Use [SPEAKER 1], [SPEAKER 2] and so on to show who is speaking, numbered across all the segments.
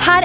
[SPEAKER 1] her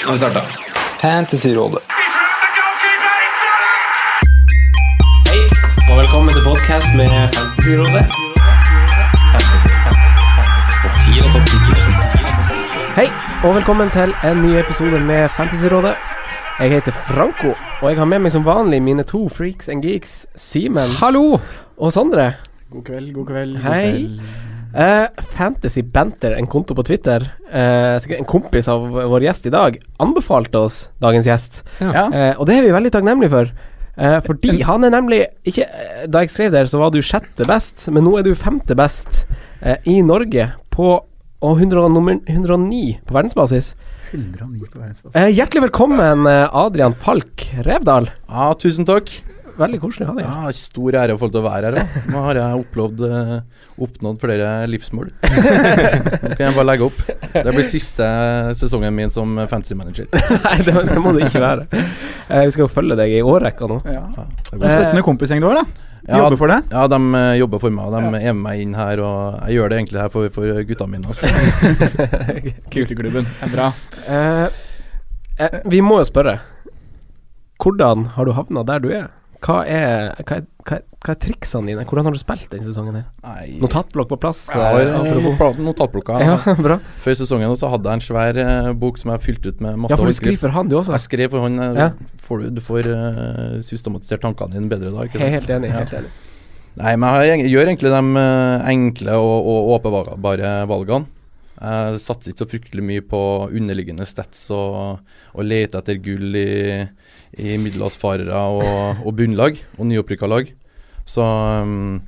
[SPEAKER 2] Nå har vi starta. Fantasyrådet.
[SPEAKER 3] Hei, og velkommen til podcast med Fantasyrådet. Hei, og velkommen til en ny episode med Fantasyrådet. Jeg heter Franco, og jeg har med meg som vanlig mine to freaks and geeks, Simen
[SPEAKER 2] Hallo!
[SPEAKER 3] og Sondre.
[SPEAKER 2] God kveld, god kveld.
[SPEAKER 3] Hei. Eh, Fantasy Banter, en konto på Twitter, eh, sikkert en kompis av vår gjest i dag, anbefalte oss dagens gjest.
[SPEAKER 2] Ja.
[SPEAKER 3] Eh, og det er vi veldig takknemlige for. Eh, fordi han er nemlig ikke, eh, Da jeg skrev der, så var du sjette best, men nå er du femte best eh, i Norge på og 100, og nummer 109 på verdensbasis.
[SPEAKER 2] 109 på verdensbasis.
[SPEAKER 3] Eh, hjertelig velkommen, eh, Adrian Falk Revdal.
[SPEAKER 4] Ja, tusen takk.
[SPEAKER 3] Veldig koselig å ha deg her.
[SPEAKER 4] Ja, stor ære å få lov til å være her. da. Nå har jeg opplevd, eh, oppnådd flere livsmål. Nå kan jeg bare legge opp. Det blir siste sesongen min som fantasy manager.
[SPEAKER 3] Nei, det, det må det ikke være. Eh, vi skal jo følge deg i årrekka nå.
[SPEAKER 2] Ja.
[SPEAKER 4] Det
[SPEAKER 2] Det er
[SPEAKER 5] Eh,
[SPEAKER 4] blir-
[SPEAKER 2] Støttende kompisgjeng du har, da.
[SPEAKER 4] Ja,
[SPEAKER 2] Jobber for det.
[SPEAKER 4] ja, de eh, jobber for meg, og de er med meg inn her. Og jeg gjør det egentlig her for, for gutta mine. Altså.
[SPEAKER 2] Kult i klubben. Det er bra.
[SPEAKER 3] Eh, eh, vi må jo spørre. Hvordan har du havna der du er? Hva er, hva, er, hva, er, hva er triksene dine? Hvordan har du spilt denne sesongen? her?
[SPEAKER 4] Nei,
[SPEAKER 3] Notatblokk på plass?
[SPEAKER 4] jeg har
[SPEAKER 3] eh,
[SPEAKER 4] eh,
[SPEAKER 3] apropos.
[SPEAKER 4] notat- notatblokka
[SPEAKER 3] Ja, bra.
[SPEAKER 4] før sesongen, og så hadde jeg en svær eh, bok som jeg fylte ut med masse
[SPEAKER 3] Ja, for du
[SPEAKER 4] overskrift.
[SPEAKER 3] skriver for han, du også?
[SPEAKER 4] Jeg skrev for hånd. eh,
[SPEAKER 3] Ja.
[SPEAKER 4] Får du, du får eh, systematisert tankene dine bedre da. Ikke
[SPEAKER 3] Jeg er helt enig.
[SPEAKER 4] Ja.
[SPEAKER 3] Helt enig.
[SPEAKER 4] Nei, men jeg har- gjør egentlig de eh, enkle og, og åpenbare valgene. Jeg satser ikke så fryktelig mye på underliggende stats og, og leter etter gull i, i middelhavsfarere og, og bunnlag og nyopprykka lag. Så um,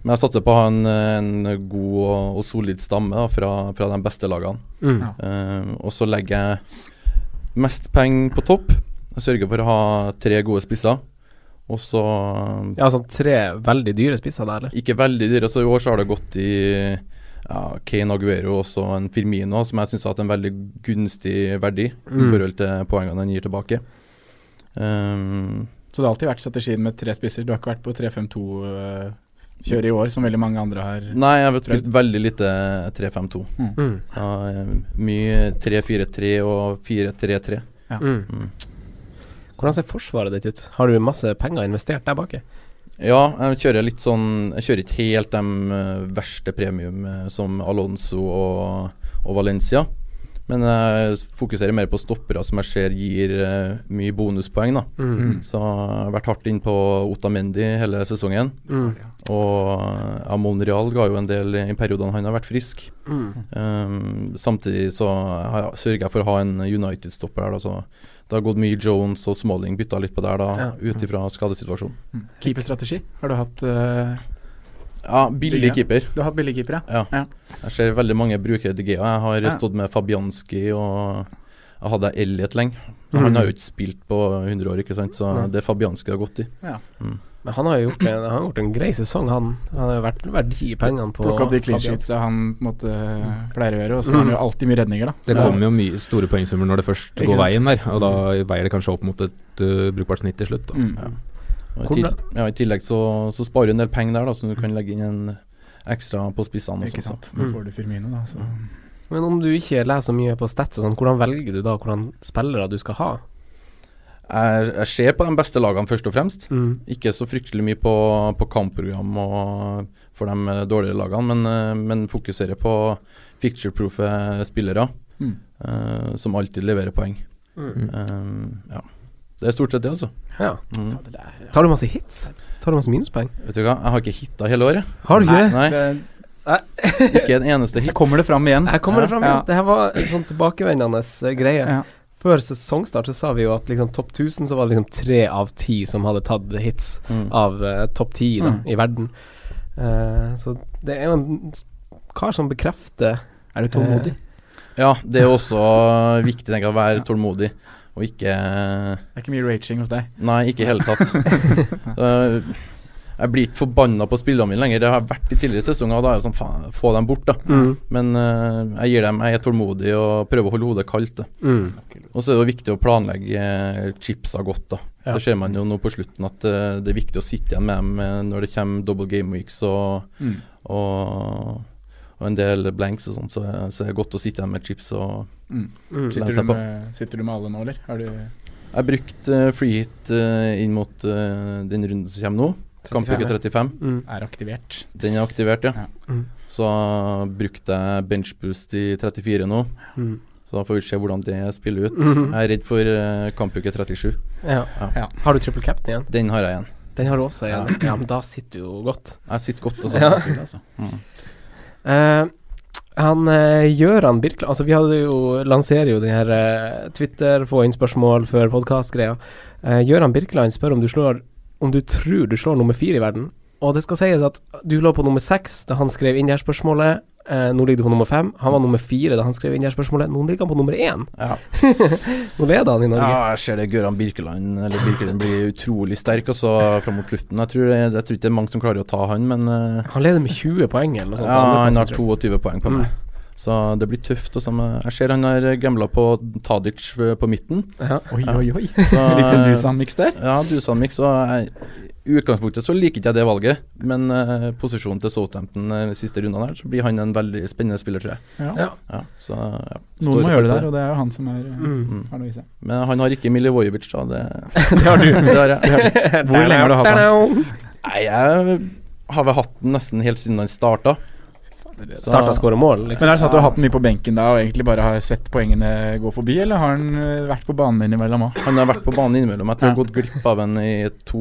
[SPEAKER 4] Men jeg satser på å ha en, en god og, og solid stamme da, fra, fra de beste lagene.
[SPEAKER 3] Mm.
[SPEAKER 4] Eh, og så legger jeg mest penger på topp. Jeg sørger for å ha tre gode spisser. Og så um,
[SPEAKER 3] Ja, sånn tre veldig dyre spisser der, eller?
[SPEAKER 4] ikke veldig dyre, så i år så har det gått i ja, Kane Aguero og også en Firmino, som jeg syns har hatt en veldig gunstig verdi i
[SPEAKER 3] Mm.
[SPEAKER 4] forhold til poengene han gir tilbake. Ehm,
[SPEAKER 2] Så det har alltid vært strategien med tre spisser. Du har ikke vært på 3-5-2-kjøret i år, som veldig mange andre har.
[SPEAKER 4] nei, jeg har spilt veldig lite 3-5-2.
[SPEAKER 3] Mm.
[SPEAKER 4] Ja, eh, mye 3-4-3 og 4-3-3.
[SPEAKER 3] Mm. Hvordan ser forsvaret ditt ut? Har du masse penger investert der baki?
[SPEAKER 4] Ja, jeg kjører litt sånn Jeg kjører ikke helt de eh, verste premium eh, som Alonso og, og Valencia. Men jeg fokuserer mer på stoppere som jeg ser gir eh, mye bonuspoeng. da
[SPEAKER 3] Mm.
[SPEAKER 4] Så jeg har vært hardt inn på Otamendi hele sesongen.
[SPEAKER 3] Mm.
[SPEAKER 4] Og ja, Monreal ga jo en del i periodene han har vært frisk.
[SPEAKER 3] Mm.
[SPEAKER 4] Um, samtidig så har jeg- sørger jeg for å ha en United-stopper her. Da, så det har gått mye Jones og Smalling bytta litt på der, da,
[SPEAKER 3] Ja.
[SPEAKER 4] ut ifra skadesituasjonen.
[SPEAKER 2] Keeperstrategi har du hatt. eh,
[SPEAKER 4] Ja, billig
[SPEAKER 2] Billig.
[SPEAKER 4] keeper.
[SPEAKER 2] du har hatt billigkeepere.
[SPEAKER 4] Ja.
[SPEAKER 2] Ja.
[SPEAKER 4] Jeg ser veldig mange brukere til GA. Jeg har
[SPEAKER 2] Ja.
[SPEAKER 4] stått med Fabianski og jeg hadde Elliot lenge. Han har jo ikke spilt på 100 år, ikke sant? så
[SPEAKER 3] Nei.
[SPEAKER 4] det Fabianski har gått i.
[SPEAKER 3] Men han har jo gjort en, han har gjort en grei sesong, han. Han har jo vært verdi i pengene på
[SPEAKER 2] Plukke opp de clean
[SPEAKER 3] Fabian.
[SPEAKER 2] sheets han på en måte pleier å gjøre, og så har han jo alltid mye redninger, da.
[SPEAKER 5] Det
[SPEAKER 2] Så-
[SPEAKER 5] kommer jo mye store poengsummer når det først
[SPEAKER 2] Ikke
[SPEAKER 5] går
[SPEAKER 2] sant?
[SPEAKER 5] veien der, og da veier det kanskje opp mot et øh, brukbart snitt til slutt. Da.
[SPEAKER 2] Mm.
[SPEAKER 4] Og
[SPEAKER 3] Hvordan-
[SPEAKER 4] i, til, ja, I tillegg så, så sparer du en del penger der, da, så du kan legge inn en ekstra på spissene. og
[SPEAKER 2] Ikke
[SPEAKER 4] sånn, så.
[SPEAKER 2] sant. Nå får du Firmino, da. Så.
[SPEAKER 3] Men om du ikke leser mye på stats og sånn, hvordan velger du da hvordan spillere du skal ha?
[SPEAKER 4] Jeg, jeg ser på de beste lagene først og fremst.
[SPEAKER 3] Mm.
[SPEAKER 4] Ikke så fryktelig mye på, på kampprogram og for de eh, dårligere lagene, men, eh, men fokuserer på picture-proofe spillere
[SPEAKER 2] Mm.
[SPEAKER 4] eh, som alltid leverer poeng.
[SPEAKER 3] Mm.
[SPEAKER 4] Eh, ja. Det er stort sett det, altså.
[SPEAKER 3] Ja.
[SPEAKER 4] Mm.
[SPEAKER 3] Tar du masse hits? Tar du masse minuspoeng?
[SPEAKER 4] Vet du hva, jeg har ikke hitta hele året.
[SPEAKER 3] Har du ikke det?
[SPEAKER 4] Nei. Ikke en eneste hit.
[SPEAKER 2] Kommer det fram igjen?
[SPEAKER 3] Her kommer det fram.
[SPEAKER 2] Ja.
[SPEAKER 3] Det her var en sånn tilbakevendende eh, greie.
[SPEAKER 2] Ja.
[SPEAKER 3] Før sesongstart så sa vi jo at liksom topp 1000 så var det liksom tre av ti som hadde tatt hits
[SPEAKER 4] Mm.
[SPEAKER 3] av eh, topp ti da,
[SPEAKER 2] Mm.
[SPEAKER 3] i verden. Eh, så det er jo en kar som bekrefter eh,
[SPEAKER 2] Er du tålmodig?
[SPEAKER 4] Ja, det er også viktig, tenker jeg, å være tålmodig. Og ikke
[SPEAKER 2] Det er ikke mye raging hos deg.
[SPEAKER 4] Nei, ikke i hele tatt. Eh, jeg blir ikke forbanna på spillerne mine lenger. Det har jeg vært i tidligere sesonger, og da er det sånn faen, få dem bort, da. Men eh, jeg gir dem, jeg er tålmodig og prøver å holde hodet kaldt. Da.
[SPEAKER 3] Mm.
[SPEAKER 4] Og så er det jo viktig å planlegge eh, chipsa godt, da.
[SPEAKER 6] Ja.
[SPEAKER 4] Det ser man jo nå på slutten at eh, det er viktig å sitte igjen med dem eh, når det kommer double game weeks og,
[SPEAKER 2] Mm.
[SPEAKER 4] og, og en del blanks og sånn, så, så er det godt å sitte igjen med chips og
[SPEAKER 2] Mm.
[SPEAKER 3] Mm.
[SPEAKER 4] Lene
[SPEAKER 2] Sitter,
[SPEAKER 4] seg
[SPEAKER 2] du
[SPEAKER 4] på.
[SPEAKER 2] med, sitter du med alle nå, eller? Har du
[SPEAKER 4] Jeg brukte uh, free hit eh, inn mot eh, den runden som kommer nå. Kampuke 35.
[SPEAKER 3] Mm.
[SPEAKER 2] er aktivert?
[SPEAKER 4] Den er aktivert, ja.
[SPEAKER 2] Ja.
[SPEAKER 3] Mm.
[SPEAKER 4] Så brukte jeg benchboost i 34 nå,
[SPEAKER 3] Mm.
[SPEAKER 4] så da får vi se hvordan det spiller ut.
[SPEAKER 3] Mhm.
[SPEAKER 4] Jeg er redd for eh, kampuke 37.
[SPEAKER 3] Ja.
[SPEAKER 2] Ja.
[SPEAKER 3] Har du triple cap'n igjen?
[SPEAKER 4] Den har jeg igjen.
[SPEAKER 3] Den har du også igjen. Ja, men da sitter du jo godt.
[SPEAKER 4] Jeg sitter godt, altså.
[SPEAKER 3] Ja.
[SPEAKER 2] Til, altså.
[SPEAKER 4] Mm.
[SPEAKER 3] Eh, han uh, Gjøran Birkeland Altså, vi hadde jo lanserer jo den her eh, Twitter, få inn spørsmål før podkast-greia. Uh, Gjøran Birkeland spør om du slår Om du tror du slår nummer fire i verden. Og det skal sies at du lå på nummer seks da han skrev inn det her spørsmålet. Eh, nå ligger du på nummer fem. Han var nummer fire da han skrev inn det her spørsmålet. Nå ligger han på nummer én.
[SPEAKER 4] Ja.
[SPEAKER 3] Nå leder han i Norge.
[SPEAKER 4] ja, jeg ser det Gøran Birkeland Eller Birkeland blir utrolig sterk altså, fram mot slutten. Jeg tror, det, jeg tror ikke det er mange som klarer å ta han, men eh,
[SPEAKER 3] Han leder med 20 poeng eller noe sånt.
[SPEAKER 4] ja,
[SPEAKER 3] Andreplassen,
[SPEAKER 4] han har
[SPEAKER 3] tror jeg.
[SPEAKER 4] 22 poeng på
[SPEAKER 3] Mm.
[SPEAKER 4] meg. Så det blir tøft. Og sammen. Jeg ser han har gambla på Tadic eh, på midten.
[SPEAKER 3] Ja.
[SPEAKER 2] Oi, oi, oi.
[SPEAKER 4] Så,
[SPEAKER 2] Litt en Dusan-miks der.
[SPEAKER 4] Ja, du sa Mick, så jeg, i utgangspunktet så liker ikke jeg det valget. Men eh, posisjonen til Southampton eh, siste runden her, så blir han en veldig spennende spiller, tror jeg.
[SPEAKER 2] Ja.
[SPEAKER 3] Ja.
[SPEAKER 4] Ja, så, ja.
[SPEAKER 2] Noen
[SPEAKER 4] Står
[SPEAKER 2] må
[SPEAKER 4] for
[SPEAKER 2] gjøre det der, og det er jo han som er, eh,
[SPEAKER 3] Mm.
[SPEAKER 2] har noe i seg.
[SPEAKER 4] Men han har ikke Milivojevic, da. Det,
[SPEAKER 3] Det har du.
[SPEAKER 4] det har jeg.
[SPEAKER 2] Hvor lenge har du hatt han?
[SPEAKER 3] han?
[SPEAKER 4] Nei, jeg har vel hatt den nesten helt siden han starta.
[SPEAKER 3] Starta å skåre mål,
[SPEAKER 2] Men
[SPEAKER 3] liksom.
[SPEAKER 2] er det sånn at du har hatt den mye på benken da, og egentlig bare har sett poengene gå forbi, eller har han eh, vært på banen innimellom òg?
[SPEAKER 4] Han har vært på banen innimellom. Jeg tror jeg har
[SPEAKER 2] Ja.
[SPEAKER 4] gått glipp av en i to,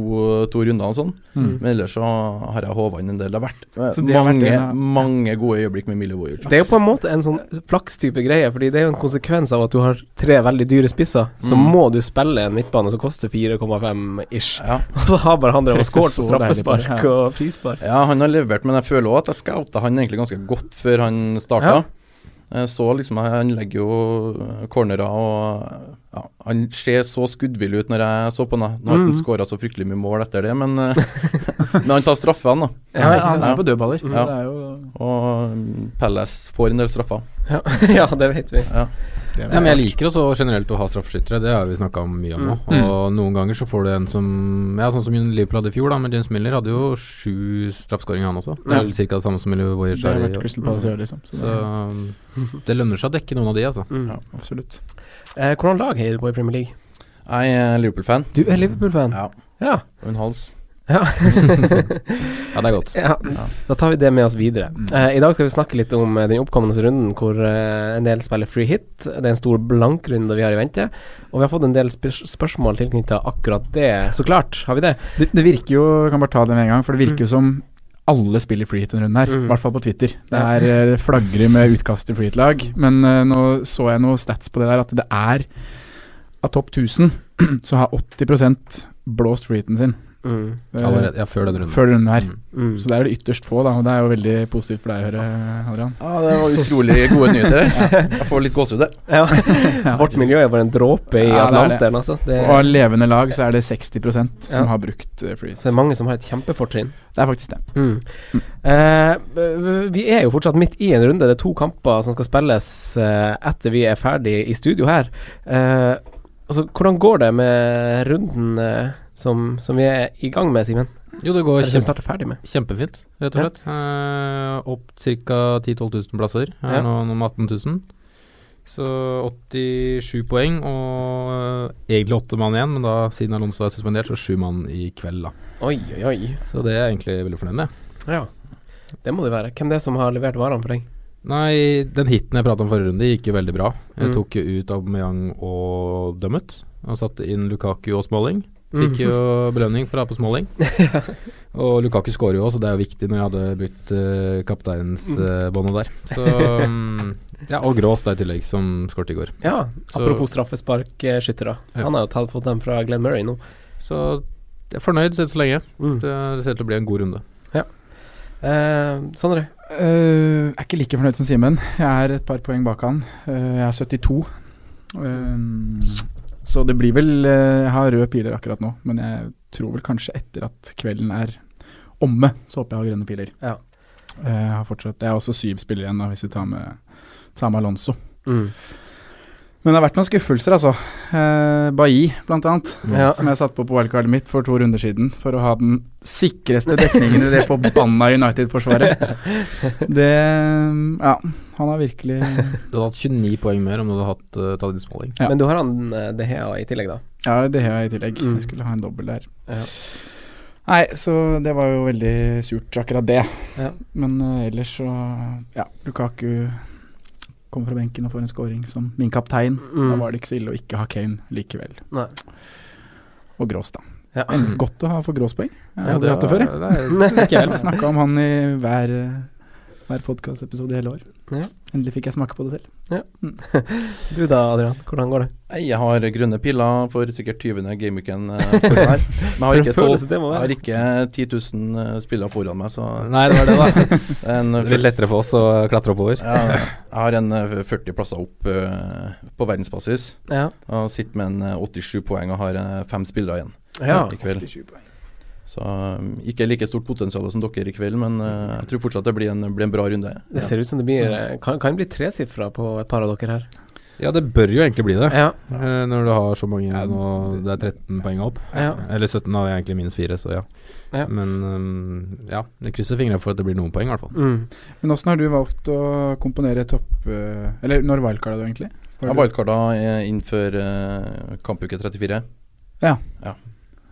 [SPEAKER 4] to runder og sånn.
[SPEAKER 2] Mm.
[SPEAKER 4] Men ellers så har jeg håva inn en del. Det har vært eh,
[SPEAKER 2] Så det har vært
[SPEAKER 4] mange,
[SPEAKER 2] en av-
[SPEAKER 4] mange gode øyeblikk med Milivojevic.
[SPEAKER 3] Det er jo på en måte en sånn flakstype greie, fordi det er jo en konsekvens av at du har tre veldig dyre spisser. Så
[SPEAKER 4] Mm.
[SPEAKER 3] må du spille en midtbane som koster 4,5 ish.
[SPEAKER 4] Ja.
[SPEAKER 3] Og så har bare han drevet og
[SPEAKER 2] Treffer
[SPEAKER 3] skåret på
[SPEAKER 2] så deilig på det,
[SPEAKER 3] straffespark
[SPEAKER 2] ja.
[SPEAKER 3] og frispark.
[SPEAKER 4] Ja, han har levert, men jeg føler òg at jeg scouta han egentlig ganske godt før han starta. Jeg Så liksom Han legger jo cornerer og ja, Han ser så skuddvillig ut når jeg så på han. da. Nå har han
[SPEAKER 3] Mhm.
[SPEAKER 4] skåra så fryktelig mye mål etter det, men, eh, men han tar straffene, da.
[SPEAKER 3] Ja, ikke
[SPEAKER 2] han
[SPEAKER 3] sant?
[SPEAKER 2] er på dødballer.
[SPEAKER 4] Ja.
[SPEAKER 2] Det er jo
[SPEAKER 4] Og mm, Palace får en del straffer.
[SPEAKER 3] Ja. ja, det vet vi.
[SPEAKER 4] Ja.
[SPEAKER 5] Ja, men jeg liker også generelt å ha straffeskyttere, det har vi snakka mye om nå.
[SPEAKER 2] Mm.
[SPEAKER 5] Og noen ganger så får du en som Ja, sånn som Liverpool hadde i fjor, da, men James Miller hadde jo sju straffeskåringer, han også. Det
[SPEAKER 3] Ja.
[SPEAKER 5] er vel ca. det samme som Liverpool
[SPEAKER 2] Det har
[SPEAKER 5] har i
[SPEAKER 2] vært
[SPEAKER 5] år.
[SPEAKER 2] Crystal Palace i år, liksom. Så det
[SPEAKER 5] Så
[SPEAKER 2] er,
[SPEAKER 5] um, det lønner seg å dekke noen av de, altså.
[SPEAKER 3] Mm.
[SPEAKER 2] ja, absolutt.
[SPEAKER 3] Eh, hvordan lag heier du på i Premier League?
[SPEAKER 4] Jeg er Liverpool-fan.
[SPEAKER 3] Du er Liverpool-fan.
[SPEAKER 4] Ja.
[SPEAKER 3] Ja.
[SPEAKER 4] Og en hals.
[SPEAKER 5] Ja, det er godt.
[SPEAKER 3] Ja. Da tar vi det med oss videre.
[SPEAKER 2] Mm.
[SPEAKER 3] Eh, I dag skal vi snakke litt om eh, den oppkommende runden hvor eh, en del spiller free hit. Det er en stor blankrunde vi har i vente, og vi har fått en del spør spørsmål tilknytta akkurat det. Så klart har vi det.
[SPEAKER 2] Det, det virker jo Jeg kan bare ta det med en gang, for det virker jo som alle spiller free hit denne runden her, i
[SPEAKER 3] Mm.
[SPEAKER 2] hvert fall på Twitter. Det
[SPEAKER 3] Ja.
[SPEAKER 2] er eh, det flagrer med utkast til free hit-lag, men eh, nå så jeg noe stats på det der, at det er av topp 1000 så har 80 blåst free hiten sin.
[SPEAKER 3] Mm.
[SPEAKER 2] eh,
[SPEAKER 5] Allerede, ja, før den runden.
[SPEAKER 2] Før denne runden her.
[SPEAKER 5] Mm.
[SPEAKER 3] Mm.
[SPEAKER 2] Så det er det ytterst få, da, og det er jo veldig positivt for deg å høre, Adrian.
[SPEAKER 4] Ja, det var utrolig gode nyheter. Jeg får litt gåsehud, jeg.
[SPEAKER 3] Ja. Vårt miljø er bare en dråpe i
[SPEAKER 2] Ja, det er
[SPEAKER 3] Atlanteren, altså. Det
[SPEAKER 2] Og av levende lag så er det 60 som
[SPEAKER 3] Ja.
[SPEAKER 2] har brukt eh, free hit.
[SPEAKER 3] så det er mange som har et kjempefortrinn.
[SPEAKER 2] Det er faktisk det.
[SPEAKER 3] Eh, vi er jo fortsatt midt i en runde. Det er to kamper som skal spilles eh, etter vi er ferdig i studio her. Eh, altså, hvordan går det med runden eh, som, som vi er i gang med, Simen?
[SPEAKER 5] Jo, det går
[SPEAKER 3] Eller som vi
[SPEAKER 5] kjempe,
[SPEAKER 3] starter ferdig med?
[SPEAKER 5] kjempefint, rett og slett. Eh, opp ca. 10 000-12 000 plasser. Jeg er
[SPEAKER 3] Ja.
[SPEAKER 5] nå nummer 18 000. Så 87 poeng, og eh, egentlig åtte mann igjen, men da siden Alonso er suspendert, så sju mann i kveld, da.
[SPEAKER 3] Oi, oi, oi.
[SPEAKER 5] Så det er jeg egentlig veldig fornøyd med.
[SPEAKER 3] Ja. Det må det være. Hvem det er som har levert varene for deg?
[SPEAKER 5] Nei, den hiten jeg prata om forrige runde, gikk jo veldig bra. Jeg
[SPEAKER 3] Mm.
[SPEAKER 5] tok jo ut Aubameyang og Dummet. Og satte inn Lukaku og Smalling.
[SPEAKER 4] Mm.
[SPEAKER 5] Fikk
[SPEAKER 3] Mm.
[SPEAKER 5] jo belønning for å ha på Smalling. og Lukaku skårer jo også, det er jo viktig når jeg hadde brukt uh, kapteinsbåndet der. Så mm, Ja, og Grås der i tillegg, som skåret i går.
[SPEAKER 3] Ja,
[SPEAKER 5] Så-
[SPEAKER 3] apropos straffesparkskyttere.
[SPEAKER 5] Ja.
[SPEAKER 3] Han har jo tatt fått dem fra Glenn Murray nå.
[SPEAKER 5] Så jeg er fornøyd sett så lenge.
[SPEAKER 4] Mm.
[SPEAKER 5] Det, det ser ut til å bli en god runde.
[SPEAKER 3] Eh, Sondre?
[SPEAKER 2] Eh, er ikke like fornøyd som Simen. Jeg er et par poeng bak han. Eh, jeg er 72. Eh, så det blir vel eh, Jeg har røde piler akkurat nå, men jeg tror vel kanskje etter at kvelden er omme, så håper jeg har grønne piler.
[SPEAKER 3] Ja.
[SPEAKER 2] Eh, jeg har fortsatt Det er også syv spillere igjen, da, hvis vi tar med, tar med Alonso.
[SPEAKER 3] Mm.
[SPEAKER 2] Men det har vært noen skuffelser, altså. Eh, Bailly, blant annet.
[SPEAKER 3] Mm. Ja.
[SPEAKER 2] Som jeg satte på på wildcardet mitt for to runder siden. For å ha den sikreste dekningen i det forbanna United-forsvaret. Det mm, Ja, han har virkelig
[SPEAKER 5] Du hadde hatt 29 poeng mer om du hadde hatt uh, Tadis Smalling.
[SPEAKER 2] Ja.
[SPEAKER 3] Men du har han eh, De Hea i tillegg, da.
[SPEAKER 2] Ja, det har jeg i tillegg.
[SPEAKER 3] Mm.
[SPEAKER 2] Jeg skulle ha en dobbel der.
[SPEAKER 3] Ja.
[SPEAKER 2] Nei, så det var jo veldig surt, akkurat det.
[SPEAKER 3] Ja.
[SPEAKER 2] Men eh, ellers så Ja, Lukaku kommer fra benken og får en scoring som min kaptein.
[SPEAKER 3] Mm.
[SPEAKER 2] Da var det ikke så ille å ikke ha Kane likevel.
[SPEAKER 3] Nei.
[SPEAKER 2] Og Grås, da.
[SPEAKER 3] Ja.
[SPEAKER 2] Men godt å ha for Gråspoeng. Jeg
[SPEAKER 5] Ja,
[SPEAKER 2] har aldri
[SPEAKER 5] det
[SPEAKER 2] hatt det
[SPEAKER 5] var-
[SPEAKER 2] før,
[SPEAKER 5] det er- det er ikke jeg
[SPEAKER 2] jeg.
[SPEAKER 5] heller.
[SPEAKER 2] Snakka om han i hver, eh, hver podkastepisode i hele år.
[SPEAKER 3] Ja.
[SPEAKER 2] Endelig fikk jeg smake på det selv.
[SPEAKER 3] Du da, Adrian. Hvordan går det?
[SPEAKER 4] Nei, Jeg har grønne piller for sikkert 20. gameweeken eh, for det her. Men jeg har
[SPEAKER 3] For
[SPEAKER 4] ikke,
[SPEAKER 3] en
[SPEAKER 4] 12,
[SPEAKER 3] følelse det må
[SPEAKER 4] jeg
[SPEAKER 3] være.
[SPEAKER 4] har ikke 10 000 eh, spillere foran meg, så
[SPEAKER 5] Nei, det var det, da.
[SPEAKER 4] en, eh,
[SPEAKER 5] Det er Litt lettere for oss å klatre oppover.
[SPEAKER 4] ja, Jeg har en eh, 40 plasser opp eh, på verdensbasis.
[SPEAKER 3] Ja.
[SPEAKER 4] Og sitter med en eh, 87 poeng og har eh, fem spillere igjen
[SPEAKER 3] ja.
[SPEAKER 4] i kveld. Så um, ikke like stort potensial som dere i kveld, men eh, jeg tror fortsatt det blir en, blir en bra runde.
[SPEAKER 3] Det ser ut som det blir eh, Kan, kan bli tresifra på et par av dere her.
[SPEAKER 5] Ja, det bør jo egentlig bli det.
[SPEAKER 3] Ja.
[SPEAKER 5] Eh, Når du har så mange igjen, og det er 13 poeng opp.
[SPEAKER 3] Ja.
[SPEAKER 5] Eller 17 har jeg egentlig minus 4, så ja.
[SPEAKER 3] Ja.
[SPEAKER 5] Men um, ja, jeg krysser fingrene for at det blir noen poeng, i hvert fall.
[SPEAKER 3] Mm.
[SPEAKER 2] Men åssen har du valgt å komponere topp... eh, Eller når wildcarda du, egentlig? Var
[SPEAKER 4] Jeg
[SPEAKER 2] det-
[SPEAKER 4] wildcarda eh, inn før eh, kampuke 34.
[SPEAKER 2] Ja.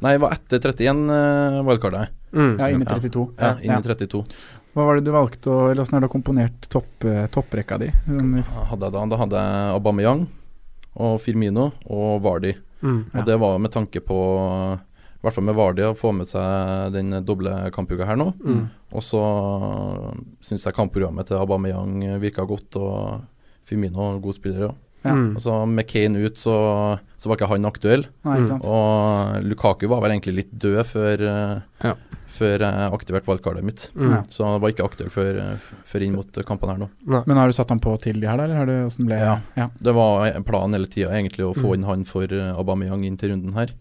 [SPEAKER 4] Nei, det var etter 31 uh, wildcarda. jeg.
[SPEAKER 3] Mm.
[SPEAKER 2] Ja, inn i
[SPEAKER 4] Ja.
[SPEAKER 2] 32.
[SPEAKER 4] Ja, inn
[SPEAKER 2] Ja.
[SPEAKER 4] i 32.
[SPEAKER 2] Hva var det du valgte, å, eller åssen har du komponert topp, eh, topprekka di? Sånn i f-
[SPEAKER 4] Hva Hadde jeg da, da hadde jeg Aubameyang og Firmino og Vardy.
[SPEAKER 3] Mm.
[SPEAKER 4] Og det var med tanke på, i hvert fall med Vardy, å få med seg den doble kampuka her nå.
[SPEAKER 3] Mm.
[SPEAKER 4] Og så syns jeg kampprogrammet til Aubameyang virka godt, og Firmino er en god spiller òg.
[SPEAKER 2] Ja.
[SPEAKER 3] Mm.
[SPEAKER 4] Og så med Kane ut, så, så var ikke han aktuell.
[SPEAKER 2] Nei,
[SPEAKER 3] Mm.
[SPEAKER 2] ikke sant?
[SPEAKER 4] Og Lukaku var vel egentlig litt død før, eh,
[SPEAKER 5] Ja.
[SPEAKER 4] før jeg aktiverte wildcardet mitt.
[SPEAKER 3] Mm.
[SPEAKER 2] Ja.
[SPEAKER 4] Så han var ikke aktuell før, eh, f- før inn mot eh, kampene her nå.
[SPEAKER 2] Men har du satt han på til de her, da? Eller har du, hvordan ble
[SPEAKER 4] Ja.
[SPEAKER 2] ja.
[SPEAKER 4] Det var eh, planen hele tida egentlig å få
[SPEAKER 3] Mm.
[SPEAKER 4] inn han for eh, Aubameyang inn til runden her.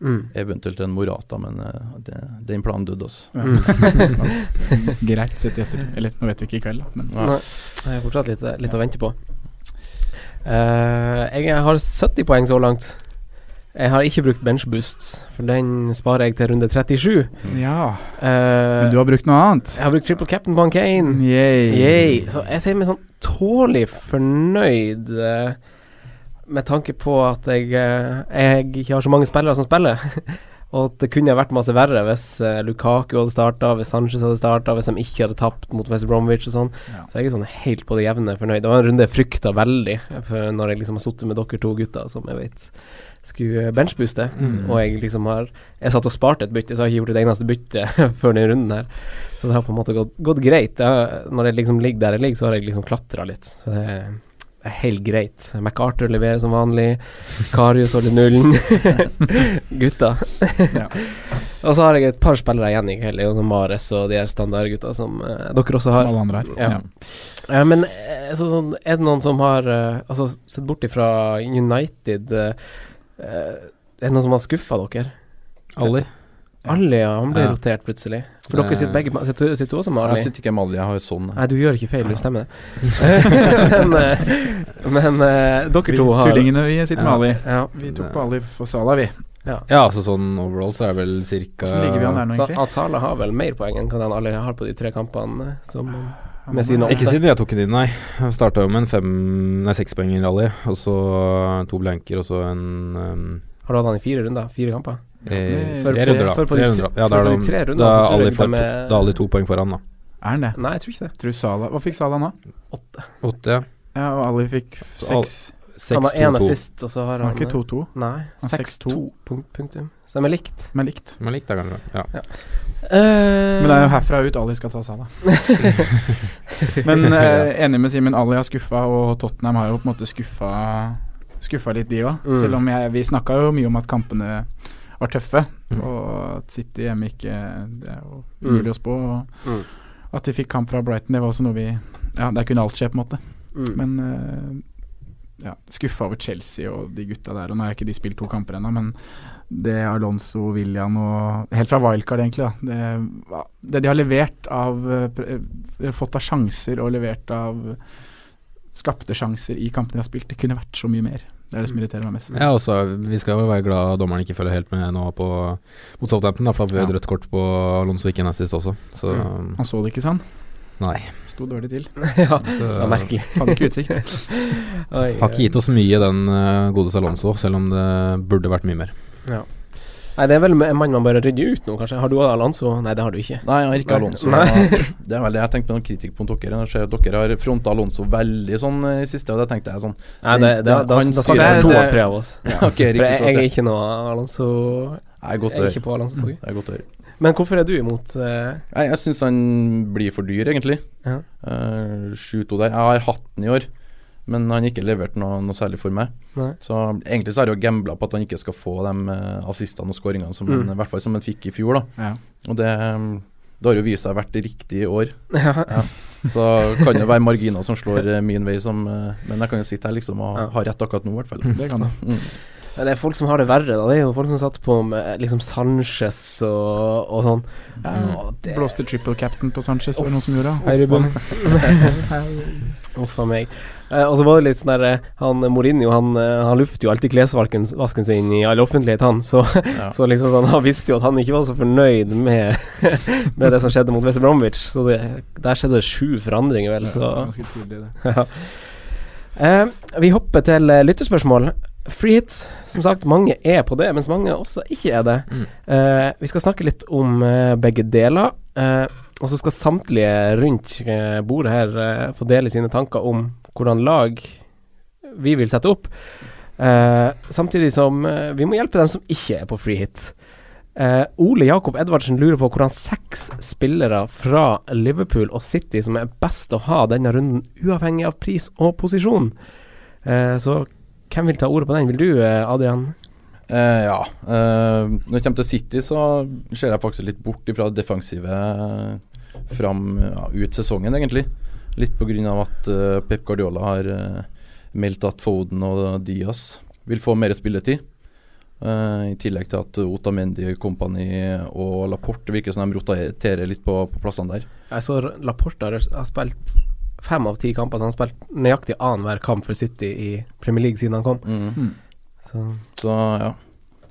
[SPEAKER 3] Mm.
[SPEAKER 4] Eventuelt en Morata, men eh, det, den planen døde altså. også.
[SPEAKER 2] Ja. Mm. Greit sett i etter. Eller nå vet vi ikke i kveld, da. Men
[SPEAKER 4] Ja.
[SPEAKER 3] Nei. Jeg har fortsatt litt, litt å vente på. Eh, jeg har 70 poeng så langt. Jeg har ikke brukt benchboosts, for den sparer jeg til runde 37.
[SPEAKER 2] ja.
[SPEAKER 3] Eh,
[SPEAKER 2] Men du har Mm. brukt noe annet?
[SPEAKER 3] Jeg har brukt triple cap'n på han Kane.
[SPEAKER 2] Yay.
[SPEAKER 3] Yay. Så jeg sier meg sånn tålelig fornøyd eh, med tanke på at jeg, eh, jeg ikke har så mange spillere som spiller. Og at det kunne ha vært masse verre hvis eh, Lukaku hadde starta, hvis Sanchez hadde starta, hvis de ikke hadde tapt mot West Bromwich og sånn.
[SPEAKER 2] Ja.
[SPEAKER 3] Så jeg er sånn helt på det jevne fornøyd. Det var en runde jeg frykta veldig for når jeg liksom har sittet med dere to gutter som jeg vet skulle benchbooste,
[SPEAKER 2] Mm.
[SPEAKER 3] og jeg liksom har Jeg satt og sparte et bytte, så jeg har ikke gjort et eneste bytte før den runden her. Så det har på en måte gått, gått greit. Jeg, har- når jeg liksom ligger der jeg ligger, så har jeg liksom klatra litt. Så det er, det er helt greit. MacArthur leverer som vanlig. Karius holder nullen. Gutta.
[SPEAKER 2] Ja.
[SPEAKER 3] og så har jeg et par spillere igjen i kveld. Jon sånn Mares og de her standardgutta som eh, dere også
[SPEAKER 2] Som
[SPEAKER 3] har.
[SPEAKER 2] alle andre her.
[SPEAKER 3] Ja. Ja, men eh, så, sånn, er det noen som har eh, Altså, sett bort ifra United eh, eh, Er det noen som har skuffa dere?
[SPEAKER 5] Ali.
[SPEAKER 3] Ali, ja. Han ble
[SPEAKER 5] Ja.
[SPEAKER 3] rotert plutselig. For
[SPEAKER 5] Det-
[SPEAKER 3] dere sitter begge med- Sitter, sitter du også med
[SPEAKER 4] Jeg
[SPEAKER 3] Ali?
[SPEAKER 4] sitter ikke med alle, jeg har sånn.
[SPEAKER 3] Nei, du gjør ikke feil, du stemmer det. men eh, men eh, dere to har
[SPEAKER 2] Tullingene vi sitter med
[SPEAKER 5] Ja.
[SPEAKER 2] Ali.
[SPEAKER 3] Ja.
[SPEAKER 2] Vi tok på Ali for Sala, vi.
[SPEAKER 5] Ja, altså sånn overall så er det vel cirka
[SPEAKER 2] Hvordan ligger vi an der nå,
[SPEAKER 3] Så
[SPEAKER 2] egentlig?
[SPEAKER 3] Asala har vel mer poeng enn hva han Ali har på de tre kampene eh, som
[SPEAKER 2] Han
[SPEAKER 3] med sine
[SPEAKER 2] er-
[SPEAKER 5] Ikke siden jeg tok den inn, nei. Jeg starta jo med en fem, nei, sekspoenger-rally, og så eh, to blanker, og så en um,
[SPEAKER 3] Har du hatt han i fire runder? Fire kamper?
[SPEAKER 5] eh,
[SPEAKER 2] det-
[SPEAKER 5] Tre
[SPEAKER 3] tre-
[SPEAKER 5] runder, da.
[SPEAKER 3] før på
[SPEAKER 5] Tre
[SPEAKER 3] de
[SPEAKER 5] runder,
[SPEAKER 3] tre-
[SPEAKER 5] da. Ja, da
[SPEAKER 3] før
[SPEAKER 5] er
[SPEAKER 3] på de
[SPEAKER 5] de-
[SPEAKER 3] tre rundene,
[SPEAKER 5] da
[SPEAKER 3] så
[SPEAKER 5] er
[SPEAKER 3] tror jeg
[SPEAKER 5] Ali
[SPEAKER 3] de
[SPEAKER 5] for-
[SPEAKER 3] er-
[SPEAKER 5] da er Ali to poeng foran, da.
[SPEAKER 2] Er han det?
[SPEAKER 3] Nei, jeg tror ikke det.
[SPEAKER 2] Tror Salah- Hva fikk Sala nå?
[SPEAKER 5] Åtte, ja.
[SPEAKER 2] Ja, og Ali fikk seks.
[SPEAKER 3] Han har én assist, og så har han
[SPEAKER 2] Var ikke 2-2?
[SPEAKER 3] Nei.
[SPEAKER 2] Han
[SPEAKER 3] 6-2. punkt- Punktum. Så de er likt.
[SPEAKER 2] Men likt.
[SPEAKER 5] Men likt, da, kanskje. Ja.
[SPEAKER 2] Men det er jo herfra ut Ali skal ta Salah. Men eh, enig med Simen, Ali har skuffa, og Tottenham har jo på en måte skuffa, skuffa litt, de òg.
[SPEAKER 3] Mm.
[SPEAKER 2] Selv om jeg, vi snakka jo mye om at kampene var tøffe, og at City hjemme ikke Det er jo
[SPEAKER 3] Mm.
[SPEAKER 2] mulig å spå. Og
[SPEAKER 3] Mm.
[SPEAKER 2] at de fikk kamp fra Brighton, det var også noe vi Ja, der kunne alt skje, på en måte.
[SPEAKER 3] Mm.
[SPEAKER 2] Men eh, ja, skuffa over Chelsea og de gutta der. Og nå har ikke de spilt to kamper ennå, men det Alonso, William og Helt fra wildcard, egentlig. Da. Det, det de har levert av eh, pr- eh, Fått av sjanser og levert av skapte sjanser i kampene de har spilt, det kunne vært så mye mer. Det er det
[SPEAKER 3] Mm.
[SPEAKER 2] som irriterer meg mest.
[SPEAKER 5] Ja, også, vi skal jo være glad dommeren ikke følger helt med nå på, mot Southampton, da, for da ble det
[SPEAKER 2] Ja.
[SPEAKER 5] rødt kort på Alonso ikke en assist også. Så
[SPEAKER 3] Mm.
[SPEAKER 5] um,
[SPEAKER 2] Han så det ikke, sa han.
[SPEAKER 5] nei.
[SPEAKER 2] Sto dårlig til.
[SPEAKER 3] ja,
[SPEAKER 5] Så,
[SPEAKER 3] det er merkelig.
[SPEAKER 2] Hadde ikke utsikt.
[SPEAKER 3] Oi,
[SPEAKER 5] har ikke gitt oss mye, den uh, gode Alonso, selv om det burde vært mye mer.
[SPEAKER 3] ja. Nei, det er vel en mann man bør rydde ut nå, kanskje. Har du Alonso? Nei, det har du ikke.
[SPEAKER 4] Nei, jeg har
[SPEAKER 3] Nei.
[SPEAKER 4] ikke Alonso. Det er vel det jeg tenkte med noen kritikk mot dere. Jeg ser at dere har fronta Alonso veldig sånn eh, i siste, og da tenkte jeg sånn
[SPEAKER 3] Nei, det, det, da, da
[SPEAKER 4] han
[SPEAKER 3] snakker
[SPEAKER 4] styrer-
[SPEAKER 3] jeg to
[SPEAKER 4] Det-
[SPEAKER 3] av tre av oss.
[SPEAKER 4] Ok,
[SPEAKER 3] For jeg,
[SPEAKER 4] riktig. to av
[SPEAKER 3] jeg
[SPEAKER 4] tre.
[SPEAKER 3] er ikke noe Alonso
[SPEAKER 4] Nei,
[SPEAKER 3] Jeg
[SPEAKER 4] godt å
[SPEAKER 3] er
[SPEAKER 4] høre.
[SPEAKER 3] ikke på Alonso-toget.
[SPEAKER 4] Det er godt å høre.
[SPEAKER 3] Men hvorfor er du imot eh,
[SPEAKER 4] Nei, jeg syns han blir for dyr, egentlig.
[SPEAKER 3] Ja.
[SPEAKER 4] Eh, 7-2 der. Jeg har hatt den i år, men han har ikke levert noe, noe særlig for meg.
[SPEAKER 3] Nei.
[SPEAKER 4] Så egentlig så har jeg jo gambla på at han ikke skal få de eh, assistene og skåringene som,
[SPEAKER 3] Mm.
[SPEAKER 4] han- i hvert fall som han fikk i fjor. da
[SPEAKER 2] Ja.
[SPEAKER 4] Og det, eh, det har jo vist seg å ha vært riktig i år.
[SPEAKER 3] Ja.
[SPEAKER 4] Ja. Så kan det være marginer som slår eh, min vei, som, eh, men jeg kan jo sitte her liksom og
[SPEAKER 3] Ja.
[SPEAKER 4] ha rett akkurat nå, i hvert fall. Mm.
[SPEAKER 2] Det kan det.
[SPEAKER 3] Nei, Det er folk som har det verre, da. Det er jo folk som satt på med liksom Sanchez og, og sånn. Ja, det
[SPEAKER 2] Blåste triple captain på Sanchez, var det noen som gjorde?
[SPEAKER 3] Hei, Ruben. Uff a meg. Eh, og så var det litt sånn der eh, Han eh, Mourinho, han, eh, han lufter jo alltid klesvasken vasken sin i all offentlighet, han. Så, så liksom sånn, han visste jo at han ikke var så fornøyd med, med det som skjedde mot West Bromwich. Så det, der skjedde det sju forandringer, vel. Så
[SPEAKER 2] Ganske tidlig, det.
[SPEAKER 3] ja. Eh, vi hopper til eh, lyttespørsmål. Free hits, som sagt, mange er på det, mens mange også ikke er det. Eh, vi skal snakke litt om eh, begge deler. eh, og så skal samtlige rundt eh, bordet her eh, få dele sine tanker om hvordan lag vi vil sette opp. Eh, samtidig som eh, vi må hjelpe dem som ikke er på free hit. Eh, Ole Jakob Edvardsen lurer på hvordan seks spillere fra Liverpool og City som er best å ha denne runden, uavhengig av pris og posisjon. Eh, så hvem vil ta ordet på den? Vil du, eh, Adrian?
[SPEAKER 4] Eh, ja. eh, når det kommer til City, så ser jeg faktisk litt bort ifra det defensive eh, fram ja, ut sesongen, egentlig. Litt pga. at eh, Pep Guardiola har eh, meldt at Foden og Diaz vil få mer spilletid. Eh, I tillegg til at Otamendi, Company og Laporte virker som de roterer litt på, på plassene der.
[SPEAKER 3] Jeg så Laporta har spilt fem av ti kamper, så han har spilt nøyaktig annenhver kamp for City i Premier League siden han kom.
[SPEAKER 4] Mm.
[SPEAKER 3] Så,
[SPEAKER 4] Så ja.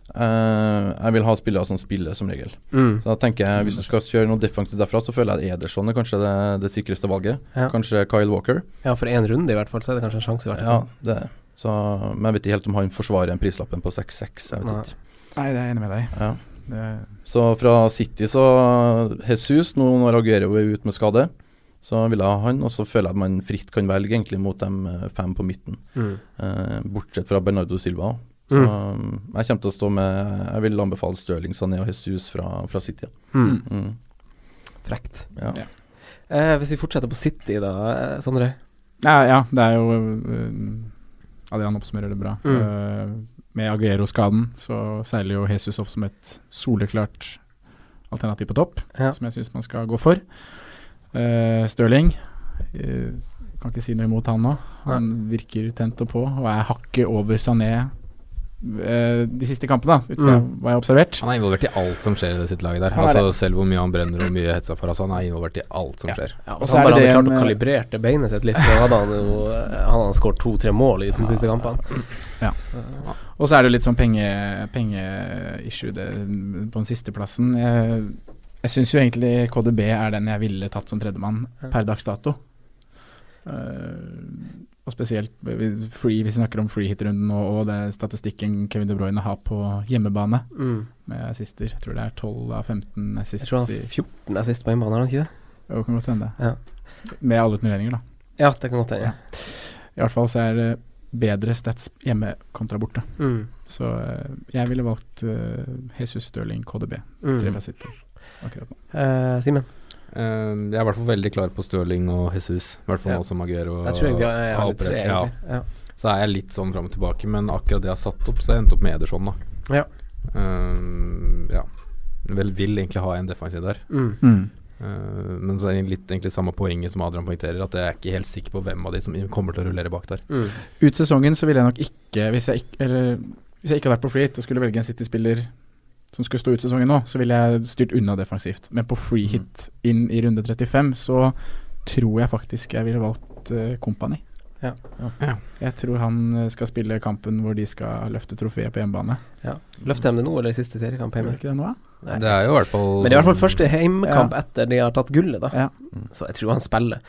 [SPEAKER 4] Eh, jeg vil ha spillere som spiller, som regel.
[SPEAKER 3] mm.
[SPEAKER 4] Så da tenker jeg, Hvis du skal kjøre noe defensivt derfra, så føler jeg at Ederson er kanskje det, det sikreste valget.
[SPEAKER 3] Ja.
[SPEAKER 4] Kanskje Kyle Walker.
[SPEAKER 3] Ja, for én runde i hvert fall, så er det kanskje en sjanse i hvert
[SPEAKER 4] Ja,
[SPEAKER 3] fall.
[SPEAKER 4] det er. Så, men jeg vet ikke helt om han forsvarer en prislappen på 6-6. Jeg vet
[SPEAKER 3] Nei.
[SPEAKER 4] ikke.
[SPEAKER 2] Nei, det er jeg enig med deg i.
[SPEAKER 4] Ja.
[SPEAKER 2] Det er-
[SPEAKER 4] Så fra City så Jesus, nå når Aguero er ute med skade, så vil jeg ha han. Og så føler jeg at man fritt kan velge egentlig mot de eh, fem på midten.
[SPEAKER 3] Mm.
[SPEAKER 4] Eh, bortsett fra Bernardo Silva. Så
[SPEAKER 3] Mm.
[SPEAKER 4] eh, jeg kommer til å stå med Jeg vil anbefale Stirling, Sané og Jesus fra, fra City. ja.
[SPEAKER 3] Mm.
[SPEAKER 4] Mm.
[SPEAKER 3] Frekt.
[SPEAKER 4] Ja.
[SPEAKER 2] Ja.
[SPEAKER 3] Eh, hvis vi fortsetter på City, da, eh, Sondre.
[SPEAKER 2] Ja, ja, det er jo øh, Adrian oppsummerer det bra.
[SPEAKER 3] Mm.
[SPEAKER 2] Øh, med Aguero-skaden så seiler jo Jesus opp som et soleklart alternativ på topp,
[SPEAKER 3] Ja.
[SPEAKER 2] som jeg syns man skal gå for. Uh, Stirling øh, kan ikke si noe imot han nå. Han virker tent og på, og er hakket over Sané øh, de siste kampene, da, ut fra
[SPEAKER 3] Mm.
[SPEAKER 2] hva jeg har observert.
[SPEAKER 5] Han er involvert i alt som skjer i sitt lag der.
[SPEAKER 2] Han er
[SPEAKER 5] Altså, selv hvor mye han brenner og hvor mye hetsa for. Altså, han er involvert i alt som skjer.
[SPEAKER 3] Ja, og
[SPEAKER 2] Og
[SPEAKER 3] så
[SPEAKER 2] så er
[SPEAKER 3] han bare
[SPEAKER 2] det eh,
[SPEAKER 3] hadde klart å
[SPEAKER 2] det med-
[SPEAKER 3] kalibrere det beinet sitt litt, så hadde han jo eh, Han hadde skåret to-tre mål i de to siste kampene.
[SPEAKER 2] Og så er det jo litt sånn penge, pengeissue det- på den siste plassen. Jeg, jeg syns jo egentlig KDB er den jeg ville tatt som tredjemann per dags dato. Eh, og spesielt vi- free, vi snakker om freehit-runden og, og det statistikken Kevin De Bruyne har på hjemmebane
[SPEAKER 3] Mm.
[SPEAKER 2] med assister. Jeg tror det er 12 av 15
[SPEAKER 3] Jeg
[SPEAKER 2] assists.
[SPEAKER 3] tror han
[SPEAKER 2] i-
[SPEAKER 3] har 14 assist på hjemmebane, har han ikke det?
[SPEAKER 2] Jo, det kan godt hende.
[SPEAKER 3] Ja.
[SPEAKER 2] Med alle turneringer, da.
[SPEAKER 3] Ja, det kan godt hende.
[SPEAKER 2] I hvert fall så er det bedre stats hjemme kontra borte.
[SPEAKER 3] Mm.
[SPEAKER 2] Så eh, jeg ville valgt eh, Jesus Stirling KDB
[SPEAKER 3] Mm.
[SPEAKER 2] til Man City akkurat nå.
[SPEAKER 3] Eh, Simen?
[SPEAKER 5] Eh, jeg er i hvert fall veldig klar på Stirling og Jesus. I hvert fall
[SPEAKER 3] Ja.
[SPEAKER 5] nå som Aguero
[SPEAKER 3] Der tror jeg vi er- er
[SPEAKER 5] har
[SPEAKER 3] alle tre,
[SPEAKER 5] operert.
[SPEAKER 3] egentlig. Ja.
[SPEAKER 5] Så er jeg litt sånn fram og tilbake, men akkurat det jeg har satt opp, så jeg endte opp med Ederson, da.
[SPEAKER 3] Ja.
[SPEAKER 5] Eh, ja. Vel, vil egentlig ha en defensiv der.
[SPEAKER 3] Mm.
[SPEAKER 2] Mm.
[SPEAKER 5] Eh, men så er det litt egentlig samme poenget som Adrian poengterer, at jeg er ikke helt sikker på hvem av de som kommer til å rullere bak der.
[SPEAKER 3] Mm.
[SPEAKER 2] Ut sesongen så ville jeg nok ikke Hvis jeg ikke, eller, hvis jeg ikke hadde vært på Fleet og skulle velge en City-spiller som skulle stå ut sesongen nå, så ville jeg styrt unna defensivt. Men på free
[SPEAKER 5] Mm.
[SPEAKER 2] hit inn i runde 35 så tror jeg faktisk jeg ville valgt eh, Kompani.
[SPEAKER 3] Ja.
[SPEAKER 5] Ja.
[SPEAKER 2] Jeg tror han eh, skal spille kampen hvor de skal løfte trofeet på hjemmebane.
[SPEAKER 3] ja. Løfter de det nå, eller i siste seriekamp
[SPEAKER 2] Gjør
[SPEAKER 3] hjemme?
[SPEAKER 2] de ikke det sånn- nå, da?
[SPEAKER 3] Nei.
[SPEAKER 5] Det er jo i hvert fall sånn-
[SPEAKER 3] Men det er i hvert fall første heimkamp
[SPEAKER 2] Ja.
[SPEAKER 3] etter de har tatt gullet, da.
[SPEAKER 2] Ja.
[SPEAKER 3] Så jeg tror han spiller.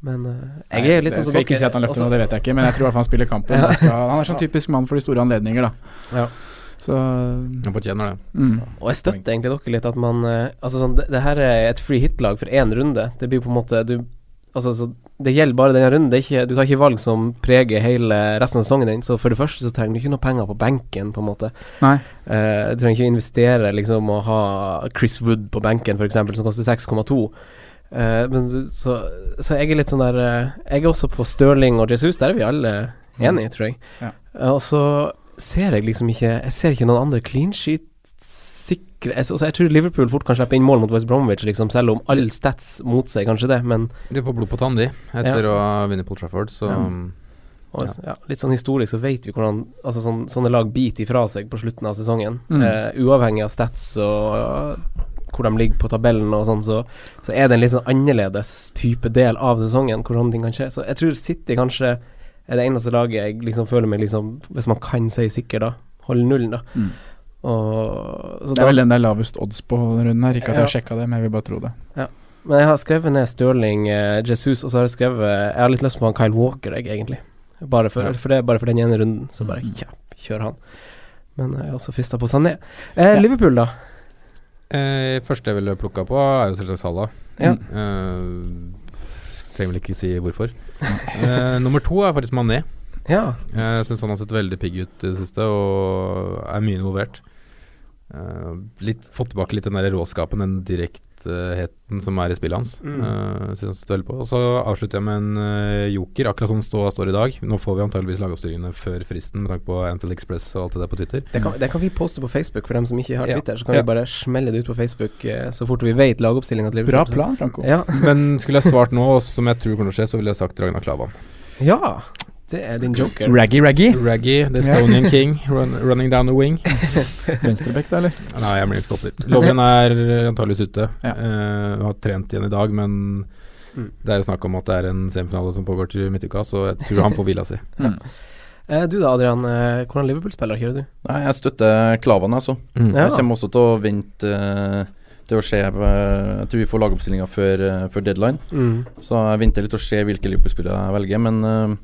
[SPEAKER 3] Men eh, jeg
[SPEAKER 2] Nei,
[SPEAKER 3] er litt sånn
[SPEAKER 2] skal ikke altså- si at han løfter noe, det vet jeg ikke, men jeg tror i hvert fall han spiller kampen. Han, skal, han er sånn typisk mann for de store anledninger, da.
[SPEAKER 3] Ja.
[SPEAKER 2] Så
[SPEAKER 5] Han fortjener det.
[SPEAKER 2] mm.
[SPEAKER 3] Og jeg støtter egentlig dere litt at man eh, Altså sånn, det, det her er et free hit-lag for én runde. Det blir på en måte du, Altså så det gjelder bare denne runden. Det er ikke, du tar ikke valg som preger hele resten av sesongen din. Så for det første så trenger du ikke noe penger på benken, på en måte.
[SPEAKER 2] Nei.
[SPEAKER 3] Eh, du trenger ikke investere liksom og ha Chris Wood på benken, f.eks., som koster 6,2. Eh, men du- så, så jeg er litt sånn der eh, Jeg er også på Stirling og Jesus, der er vi alle enige, tror jeg.
[SPEAKER 2] Ja.
[SPEAKER 3] Eh, og så ser jeg liksom ikke Jeg ser ikke noen andre clean sheet sikre jeg, altså, Jeg tror Liverpool fort kan slippe inn mål mot West Bromwich, liksom, selv om all stats motsier kanskje det, men
[SPEAKER 5] De får blod på tann, de, etter å ha vunnet Paul Trafford, så
[SPEAKER 3] Ja.
[SPEAKER 5] mm,
[SPEAKER 3] og, ja, litt sånn historisk så vet vi hvordan altså, sånn, sånne lag biter ifra seg på slutten av sesongen.
[SPEAKER 2] Mm.
[SPEAKER 3] Eh, uavhengig av stats og eh, hvor de ligger på tabellen og sånn, så, så er det en litt sånn annerledes type del av sesongen hvor sånne ting kan skje. Så jeg tror City kanskje er det eneste laget jeg liksom føler meg liksom Hvis man kan si sikker, da. Holde nullen, da.
[SPEAKER 2] Mm.
[SPEAKER 3] Og, så
[SPEAKER 2] Det
[SPEAKER 3] da-
[SPEAKER 2] er vel den det er lavest odds på denne runden her. Ikke at jeg har
[SPEAKER 3] Ja.
[SPEAKER 2] sjekka det, men jeg vil bare tro det.
[SPEAKER 3] Men jeg har skrevet ned Stirling, eh, Jesus, og så har jeg skrevet Jeg har litt lyst på han Kyle Walker, jeg, egentlig. Bare for,
[SPEAKER 5] Ja.
[SPEAKER 3] for det, bare for den ene runden, så bare
[SPEAKER 2] Mm.
[SPEAKER 3] ja, kjør han. Men eh, jeg er også frista på Sané. Eh,
[SPEAKER 2] Ja.
[SPEAKER 3] Liverpool, da.
[SPEAKER 5] eh, Første jeg ville plukka på, er jo selvsagt Salah.
[SPEAKER 3] Ja.
[SPEAKER 5] Eh, trenger vel ikke si hvorfor. Eh, nummer to er faktisk Mané.
[SPEAKER 3] Ja.
[SPEAKER 5] Eh, Jeg syns han har sett veldig pigg ut i det siste og er mye involvert. Eh, litt, fått tilbake litt den der råskapen, den direktheten som er i spillet hans.
[SPEAKER 3] Mm.
[SPEAKER 5] Eh, synes han sitter veldig på Og Så avslutter jeg med en eh, joker, akkurat som ståa står i dag. Nå får vi antageligvis lagoppstillingene før fristen, med tanke på Anfield Express og alt det der på Twitter.
[SPEAKER 3] Det kan, det kan vi poste på Facebook for dem som ikke har
[SPEAKER 5] Ja.
[SPEAKER 3] Twitter. Så kan
[SPEAKER 5] Ja.
[SPEAKER 3] vi bare smelle det ut på Facebook eh, så fort vi vet lagoppstillinga til Liverpool.
[SPEAKER 2] Bra plan, Franco.
[SPEAKER 3] Ja.
[SPEAKER 5] Men skulle jeg svart nå, som jeg tror kommer til å skje, så ville jeg sagt Ragnar Klavan.
[SPEAKER 3] ja. Det er din joker.
[SPEAKER 2] Raggy, raggy.
[SPEAKER 5] Raggy, The Estonian King, run, running down the wing.
[SPEAKER 2] Venstrebekk, da, eller?
[SPEAKER 5] Nei, jeg blir ikke stopper. Lovren er antageligvis ute.
[SPEAKER 2] Ja.
[SPEAKER 5] Eh, har trent igjen i dag, men
[SPEAKER 3] Mm.
[SPEAKER 5] det er jo snakk om at det er en semifinale som pågår til midtuka, så jeg tror han får hvila si.
[SPEAKER 2] Mm.
[SPEAKER 3] Eh, du da, Adrian. Eh, hvordan Liverpool-spiller kjører du?
[SPEAKER 4] Nei, jeg støtter Klavan, altså.
[SPEAKER 3] Ja.
[SPEAKER 4] Jeg kommer også til å vente eh, til å se eh, Jeg tror vi får lagoppstillinga før, eh, før deadline.
[SPEAKER 3] Mm.
[SPEAKER 4] Så jeg venter litt og ser hvilke Liverpool-spillere jeg velger. Men eh,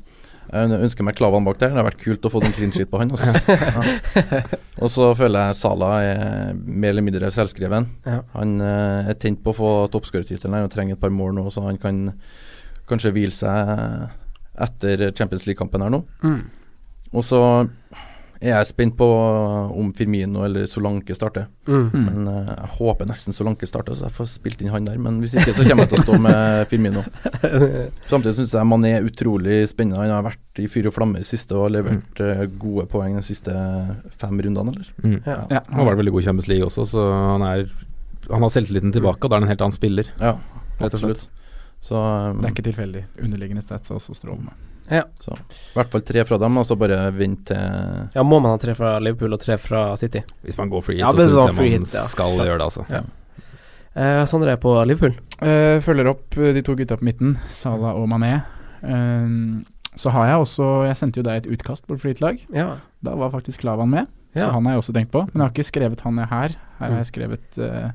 [SPEAKER 4] jeg ønsker meg Klavan bak der. Det har vært kult å få en clean sheet på han. ass. Ja. Og så føler jeg Salah er mer eller mindre selvskreven.
[SPEAKER 3] Ja.
[SPEAKER 4] Han eh, er tent på å få toppskårertittelen og trenger et par mål nå, så han kan kanskje hvile seg etter Champions League-kampen her nå.
[SPEAKER 3] Mm.
[SPEAKER 4] Og så er jeg spent på om Firmino eller Solanke starter.
[SPEAKER 3] Mm.
[SPEAKER 2] Mm.
[SPEAKER 4] Men eh, jeg håper nesten Solanke starter, så altså, jeg får spilt inn han der. Men hvis ikke, så kommer jeg til å stå med Firmino. Samtidig syns jeg Mané er utrolig spennende. Han har vært i fyr og flamme i siste og har levert eh, gode poeng de siste fem rundene, eller?
[SPEAKER 5] Mm.
[SPEAKER 3] Ja.
[SPEAKER 2] Ja.
[SPEAKER 5] Han var veldig god i Champions League også, så han, er, han har selvtilliten tilbake, og da er han en helt annen spiller.
[SPEAKER 4] Ja,
[SPEAKER 5] Rett og
[SPEAKER 4] rett og slett. Så eh,
[SPEAKER 2] Det er ikke tilfeldig. Underliggende stats er også strålende.
[SPEAKER 4] i hvert fall tre fra dem, og så bare vent til
[SPEAKER 3] ja, må man ha tre fra Liverpool og tre fra City?
[SPEAKER 5] Hvis man går free hit,
[SPEAKER 3] Ja, men
[SPEAKER 5] så syns
[SPEAKER 3] sånn
[SPEAKER 5] jeg
[SPEAKER 3] free
[SPEAKER 5] man
[SPEAKER 3] hit, ja.
[SPEAKER 5] skal gjøre det, altså.
[SPEAKER 3] Ja. Eh, Sondre er på Liverpool.
[SPEAKER 2] Eh, følger opp eh, de to gutta på midten, Salah og Mané. Eh, så har jeg også Jeg sendte jo deg et utkast på flytlag.
[SPEAKER 3] Ja.
[SPEAKER 2] Da var faktisk Lavan med, så
[SPEAKER 3] Ja.
[SPEAKER 2] han har jeg også tenkt på. Men jeg
[SPEAKER 5] Mm.
[SPEAKER 2] har ikke skrevet han er her. Her har jeg skrevet eh,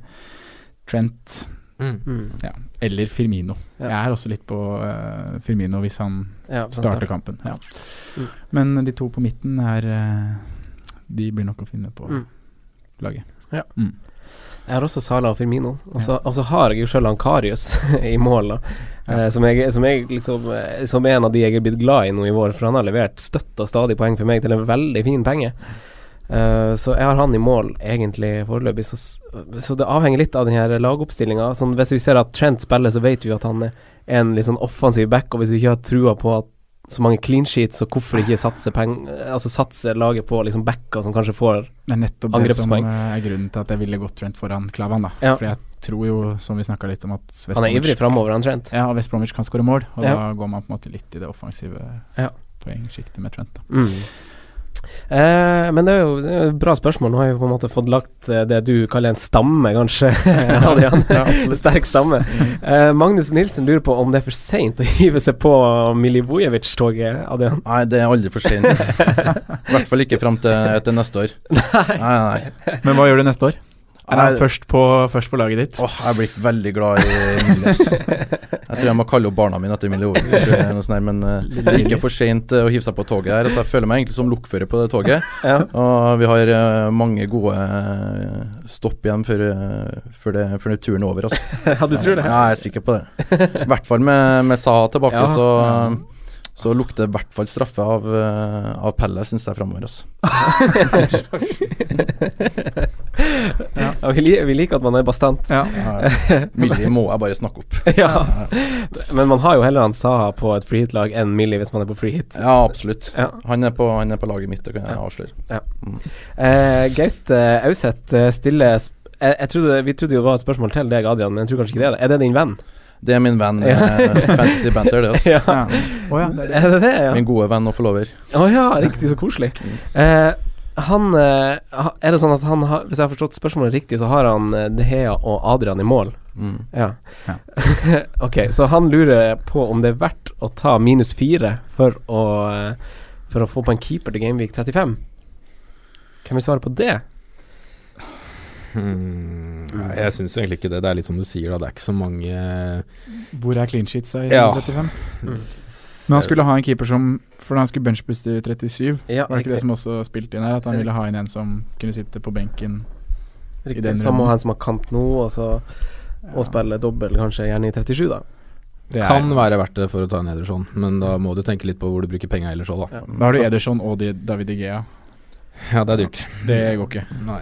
[SPEAKER 2] Trent
[SPEAKER 5] Mm.
[SPEAKER 3] Mm.
[SPEAKER 2] eller Firmino.
[SPEAKER 3] Ja.
[SPEAKER 2] Jeg er også litt på eh, Firmino hvis han
[SPEAKER 3] Ja, så
[SPEAKER 2] starter
[SPEAKER 3] starter.
[SPEAKER 2] kampen. Ja.
[SPEAKER 3] Mm.
[SPEAKER 2] Men de to på
[SPEAKER 5] Mm.
[SPEAKER 2] midten er eh, De blir nok å finne på
[SPEAKER 3] Mm.
[SPEAKER 2] laget.
[SPEAKER 3] Jeg har også Sala og Firmino. Og så, og så har jeg jo sjøl Ankarius i mål, da. Eh, som, jeg, som, jeg liksom, eh, som er en av de jeg er blitt glad i nå i vår, for han har levert støtt og stadig poeng for meg til en veldig fin penge. Eh, så jeg har han i mål egentlig foreløpig, så, s- så det avhenger litt av den her lagoppstillinga. Sånn, hvis vi ser at Trent spiller, så vet vi jo at han er en litt sånn offensiv back, og hvis vi ikke har trua på at så mange clean sheets, så hvorfor ikke satse, peng, altså satse laget på liksom backer som kanskje får
[SPEAKER 2] Det er nettopp det som
[SPEAKER 3] angrepspoeng?
[SPEAKER 2] eh, er grunnen til at jeg ville gått Trent foran Klavan. da
[SPEAKER 3] Ja.
[SPEAKER 2] For jeg tror jo, som vi snakka litt om, at West
[SPEAKER 3] Han er
[SPEAKER 2] Bromwich-
[SPEAKER 3] ivrig framover, han Trent.
[SPEAKER 2] Ja, og West Bromwich kan skåre mål, og
[SPEAKER 3] Ja.
[SPEAKER 2] da går man på en måte litt i det offensive
[SPEAKER 3] Ja.
[SPEAKER 2] poengsjiktet med Trent. da
[SPEAKER 3] Mm. Eh, men det er jo det er jo et bra spørsmål. Nå har vi på en måte fått lagt eh, det du kaller en stamme, kanskje, Adrian.
[SPEAKER 2] Ja, absolutt.
[SPEAKER 3] Sterk stamme. Eh, Magnus Nilsen lurer på om det er for seint å hive seg på Milivojevic-toget, Adrian.
[SPEAKER 4] Nei, det er aldri for sent. I hvert fall ikke fram til, til neste år. Nei, nei.
[SPEAKER 2] Men hva gjør du neste år? Er
[SPEAKER 4] Nei,
[SPEAKER 2] han først på, først på laget ditt?
[SPEAKER 4] Åh, jeg er blitt veldig glad i Miles. Jeg tror jeg må kalle opp barna mine etter Emilie Overs, eller noe sånt der, men eh, det er ikke for sent eh, å hive seg på toget her. Altså, jeg føler meg egentlig som lokfører på det toget.
[SPEAKER 3] Ja.
[SPEAKER 4] Og vi har eh, mange gode eh, stopp igjen før, eh, før, det, før det turen er over. Altså.
[SPEAKER 3] Ja, du tror det?
[SPEAKER 4] Ja, jeg er sikker på det. I hvert fall med, med Saha tilbake,
[SPEAKER 3] Ja.
[SPEAKER 4] så, så lukter det i hvert fall straffe av, eh, av Pelle, syns jeg, framover. Altså.
[SPEAKER 3] Ja, vi, li- vi liker at man er bastant.
[SPEAKER 2] Ja.
[SPEAKER 4] Ja, Millie må jeg bare snakke opp.
[SPEAKER 3] Ja. Men man har jo heller han Saha på et freehit-lag enn Millie hvis man er på freehit.
[SPEAKER 4] Ja, absolutt.
[SPEAKER 3] Ja.
[SPEAKER 4] Han, er på, han er på laget mitt, det kan jeg avsløre.
[SPEAKER 3] Eh, Gaute Auseth eh, stiller sp- jeg, jeg trodde, Vi trodde jo det var et spørsmål til deg, Adrian, men jeg tror kanskje ikke det er det. Er det din venn?
[SPEAKER 4] Det er min venn,
[SPEAKER 3] Ja.
[SPEAKER 4] eh, Fantasy Banter, det. Altså.
[SPEAKER 3] Ja.
[SPEAKER 2] Ja. Å ja. det er-
[SPEAKER 3] Er det det, ja?
[SPEAKER 4] Min gode venn og forlover.
[SPEAKER 3] Å ja, riktig, så koselig. Eh, han eh, ha- Er det sånn at han har Hvis jeg har forstått spørsmålet riktig, så har han eh, De Hea og Adrian i mål?
[SPEAKER 4] Mm.
[SPEAKER 3] Ja.
[SPEAKER 2] Ja.
[SPEAKER 3] ok, så han lurer på om det er verdt å ta minus fire for å eh, For å få på en keeper til Gameweek 35. Hvem vil svare på det?
[SPEAKER 5] Hmm, nei, jeg syns jo egentlig ikke det. Det er litt som du sier, da. Det er ikke så mange
[SPEAKER 2] Hvor er clean sheets i
[SPEAKER 5] Ja.
[SPEAKER 2] 35?
[SPEAKER 3] Mm.
[SPEAKER 2] Men han skulle ha en keeper som For han skulle benchbooste i 37.
[SPEAKER 3] Ja,
[SPEAKER 2] Var det ikke det
[SPEAKER 3] riktig.
[SPEAKER 2] som også spilte inn her? At han ville ha inn en som kunne sitte på benken? i
[SPEAKER 3] riktig.
[SPEAKER 2] den
[SPEAKER 3] Så han må
[SPEAKER 2] runden.
[SPEAKER 3] ha en som har kant nå, og så
[SPEAKER 2] Ja.
[SPEAKER 3] Og spille dobbel, kanskje gjerne i 37, da.
[SPEAKER 2] Det er-
[SPEAKER 5] Kan være verdt det for å ta en Ederson, men da må du tenke litt på hvor du bruker penga ellers òg, da.
[SPEAKER 2] Da har du Ederson og de- David Igea.
[SPEAKER 5] Ja, det er dyrt.
[SPEAKER 2] Det går ikke.
[SPEAKER 5] Nei.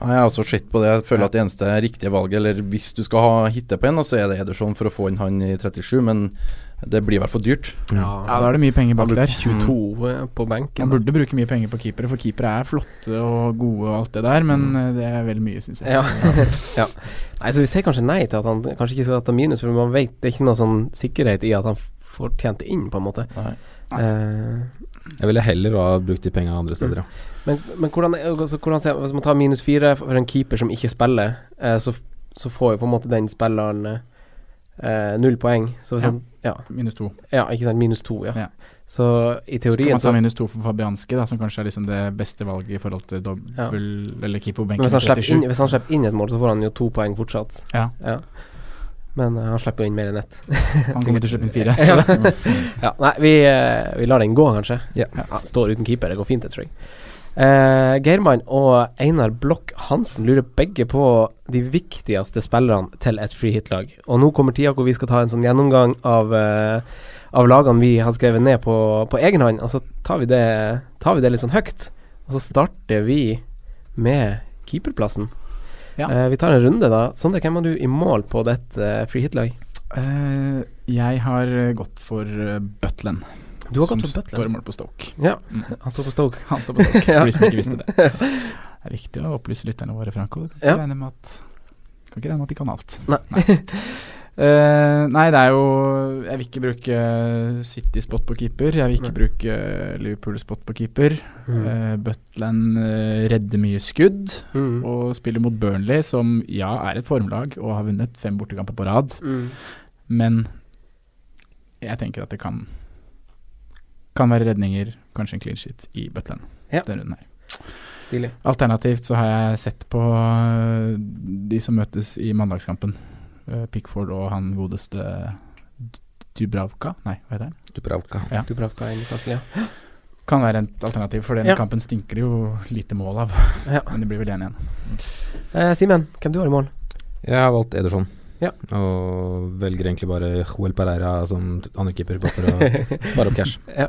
[SPEAKER 4] Ja, Jeg har også sett på det. Jeg føler at det eneste riktige valget, eller hvis du skal ha hitte på en, da, så er det Ederson for å få inn han i 37, men det blir i hvert fall dyrt.
[SPEAKER 2] Ja, Da er det mye penger bak
[SPEAKER 3] han
[SPEAKER 2] der.
[SPEAKER 3] brukte 22 eh, på benken.
[SPEAKER 2] Man burde bruke mye penger på keepere, for keepere er flotte og gode og alt det der, men eh, det er vel mye, syns jeg.
[SPEAKER 3] Mm. Ja. ja. Nei, så vi sier kanskje nei til at han kanskje ikke skal ta minus, for man vet det er ikke noe sånn sikkerhet i at han får tjent det inn, på en måte.
[SPEAKER 4] Nei.
[SPEAKER 3] Eh, Mm.
[SPEAKER 5] Jeg ville heller ha brukt de penga andre steder, ja.
[SPEAKER 3] men men hvordan, altså, hvordan ser, hvis man tar minus fire for en keeper som ikke spiller, eh, så, så får jo på en måte den spilleren eh, null poeng. Så hvis
[SPEAKER 2] Ja.
[SPEAKER 3] han ja,
[SPEAKER 2] Minus to.
[SPEAKER 3] ja, ikke sant, minus to, ja.
[SPEAKER 2] Ja.
[SPEAKER 3] Så i
[SPEAKER 2] Så kan
[SPEAKER 3] teorien
[SPEAKER 2] man ta
[SPEAKER 3] så
[SPEAKER 2] minus to for Fabianski, da, som kanskje er liksom det beste valget i forhold til dobbel
[SPEAKER 3] Ja.
[SPEAKER 2] eller keeper på
[SPEAKER 3] men
[SPEAKER 2] benken.
[SPEAKER 3] hvis han, slipper inn,
[SPEAKER 2] 37.
[SPEAKER 3] hvis han slipper inn et mål, så får han jo to poeng fortsatt.
[SPEAKER 2] Ja.
[SPEAKER 3] Men eh, han slipper jo inn mer enn ett.
[SPEAKER 2] Han kommer til å slippe inn fire.
[SPEAKER 3] Ja.
[SPEAKER 2] Så.
[SPEAKER 3] Ja, nei, vi, eh, vi lar den gå, kanskje.
[SPEAKER 5] Ja.
[SPEAKER 3] Ja, står uten keeper, det går fint, det tror jeg. Eh, Geirmann og Einar Blokk Hansen lurer begge på de viktigste spillerne til et freehit-lag. Og nå kommer tida hvor vi skal ta en sånn gjennomgang av, eh, av lagene vi har skrevet ned på, på egen hånd, og så tar vi, det, tar vi det litt sånn høyt. Og så starter vi med keeperplassen.
[SPEAKER 2] Ja.
[SPEAKER 3] Eh, vi tar en runde, da. Sondre, hvem har du i mål på ditt eh, freehit-lag?
[SPEAKER 2] Eh, jeg har eh, gått for eh, Butland.
[SPEAKER 3] Du har gått for
[SPEAKER 2] som
[SPEAKER 3] Butland.
[SPEAKER 2] står i mål på Stoke.
[SPEAKER 3] Ja,
[SPEAKER 2] Mm.
[SPEAKER 3] han står på Stoke.
[SPEAKER 2] Han står på Stoke,
[SPEAKER 3] Ja.
[SPEAKER 2] for de som ikke visste det. Det er viktig å opplyse lytterne våre, Franco. Kan ikke
[SPEAKER 3] Ja.
[SPEAKER 2] regne med at kan ikke regne med at de kan alt.
[SPEAKER 3] Nei.
[SPEAKER 2] Eh, nei, det er jo Jeg vil ikke bruke City-spot på keeper. Jeg vil ikke bruke Liverpool-spot på keeper.
[SPEAKER 3] Mm.
[SPEAKER 2] Eh, Butland eh, redder mye skudd
[SPEAKER 3] Mm.
[SPEAKER 2] og spiller mot Burnley, som ja er et formlag og har vunnet fem bortekamper på rad,
[SPEAKER 3] Mm.
[SPEAKER 2] men jeg tenker at det kan Kan være redninger, kanskje en clean sheet i Butland
[SPEAKER 3] Ja.
[SPEAKER 2] den runden her.
[SPEAKER 3] Stilig.
[SPEAKER 2] Alternativt så har jeg sett på øh, de som møtes i mandagskampen. Øh, Pickford og han godeste D- Dubravka, nei, hva heter han?
[SPEAKER 5] Dubravka.
[SPEAKER 3] Du prøver hva enn Newcastle, ja.
[SPEAKER 2] Kan være et alternativ, for den
[SPEAKER 3] Ja.
[SPEAKER 2] kampen stinker det jo lite mål av.
[SPEAKER 3] Ja.
[SPEAKER 2] Men det blir vel 1-1.
[SPEAKER 3] Eh, Simen, hvem du har i mål?
[SPEAKER 5] Jeg har valgt Ederson.
[SPEAKER 3] Ja.
[SPEAKER 5] Og velger egentlig bare Joel Pereira som t- andre keeper bare for å spare opp cash.
[SPEAKER 3] Ja.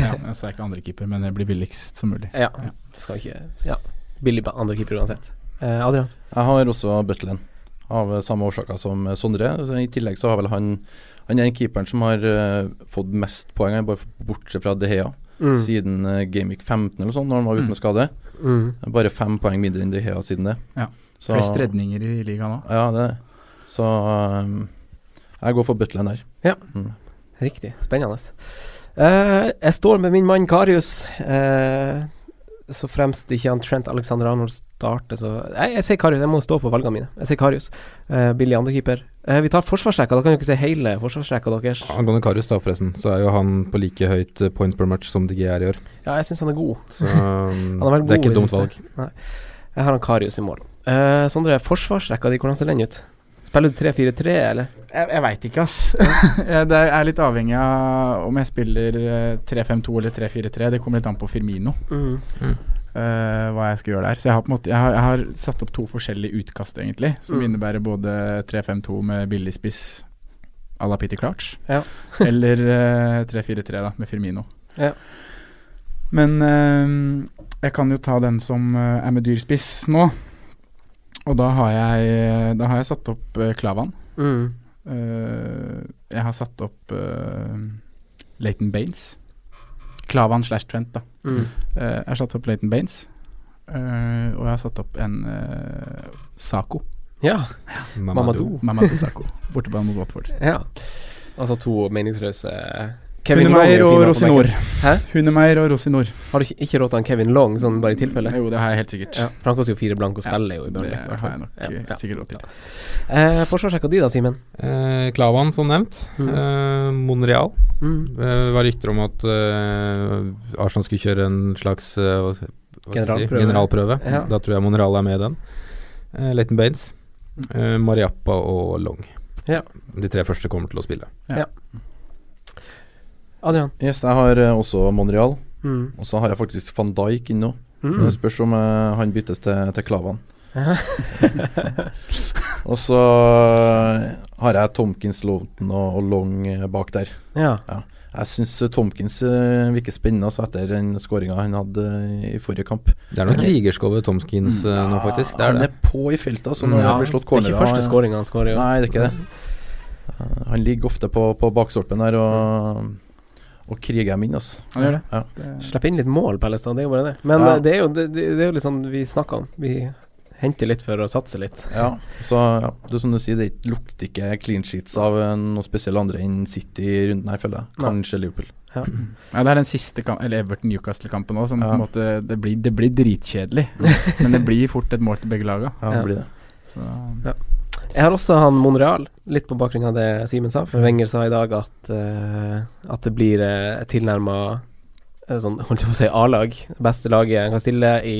[SPEAKER 2] Ja, jeg sa ikke andre keeper, men det blir billigst som mulig.
[SPEAKER 3] Ja, det skal ikke Ja, billig på andre keeper uansett. Eh, Adrian?
[SPEAKER 4] Jeg har også Butlen, av eh, samme årsaker som eh, Sondre. Så I tillegg så har vel han Han er den keeperen som har eh, fått mest poeng, bare f- bortsett fra De Hea,
[SPEAKER 3] Mm.
[SPEAKER 4] siden uh, Gameweek 15 eller sånn, når han var ute med skade.
[SPEAKER 3] Mm.
[SPEAKER 4] Bare fem poeng mindre enn De Hea siden det.
[SPEAKER 2] Ja.
[SPEAKER 4] Så-
[SPEAKER 2] Flest redninger i ligaen òg.
[SPEAKER 4] Ja, det er det. Så um, jeg går for Butlen der.
[SPEAKER 3] Ja.
[SPEAKER 4] Mm.
[SPEAKER 3] Riktig. Spennende. Eh, jeg står med min mann Karius. eh, så fremst ikke han Trent Alexander Arnold starter, så Nei, jeg sier Karius. Jeg må stå på valgene mine. Jeg sier Karius. Eh, billig andrekeeper. Eh, vi tar forsvarsrekka. Da kan jo ikke si hele forsvarsrekka deres.
[SPEAKER 5] Angående Karius, da forresten, så er jo han på like høyt eh, points per match som DG er i år.
[SPEAKER 3] Ja, jeg syns han er god.
[SPEAKER 5] Så um,
[SPEAKER 3] Han har vært god
[SPEAKER 5] det er ikke
[SPEAKER 3] i
[SPEAKER 5] et dumt
[SPEAKER 3] siste.
[SPEAKER 5] valg.
[SPEAKER 3] Nei. Jeg har han Karius i mål. Eh, Sondre, forsvarsrekka di, hvordan ser den ut? Spiller du 3-4-3, eller?
[SPEAKER 2] Jeg, jeg veit ikke, ass. Jeg- det er litt avhengig av om jeg spiller eh, 3-5-2 eller 3-4-3. Det kommer litt an på Firmino. eh, hva jeg skal gjøre der. Så jeg har, på en måte, jeg har, jeg har satt opp to forskjellige utkast, egentlig, som
[SPEAKER 3] Mm.
[SPEAKER 2] innebærer både 3-5-2 med billig spiss à la Peter Crouch,
[SPEAKER 3] Ja.
[SPEAKER 2] eller eh, 3-4-3 da, med Firmino.
[SPEAKER 3] Ja.
[SPEAKER 2] Men eh, jeg kan jo ta den som eh, er med dyr spiss nå. Og da har jeg, da har jeg satt opp eh, Klavan.
[SPEAKER 3] Mm.
[SPEAKER 2] Eh, jeg har satt opp uh, Laton Baines. Klavan slash Trent, da.
[SPEAKER 3] Mm.
[SPEAKER 2] Eh, jeg har satt opp Leighton Baines. eh, og jeg har satt opp en eh, Sako.
[SPEAKER 3] Ja.
[SPEAKER 5] Mamadou.
[SPEAKER 2] Mamadou Sako. Bortebane mot Watford.
[SPEAKER 3] ja. Altså to meningsløse
[SPEAKER 2] Hunemeyer
[SPEAKER 3] Long er fin
[SPEAKER 2] og
[SPEAKER 3] da på
[SPEAKER 2] Rosinor.
[SPEAKER 3] benken. Hæ?
[SPEAKER 2] Hunemeyer og Rosinor.
[SPEAKER 3] Har du ikke- ikke råd til han Kevin Long, sånn bare i tilfelle?
[SPEAKER 2] Jo, det har jeg helt sikkert.
[SPEAKER 3] Ja, for han koster jo fire blank og spiller jo i
[SPEAKER 2] Det
[SPEAKER 3] Burnley. i hvert
[SPEAKER 2] har jeg
[SPEAKER 3] fall.
[SPEAKER 2] nok
[SPEAKER 3] Ja,
[SPEAKER 2] eh,
[SPEAKER 3] ja.
[SPEAKER 2] sikkert råd til.
[SPEAKER 3] Eh, Forsvarssjekka di da, Simen?
[SPEAKER 5] Eh, Klavan, som nevnt.
[SPEAKER 3] Mm.
[SPEAKER 5] Eh, Monreal.
[SPEAKER 3] Mm.
[SPEAKER 5] Eh, Det var rykter om at eh, Arsenal skulle kjøre en slags eh, hva, hva skal jeg
[SPEAKER 3] Generalprøve.
[SPEAKER 5] Si? generalprøve.
[SPEAKER 3] Ja.
[SPEAKER 5] Da tror jeg Monreal er med i den. Uh, Leighton Baines, eh, Mariappa og Long.
[SPEAKER 3] Ja.
[SPEAKER 5] De tre første kommer til å spille.
[SPEAKER 3] Adrian?
[SPEAKER 4] Yes, jeg har eh, også Monreal,
[SPEAKER 3] Mm.
[SPEAKER 4] og så har jeg faktisk van Dijk inne nå.
[SPEAKER 3] Mm.
[SPEAKER 4] Det spørs om eh, han byttes til, til Klavan. og så eh, har jeg Tomkins, Loughton og, og Long eh, bak der.
[SPEAKER 3] Ja.
[SPEAKER 4] Jeg syns Tomkins eh, virker spennende altså, etter den skåringa han hadde eh, i forrige kamp.
[SPEAKER 5] Det er noe krigersk over Tomskins
[SPEAKER 3] Mm.
[SPEAKER 5] eh, nå, faktisk. Det er
[SPEAKER 4] han
[SPEAKER 5] det.
[SPEAKER 4] er på i feltet, altså, når
[SPEAKER 3] Ja,
[SPEAKER 4] det blir
[SPEAKER 3] Det
[SPEAKER 4] slått eh,
[SPEAKER 3] er
[SPEAKER 4] cornerer.
[SPEAKER 3] ikke første scoringa han scorer i år.
[SPEAKER 4] Nei, det er ikke det. Eh, Han ligger ofte på, på bakstolpen der og, og kriger dem inn, altså.
[SPEAKER 2] Han gjør det.
[SPEAKER 4] Ja.
[SPEAKER 2] det
[SPEAKER 3] Slipp inn litt mål, Pellestad. Det er jo bare det. Men
[SPEAKER 4] Ja.
[SPEAKER 3] eh, det, er jo, det, det det er jo litt sånn vi snakker om. Vi henter litt for å satse litt.
[SPEAKER 4] Ja, så ja, det er som du sier, det lukter ikke clean sheets av eh, noen spesielle andre enn City i runden her, føler jeg.
[SPEAKER 3] Nei.
[SPEAKER 4] Kanskje Liverpool.
[SPEAKER 2] ja, det er den siste kamp, eller Everton-Newcastle-kampen òg, som
[SPEAKER 4] Ja.
[SPEAKER 2] på en måte Det blir, det blir dritkjedelig, men det blir fort et mål til begge laga.
[SPEAKER 4] Ja,
[SPEAKER 3] Ja.
[SPEAKER 4] det blir det.
[SPEAKER 2] Så
[SPEAKER 3] Jeg har også han Monreal, litt på bakgrunn av det Simen sa.
[SPEAKER 4] Mm.
[SPEAKER 3] For Wenger sa i dag at, eh, at det blir uh, tilnærma sånn, holdt jeg på å si, A-lag. Beste laget en kan stille i,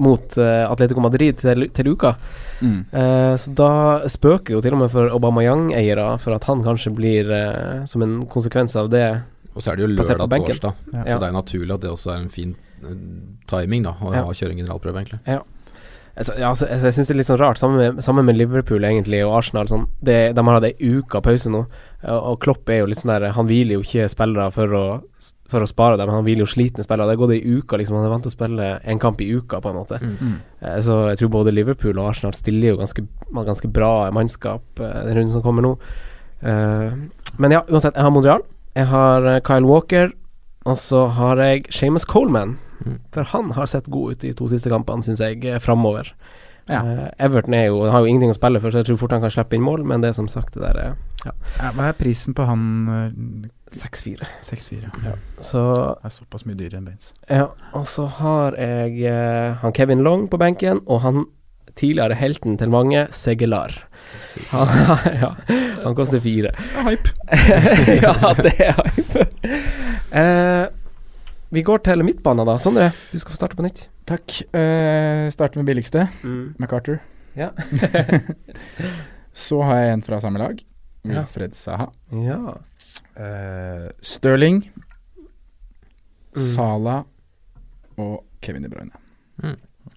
[SPEAKER 3] mot eh, Atletico Madrid til, til uka.
[SPEAKER 2] mm.
[SPEAKER 3] Eh, så da spøker det jo til og med for Aubameyang-eiere for at han kanskje blir, eh, som en konsekvens av det
[SPEAKER 5] Og så er det jo
[SPEAKER 3] Plassert på
[SPEAKER 5] lørdag
[SPEAKER 3] benken.
[SPEAKER 5] torsdag,
[SPEAKER 2] Ja.
[SPEAKER 5] så det er naturlig at det også er en fin eh, timing da å
[SPEAKER 3] Ja.
[SPEAKER 5] å kjøre en generalprøve, egentlig.
[SPEAKER 3] altså, ja, altså, altså, Jeg syns det er litt sånn rart, sammen med, sammen med Liverpool egentlig og Arsenal. Sånn, det, de har hatt ei uke pause nå, og og Klopp er jo litt sånn der Han hviler jo ikke spillere for å, for å spare dem, han hviler jo slitne spillere. Det har gått ei uke, liksom. Han er vant til å spille en kamp i uka, på en måte.
[SPEAKER 2] Mm.
[SPEAKER 3] Eh, Så jeg tror både Liverpool og Arsenal stiller jo ganske, har ganske bra mannskap eh, den runden som kommer nå. Eh, Men ja, uansett. Jeg har Monreal, jeg har eh, Kyle Walker, og så har jeg Seamus Coleman.
[SPEAKER 5] Mm.
[SPEAKER 3] For han har sett god ut de to siste kampene, syns jeg, eh, framover.
[SPEAKER 2] Ja.
[SPEAKER 3] Eh, Everton er jo, har jo ingenting å spille for, så jeg tror fort han kan slippe inn mål, men det er som sagt det der eh,
[SPEAKER 2] Ja, Hva er prisen på han eh,
[SPEAKER 3] 6-4.
[SPEAKER 2] 6-4?
[SPEAKER 3] Så
[SPEAKER 2] Det er såpass mye dyrere enn Baines.
[SPEAKER 3] ja, og så har jeg eh, han Kevin Long på benken, og han tidligere helten til mange, Segelar. Han, ja, han koster fire.
[SPEAKER 2] Hype.
[SPEAKER 3] ja, det er hype. Eh, vi går til midtbanen da. Sondre, du skal få starte på nytt.
[SPEAKER 2] Takk. Uh, starter med billigste. MacArthur.
[SPEAKER 3] Ja.
[SPEAKER 2] så har jeg en fra samme lag.
[SPEAKER 3] Ja.
[SPEAKER 2] Wilfred Saha.
[SPEAKER 3] Ja.
[SPEAKER 2] Uh, Stirling,
[SPEAKER 3] Mm.
[SPEAKER 2] Salah og Kevin De Bruyne.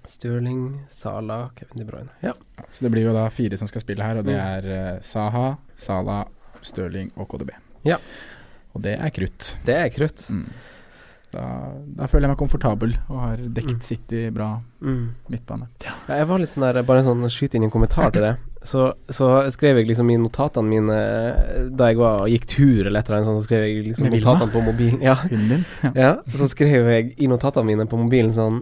[SPEAKER 3] Stirling, Sala, Kevin De Bruyne. Ja.
[SPEAKER 2] Så det blir jo da fire som skal spille her, og det
[SPEAKER 3] Mm.
[SPEAKER 2] er eh, Saha, Salah, Stirling og KDB.
[SPEAKER 3] Ja.
[SPEAKER 2] Og det er krutt.
[SPEAKER 3] Det er krutt.
[SPEAKER 2] Mm. Da, da føler jeg meg komfortabel og har dekket City bra
[SPEAKER 3] Mm.
[SPEAKER 2] midtbane.
[SPEAKER 3] Ja, jeg var litt sånn der, bare sånn skyte inn en kommentar til det. Så, så skrev jeg liksom i notatene mine eh, da jeg var og gikk tur eller et eller annet sånt, så skrev jeg liksom
[SPEAKER 2] Med Vilma?
[SPEAKER 3] notatene på mobilen. Ja.
[SPEAKER 2] Hunden din? Ja.
[SPEAKER 3] ja, så skrev jeg i notatene mine på mobilen sånn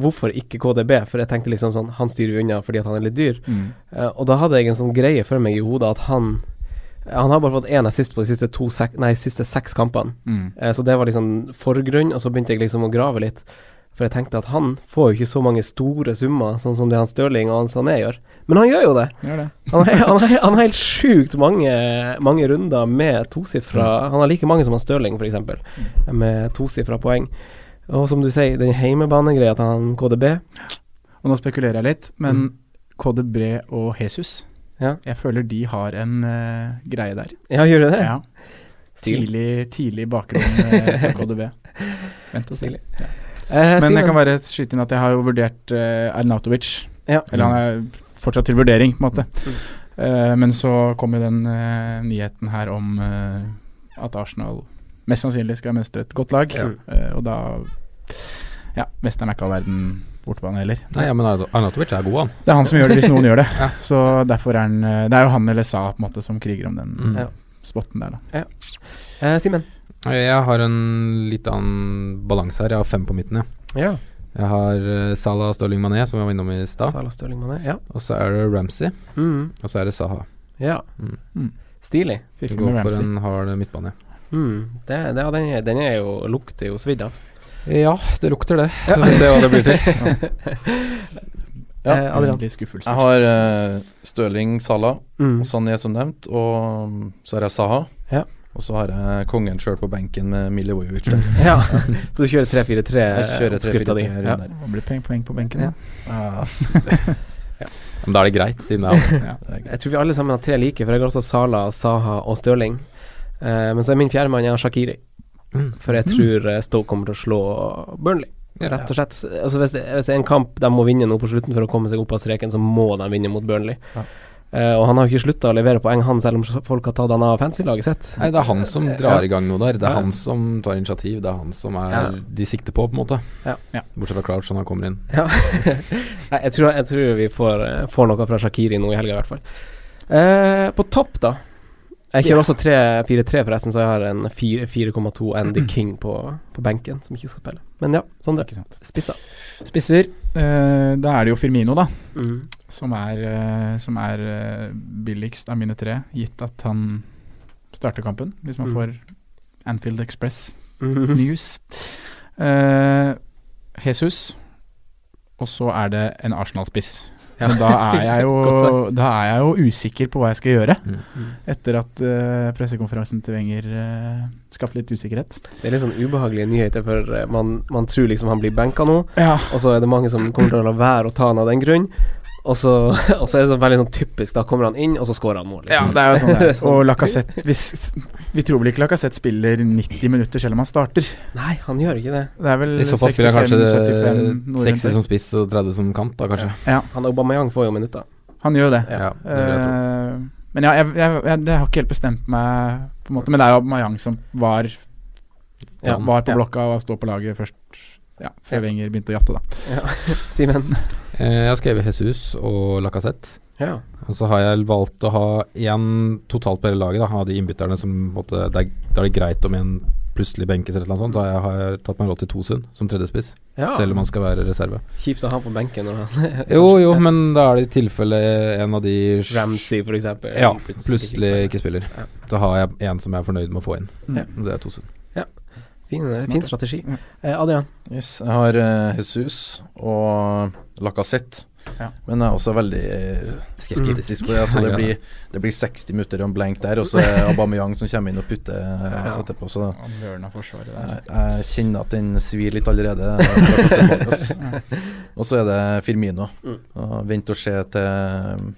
[SPEAKER 3] Hvorfor ikke KDB? For jeg tenkte liksom sånn Han styrer jo unna fordi at han er litt dyr.
[SPEAKER 2] Mm.
[SPEAKER 3] Eh, og da hadde jeg en sånn greie for meg i hodet at han eh, Han har bare fått én assist på de siste, to sek nei, siste seks kampene.
[SPEAKER 2] Mm.
[SPEAKER 3] Eh, Så det var liksom forgrunn, og så begynte jeg liksom å grave litt. For jeg tenkte at han får jo ikke så mange store summer, sånn som det han Stirling og han Sané gjør. Men han gjør jo det!
[SPEAKER 2] Gjør det.
[SPEAKER 3] Han har, han har, han har helt sjukt mange, mange runder med tosifra
[SPEAKER 2] Mm.
[SPEAKER 3] Han har like mange som han Stirling, f.eks., med tosifra poeng. Og som du sier, den heimebanegreia til han KDB
[SPEAKER 2] Og nå spekulerer jeg litt, men KDB og Jesus
[SPEAKER 3] Mm. Ja.
[SPEAKER 2] Jeg føler de har en eh, greie der.
[SPEAKER 3] Ja, gjør det det?
[SPEAKER 2] Ja.
[SPEAKER 3] Stilig.
[SPEAKER 2] Tidlig, tidlig bakgrunn eh, for KDB. Vent og se.
[SPEAKER 3] Stilig.
[SPEAKER 2] Ja.
[SPEAKER 3] Eh,
[SPEAKER 2] Men jeg
[SPEAKER 3] Simen-
[SPEAKER 2] kan bare skyte inn at jeg har jo vurdert eh, Arnautovic.
[SPEAKER 3] Ja.
[SPEAKER 2] Eller
[SPEAKER 3] Mm.
[SPEAKER 2] han er fortsatt til vurdering, på en måte. Eh, men så kom jo den eh, nyheten her om eh, at Arsenal mest sannsynlig skal mønstre et godt lag. Eh, og da Ja, Western er ikke all verden bortebane heller.
[SPEAKER 5] Nei, ja, men Arna- Arnautovic er god, han.
[SPEAKER 2] Det er han som gjør det, hvis noen gjør det. Så derfor er han eh, Det er jo han eller Sa på en måte som kriger om den
[SPEAKER 5] Mm.
[SPEAKER 3] Ja.
[SPEAKER 2] spotten der, da.
[SPEAKER 3] eh, Simen.
[SPEAKER 5] Jeg har en litt annen balanse her. Jeg har fem på midten, jeg.
[SPEAKER 3] Ja.
[SPEAKER 5] Jeg har eh, Salah Stirling Mané, som vi var innom i stad.
[SPEAKER 3] Salah Stirling Mané. Ja.
[SPEAKER 5] Og så er det Ramsey,
[SPEAKER 3] Mm.
[SPEAKER 5] og så er det Saha.
[SPEAKER 3] ja.
[SPEAKER 5] Mm.
[SPEAKER 2] Mm.
[SPEAKER 3] Stilig.
[SPEAKER 2] Fiffi
[SPEAKER 5] Gå
[SPEAKER 2] med
[SPEAKER 5] for
[SPEAKER 2] Ramsey.
[SPEAKER 5] en hard midtbane.
[SPEAKER 3] Mm. Det, det, ja, den, er, den er jo lukter jo svidd av.
[SPEAKER 5] Ja, det lukter det. Så får vi se hva det blir til.
[SPEAKER 4] Ja.
[SPEAKER 3] eh, Adrian.
[SPEAKER 2] Veldig skuffelse.
[SPEAKER 4] Jeg har eh, Stirling, Salah
[SPEAKER 3] Mm.
[SPEAKER 4] og
[SPEAKER 5] sånn
[SPEAKER 4] Sané som nevnt, og mm, så har jeg Saha.
[SPEAKER 3] Ja.
[SPEAKER 4] Og så har jeg kongen sjøl på benken med Milivojevic der.
[SPEAKER 3] Ja. Så du kjører 3-4-3
[SPEAKER 4] Jeg kjører
[SPEAKER 3] Mm. Eh, oppskrifta di?
[SPEAKER 4] 3-4-3
[SPEAKER 3] Ja.
[SPEAKER 4] rundt der.
[SPEAKER 2] Det blir poeng, poeng på benken. da.
[SPEAKER 4] Ja,
[SPEAKER 5] Men da er det greit, siden det er
[SPEAKER 4] det er greit.
[SPEAKER 3] Jeg tror vi alle sammen har tre like, for jeg har også Sala, Saha og Stirling. Eh, men så er min fjerdemann jeg har Shakiri. For jeg tror eh, Stoke kommer til å slå Burnley, rett og slett. Altså hvis, det, hvis det er en kamp de må vinne nå på slutten for å komme seg opp av streken, så må de vinne mot Burnley.
[SPEAKER 4] Ja.
[SPEAKER 3] Eh, og han har jo ikke slutta å levere poeng, han, selv om folk har tatt han av fancy-laget sitt.
[SPEAKER 5] Nei, det er han som drar i gang noe der. Det er
[SPEAKER 3] Ja.
[SPEAKER 5] han som tar initiativ. Det er han som er
[SPEAKER 3] Ja.
[SPEAKER 5] de sikter på, på en måte.
[SPEAKER 3] Ja.
[SPEAKER 2] Ja.
[SPEAKER 5] Bortsett fra Crouch, når han kommer inn.
[SPEAKER 3] Ja. Nei, jeg, tror, jeg tror vi får, eh, får noe fra Shakiri nå i helga, i hvert fall. Eh, på topp, da. Jeg kjører også 3-4-3, forresten, så jeg har en fire- 4,2 Andy King på, på benken, som ikke skal spille. Men ja, Sondre.
[SPEAKER 2] Ikke sant.
[SPEAKER 3] Spissa.
[SPEAKER 2] Spisser. eh, da er det jo Firmino, da.
[SPEAKER 3] Mm.
[SPEAKER 2] Som er, eh, som er eh, billigst av mine tre, gitt at han starter kampen. Hvis man
[SPEAKER 3] Mm.
[SPEAKER 2] får Anfield Express
[SPEAKER 3] Mhm.
[SPEAKER 2] News. Eh, Jesus, og så er det en Arsenal-spiss. Men da er, jeg jo,
[SPEAKER 3] Godt sagt.
[SPEAKER 2] da er jeg jo usikker på hva jeg skal gjøre,
[SPEAKER 5] Mm.
[SPEAKER 2] etter at eh, pressekonferansen til Wenger eh, skapte litt usikkerhet.
[SPEAKER 3] Det er litt sånn ubehagelige nyheter, for eh, man, man tror liksom han blir benka nå,
[SPEAKER 2] Ja,
[SPEAKER 3] og så er det mange som kommer til å la være å ta han av den grunn. Og så, og så er det sånn veldig sånn typisk, da kommer han inn, og så scorer han mål. liksom.
[SPEAKER 2] Ja, det er jo sånn det er. Og Lacassette hvis- Vi tror vel ikke Lacassette spiller 90 minutter selv om han starter.
[SPEAKER 3] Nei, han gjør ikke det.
[SPEAKER 2] Det er vel
[SPEAKER 5] I så fall spiller han
[SPEAKER 2] 65-75
[SPEAKER 5] kanskje
[SPEAKER 2] noe rundt
[SPEAKER 5] 60
[SPEAKER 2] der.
[SPEAKER 5] som spiss og 30 som kant, da kanskje.
[SPEAKER 3] Han Aubameyang får jo minutter.
[SPEAKER 2] Han gjør jo det.
[SPEAKER 5] Ja, det vil jeg tro.
[SPEAKER 2] Eh, men ja, jeg, jeg, jeg, det har ikke helt bestemt meg, på en måte. Men det er jo Mayang som var,
[SPEAKER 5] Ja.
[SPEAKER 2] var på
[SPEAKER 3] Ja.
[SPEAKER 2] blokka og står på laget først. Ja, før
[SPEAKER 3] Ja.
[SPEAKER 2] Wenger begynte å jatte, da.
[SPEAKER 3] Simen.
[SPEAKER 5] Eh, Jeg har skrevet Jesus og Lacassette.
[SPEAKER 3] Ja.
[SPEAKER 5] Og så har jeg valgt å ha én totalt på hele laget, da, av de innbytterne som på en måte, det er, Da er det greit om en plutselig benkes eller noe sånt. Da har jeg- har jeg tatt meg råd til Tosund som tredjespiss,
[SPEAKER 3] Ja.
[SPEAKER 5] selv om han skal være reserve.
[SPEAKER 3] Kjipt å ha på benken når han
[SPEAKER 5] Jo, jo, men da er det i tilfelle en av de sj-
[SPEAKER 3] Ramsey, for eksempel.
[SPEAKER 5] Ja,
[SPEAKER 3] Plutselig
[SPEAKER 5] plutselig
[SPEAKER 3] ikke
[SPEAKER 5] ikke spiller.
[SPEAKER 3] Ja.
[SPEAKER 5] Da har jeg en som jeg er fornøyd med å få inn.
[SPEAKER 2] Ja.
[SPEAKER 5] Og Det er Tosund.
[SPEAKER 3] spiller. Fin, fin strategi.
[SPEAKER 2] Ja.
[SPEAKER 3] Eh, Adrian.
[SPEAKER 4] Yes, jeg har eh, Jesus og Lacassette.
[SPEAKER 2] Ja.
[SPEAKER 4] Men jeg er også veldig eh,
[SPEAKER 5] Mm.
[SPEAKER 4] skeptisk på det. Altså, det, blir, det blir 60 minutter og en blank der, og så er Aubameyang som kommer inn og putter eh, oss etterpå. Så
[SPEAKER 2] Han Løren av forsvaret der.
[SPEAKER 4] jeg, jeg kjenner at den svir litt allerede. Lacassette altså. bak oss. Og så er det Firmino.
[SPEAKER 3] Mm.
[SPEAKER 4] Og Vent og se til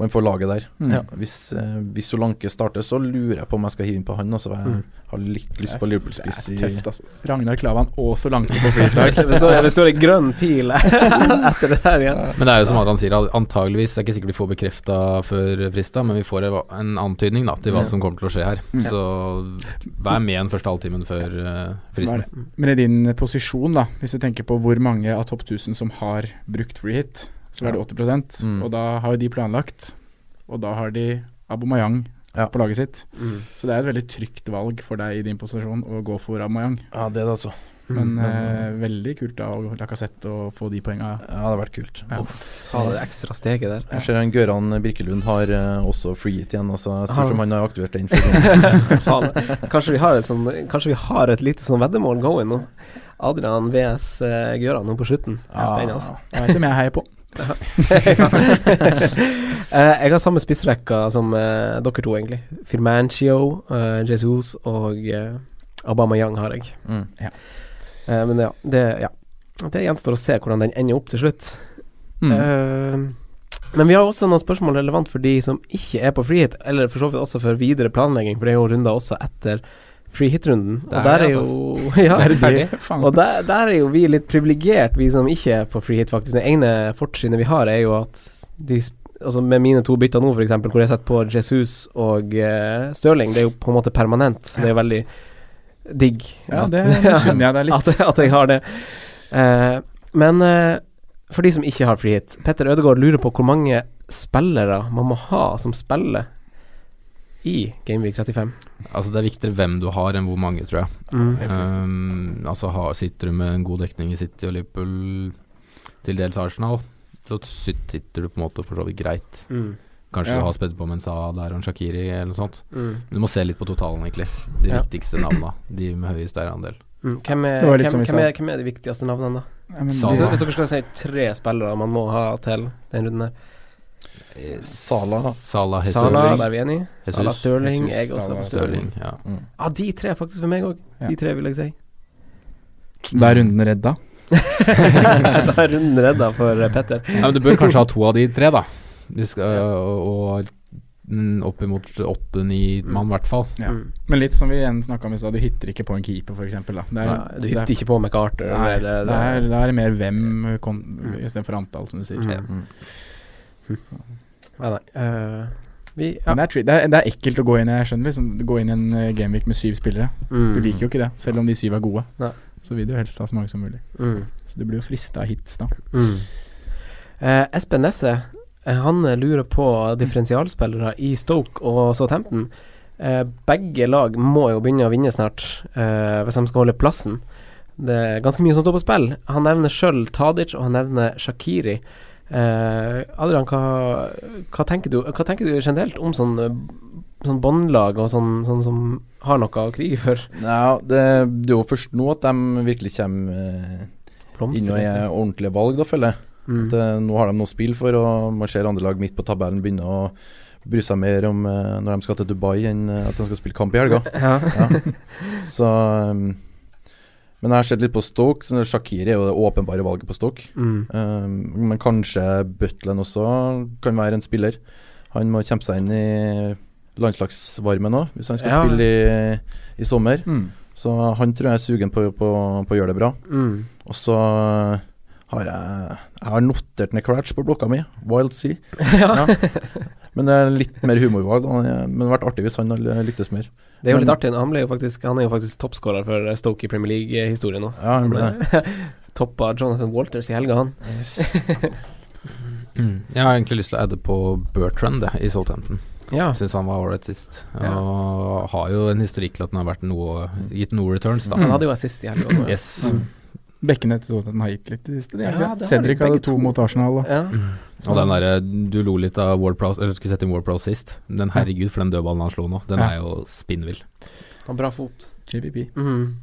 [SPEAKER 4] man får laget der.
[SPEAKER 2] Mm. Ja.
[SPEAKER 4] Hvis, eh, hvis Solanke starter, så lurer jeg på om jeg skal hive inn på han. Altså. Jeg
[SPEAKER 2] Mm.
[SPEAKER 4] har litt lyst på Liverpool-spiss i
[SPEAKER 2] Det er tøft, altså. Ragnar Klavan og Solanke på flytlag.
[SPEAKER 3] Så det står en grønn pil etter det der igjen.
[SPEAKER 5] Men det er jo som Adrian sier, al- antageligvis, det er ikke sikkert vi får bekrefta før frista, men vi får en en antydning da, til
[SPEAKER 2] Ja.
[SPEAKER 5] hva som kommer til å skje her.
[SPEAKER 2] Mm.
[SPEAKER 5] Så vær med den første halvtimen før eh, fristen.
[SPEAKER 2] Hva er det? Men i din eh, posisjon, da, hvis du tenker på hvor mange av topp 1000 som har brukt free hit, så er det 80
[SPEAKER 4] Mm.
[SPEAKER 2] og da har jo de planlagt, og da har de Abomayang på laget sitt.
[SPEAKER 4] Mm.
[SPEAKER 2] Så det er et veldig trygt valg for deg i din posisjon å gå for Abomayang.
[SPEAKER 4] Ja, det er det, altså.
[SPEAKER 2] Men
[SPEAKER 4] Mm.
[SPEAKER 2] eh, veldig kult da å Lacassette å få de poenga.
[SPEAKER 4] Ja, det hadde vært kult.
[SPEAKER 2] Ja.
[SPEAKER 3] Ta det ekstra steget der.
[SPEAKER 4] Jeg ser han Gøran Birkelund har eh, også free hit igjen. Altså. Jeg
[SPEAKER 3] Har han?
[SPEAKER 4] spør om han har aktivert den. for
[SPEAKER 3] Faen. Kanskje vi har et sånn Kanskje vi har et lite sånn veddemål going nå. Adrian VS eh, Gøran nå på slutten. Det er spennende, altså.
[SPEAKER 2] Jeg vet hvem jeg heier på.
[SPEAKER 3] Eh, jeg har samme spissrekka som eh, dere to, egentlig. Firmancio, eh, Jesus og eh, Obama Young har jeg.
[SPEAKER 4] Mm.
[SPEAKER 2] Ja.
[SPEAKER 3] Eh, men ja det, ja, det gjenstår å se hvordan den ender opp til slutt.
[SPEAKER 2] Mm.
[SPEAKER 3] Eh, men vi har også noen spørsmål relevant for de som ikke er på frihet, eller for så vidt også for videre planlegging, for det er jo runder også etter free hit-runden. Og
[SPEAKER 5] Det er
[SPEAKER 3] der er
[SPEAKER 5] det,
[SPEAKER 3] jo ja,
[SPEAKER 2] Er det
[SPEAKER 5] ferdig?
[SPEAKER 2] det? Faen.
[SPEAKER 3] og der, der er jo vi litt privilegert, vi som ikke er på free hit, faktisk. Det ene fortrinnet vi har, er jo at de sp- Altså med mine to bytter nå, f.eks., hvor jeg setter på Jesus og eh, Stirling, det er jo på en måte permanent. Så det er jo veldig digg.
[SPEAKER 2] Ja, det misunner jeg deg litt.
[SPEAKER 3] At, at jeg har det. Eh, men eh, for de som ikke har free hit, Petter Ødegaard lurer på hvor mange spillere man må ha som spiller i Gameweek 35.
[SPEAKER 5] Altså Det er viktigere hvem du har, enn hvor mange, tror jeg.
[SPEAKER 3] Mm.
[SPEAKER 5] Um, altså har, Sitter du med en god dekning i City og Liverpool, til dels Arsenal, så sitter du på en måte for så vidt greit.
[SPEAKER 3] Mm.
[SPEAKER 5] Kanskje
[SPEAKER 2] Ja.
[SPEAKER 5] du har spedd på Mensa der og en Shakiri eller noe sånt.
[SPEAKER 3] Mm.
[SPEAKER 5] Men du må se litt på totalen, egentlig. De
[SPEAKER 3] Ja.
[SPEAKER 5] viktigste navna. De med høyest eierandel.
[SPEAKER 3] Mm. Hvem, er,
[SPEAKER 2] Det var litt
[SPEAKER 3] hvem,
[SPEAKER 2] som vi
[SPEAKER 3] hvem,
[SPEAKER 2] sa.
[SPEAKER 3] er, hvem er de viktigste navnene, da?
[SPEAKER 2] Ja, men,
[SPEAKER 5] Sala.
[SPEAKER 3] Hvis,
[SPEAKER 5] Ja.
[SPEAKER 3] hvis dere skal si tre spillere man må ha til den runden her
[SPEAKER 4] Sala.
[SPEAKER 5] Eh, Salah, Jesus,
[SPEAKER 3] Sala,
[SPEAKER 5] Sala,
[SPEAKER 3] der er vi enige.
[SPEAKER 5] Jesus,
[SPEAKER 3] Sala Stirling,
[SPEAKER 2] Jesus,
[SPEAKER 3] jeg også.
[SPEAKER 2] Sala,
[SPEAKER 3] på Stirling.
[SPEAKER 5] Stirling. Ja.
[SPEAKER 4] Mm.
[SPEAKER 3] Ja, de tre er faktisk for meg òg. De
[SPEAKER 2] Ja.
[SPEAKER 3] tre vil jeg si.
[SPEAKER 2] da er runden redda.
[SPEAKER 3] da er runden redda for eh, Petter.
[SPEAKER 5] Nei, men du bør kanskje ha to av de tre, da. Du skal, og, og mm, opp imot åtte-ni mann, i hvert fall.
[SPEAKER 2] Ja.
[SPEAKER 3] Mm.
[SPEAKER 2] Men litt som vi igjen snakka om i stad, du hitter ikke på en keeper, f.eks. Da Det
[SPEAKER 3] Nei,
[SPEAKER 2] så
[SPEAKER 3] du
[SPEAKER 2] det er-
[SPEAKER 3] hitter ikke på MacArthur.
[SPEAKER 2] Nei, det
[SPEAKER 3] eller-
[SPEAKER 2] er, det er mer hvem kon- istedenfor antall, som du sier.
[SPEAKER 3] Mm.
[SPEAKER 4] Mm.
[SPEAKER 3] Nei, nei. Eh, vi ja.
[SPEAKER 2] Men det er, tri- det, er, det er ekkelt å gå inn i jeg skjønner liksom, gå inn i en eh, gameweek med syv spillere. Du
[SPEAKER 3] Mm.
[SPEAKER 2] liker jo ikke det, selv om de syv er gode.
[SPEAKER 3] Nei.
[SPEAKER 2] Så vil du jo helst ha så mange som mulig.
[SPEAKER 3] Mm.
[SPEAKER 2] Så du blir jo frista av hits, da.
[SPEAKER 3] Mm. Eh, Espen Nesse eh, han eh, lurer på differensialspillere i Stoke og Southampton. Eh, begge lag må jo begynne å vinne snart eh, hvis de skal holde plassen. Det er ganske mye som står på spill. Han nevner sjøl Tadic, og han nevner Shakiri. Eh, Adrian, hva, hva, tenker du, hva tenker du generelt om sånn, eh, sånn båndlag og sånn, sånn som har noe å krige for?
[SPEAKER 4] Ja, det, det er jo først nå at de virkelig kommer eh, inn
[SPEAKER 3] Blomster?
[SPEAKER 4] og
[SPEAKER 3] vet
[SPEAKER 4] gjør ordentlige valg, da, føler jeg.
[SPEAKER 3] du. Mm.
[SPEAKER 4] At, eh, nå har de noe spill for, og man ser andre lag midt på tabellen begynne å bry seg mer om eh, når de skal til Dubai, enn eh, at de skal spille kamp i helga.
[SPEAKER 3] Ja.
[SPEAKER 4] Så um, Men jeg har sett litt på Stoke. Så Shakiri er jo det åpenbare valget på Stoke.
[SPEAKER 3] Mm.
[SPEAKER 4] Um, men kanskje Butland også kan være en spiller. Han må kjempe seg inn i landslagsvarmen òg, hvis han skal
[SPEAKER 3] Ja.
[SPEAKER 4] spille i, i sommer.
[SPEAKER 2] Mm.
[SPEAKER 4] Så han tror jeg er sugen på, på, på å gjøre det bra.
[SPEAKER 3] Mm.
[SPEAKER 4] Og så har jeg Jeg har notert ned Cratch på blokka mi. Wild Sea.
[SPEAKER 3] Ja.
[SPEAKER 4] Men det er litt mer humorvalg. da. Men det hadde vært artig hvis han hadde lyktes mer.
[SPEAKER 3] Det er jo litt
[SPEAKER 4] Men-
[SPEAKER 3] artig. Han, ble jo faktisk, han er jo faktisk toppskårer for Stoke i Premier League-historien nå.
[SPEAKER 4] Ja, han ble det.
[SPEAKER 3] Toppa Jonathan Walters i helga, han.
[SPEAKER 5] Jeg har egentlig lyst til å adde på Bertrand jeg, i Southampton.
[SPEAKER 3] Ja.
[SPEAKER 5] Syns han var ålreit sist.
[SPEAKER 3] Ja.
[SPEAKER 5] Og har jo en historikk til at han har vært noe, gitt noe returns, da.
[SPEAKER 2] Mm.
[SPEAKER 3] Han hadde jo assist i helga. også,
[SPEAKER 5] Yes.
[SPEAKER 2] Bekkene til Southampton har gitt litt i det siste. de har
[SPEAKER 3] Ja,
[SPEAKER 2] ikke
[SPEAKER 3] det har
[SPEAKER 2] det.
[SPEAKER 3] de,
[SPEAKER 2] Cedric
[SPEAKER 3] begge
[SPEAKER 2] hadde to
[SPEAKER 3] to.
[SPEAKER 2] mot Arsenal. Da.
[SPEAKER 3] Ja.
[SPEAKER 5] Og den derre Du lo litt av Wardprowse, eller skulle sette inn Wardprowse sist. Den herregud, for den dødballen han slo nå, den
[SPEAKER 2] Ja.
[SPEAKER 5] er jo spinnvill.
[SPEAKER 3] Han har bra fot.
[SPEAKER 2] JPP.
[SPEAKER 3] Mhm.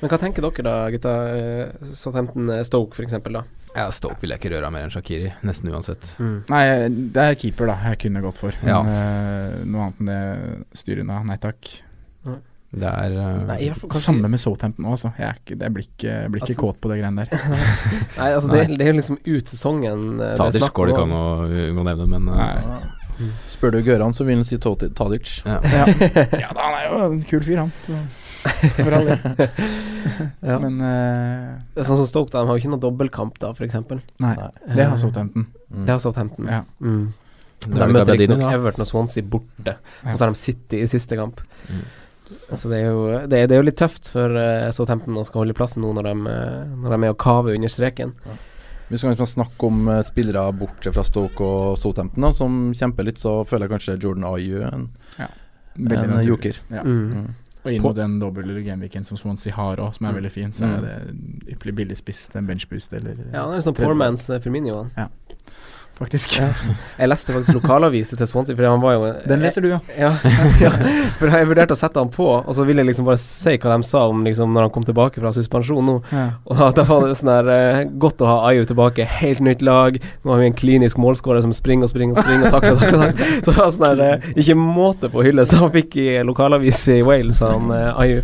[SPEAKER 3] Men hva tenker dere da, gutta? Eh, Southampton eh, Stoke, for eksempel, da.
[SPEAKER 5] Ja, Stoke vil jeg ikke røre av mer enn Shakiri, nesten uansett.
[SPEAKER 2] Nei, det er keeper, da. Jeg kunne gått for. Men
[SPEAKER 5] Ja.
[SPEAKER 2] eh, noe annet enn det styrer unna. Nei takk.
[SPEAKER 5] Det er eh,
[SPEAKER 3] Nei, i hvert fall kanskje-
[SPEAKER 2] Samme med Southampton òg, altså. Jeg, er ikke, jeg blir ikke, jeg blir ikke
[SPEAKER 3] Altså-
[SPEAKER 2] kåt på det greiene der.
[SPEAKER 3] Nei, altså, Det, det er jo liksom ut sesongen eh, det er
[SPEAKER 5] Tadic
[SPEAKER 3] snakk
[SPEAKER 5] går det ikke
[SPEAKER 3] om.
[SPEAKER 5] an å unngå å nevne, men eh,
[SPEAKER 2] Nei.
[SPEAKER 4] Spør du Gøran, så vil han si Toti- Tadic.
[SPEAKER 5] Ja.
[SPEAKER 2] Ja. ja da, han er jo en kul fyr, han. Så. For all del.
[SPEAKER 3] Ja.
[SPEAKER 2] Men eh,
[SPEAKER 3] Det er Sånn som Stoke, de har jo ikke noen dobbeltkamp da, f.eks.
[SPEAKER 2] Nei, det har Southampton.
[SPEAKER 3] Det har Southampton.
[SPEAKER 2] Ja.
[SPEAKER 3] Mm.
[SPEAKER 5] Da
[SPEAKER 3] De
[SPEAKER 5] er det
[SPEAKER 3] møter
[SPEAKER 5] Gabbiadini,
[SPEAKER 3] riktignok
[SPEAKER 5] da.
[SPEAKER 3] Everton og Swansea borte,
[SPEAKER 2] Ja.
[SPEAKER 3] og så har de City i siste kamp.
[SPEAKER 5] Mm.
[SPEAKER 3] Så det er, jo, det, er, det er jo litt tøft for eh, Southampton å skal holde plassen nå når de, eh, når de er å kave under streken.
[SPEAKER 4] Hvis vi skal liksom snakke om eh, spillere bortsett fra Stoke og Southampton, da, som kjemper litt, så føler jeg kanskje Jordan Ayew en,
[SPEAKER 2] Veldig
[SPEAKER 4] en
[SPEAKER 2] naturlig.
[SPEAKER 4] joker.
[SPEAKER 2] Ja.
[SPEAKER 3] Mm.
[SPEAKER 4] Mm.
[SPEAKER 2] Og inn
[SPEAKER 3] På-
[SPEAKER 2] mot den doble gameweeken som Swansea har òg, som er veldig fin, så er det en ypperlig billigspiss til en benchboost eller
[SPEAKER 3] Ja, han er liksom poor man's eh, Firmino. Han.
[SPEAKER 2] Faktisk.
[SPEAKER 3] Jeg leste faktisk lokalavise til Swansea, fordi han var jo eh,
[SPEAKER 2] Den leser du, ja.
[SPEAKER 3] Ja, ja. for jeg vurderte å sette han på, og så ville jeg liksom bare si hva de sa om liksom når han kom tilbake fra suspensjon nå. Og da- da var det sånn her eh, Godt å ha Ayu tilbake, helt nytt lag. Nå har vi en klinisk målskårer som springer og springer og springer og takler og takler. og takler. Så det var sånn her eh, Ikke måte på hylle som han fikk i lokalavis i Wales, han eh, Ayu.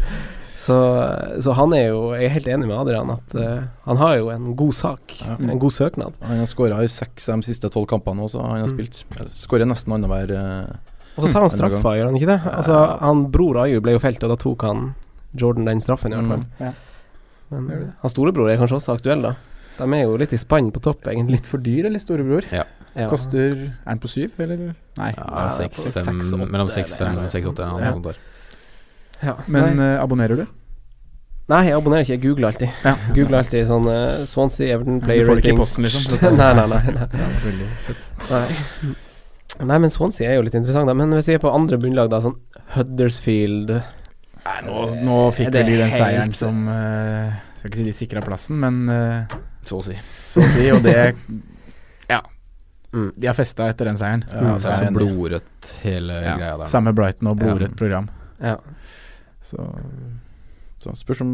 [SPEAKER 3] Så, eh, så han er jo Jeg er helt enig med Adrian at eh, han har jo en god sak,
[SPEAKER 4] Ja.
[SPEAKER 3] en god søknad.
[SPEAKER 4] Han har skåra i seks av de siste tolv kampene også, han har
[SPEAKER 3] Mm.
[SPEAKER 4] spilt. Eller, Skårer nesten annenhver eh,
[SPEAKER 3] Og så tar han
[SPEAKER 4] Mm. Andre gang.
[SPEAKER 3] straffa, gjør han ikke det? Altså, han bror Ayu ble jo felt, og da tok han Jordan den straffen, i hvert fall.
[SPEAKER 4] Mm.
[SPEAKER 3] Men eh, han storebror er kanskje også aktuell, da. De er jo litt i spann på topp, egentlig.
[SPEAKER 2] Litt for dyr, eller, storebror?
[SPEAKER 3] Ja.
[SPEAKER 2] Koster Er den på syv, eller? Nei.
[SPEAKER 5] Ja,
[SPEAKER 3] det er
[SPEAKER 5] seks,
[SPEAKER 3] på
[SPEAKER 5] fem,
[SPEAKER 3] seks, åtte,
[SPEAKER 5] mellom 6-5
[SPEAKER 3] eller
[SPEAKER 5] og 6-8. eller
[SPEAKER 3] Ja.
[SPEAKER 5] noe sånt der.
[SPEAKER 3] Ja.
[SPEAKER 2] Men
[SPEAKER 3] Nei.
[SPEAKER 2] eh, abonnerer du?
[SPEAKER 3] Nei, jeg abonnerer ikke, jeg googler alltid.
[SPEAKER 2] Ja.
[SPEAKER 3] Googler alltid sånn eh, Swansea, Everton, player
[SPEAKER 2] du får det ikke i
[SPEAKER 3] ratings.
[SPEAKER 2] posten, liksom?
[SPEAKER 3] nei, nei, nei. nei.
[SPEAKER 2] Ja, veldig søtt.
[SPEAKER 3] Nei. Nei, men Swansea er jo litt interessant, da. Men hvis jeg er på andre bunnlag, da, sånn Huddersfield
[SPEAKER 2] Nei, nå, nå fikk
[SPEAKER 3] Er
[SPEAKER 2] vel
[SPEAKER 3] det
[SPEAKER 2] de den
[SPEAKER 3] helt-
[SPEAKER 2] seieren som eh, Skal ikke si de sikra plassen, men eh,
[SPEAKER 5] Så å si.
[SPEAKER 2] så å si, og det Ja.
[SPEAKER 3] Mm.
[SPEAKER 2] De har festa etter den seieren.
[SPEAKER 4] Ja,
[SPEAKER 5] Så er det
[SPEAKER 4] jeg
[SPEAKER 5] så
[SPEAKER 4] enig.
[SPEAKER 5] blodrødt, hele
[SPEAKER 2] Ja.
[SPEAKER 5] greia der.
[SPEAKER 2] Samme Brighton og blodrødt
[SPEAKER 5] Ja.
[SPEAKER 2] program.
[SPEAKER 3] Ja.
[SPEAKER 2] Så
[SPEAKER 4] Så spørs om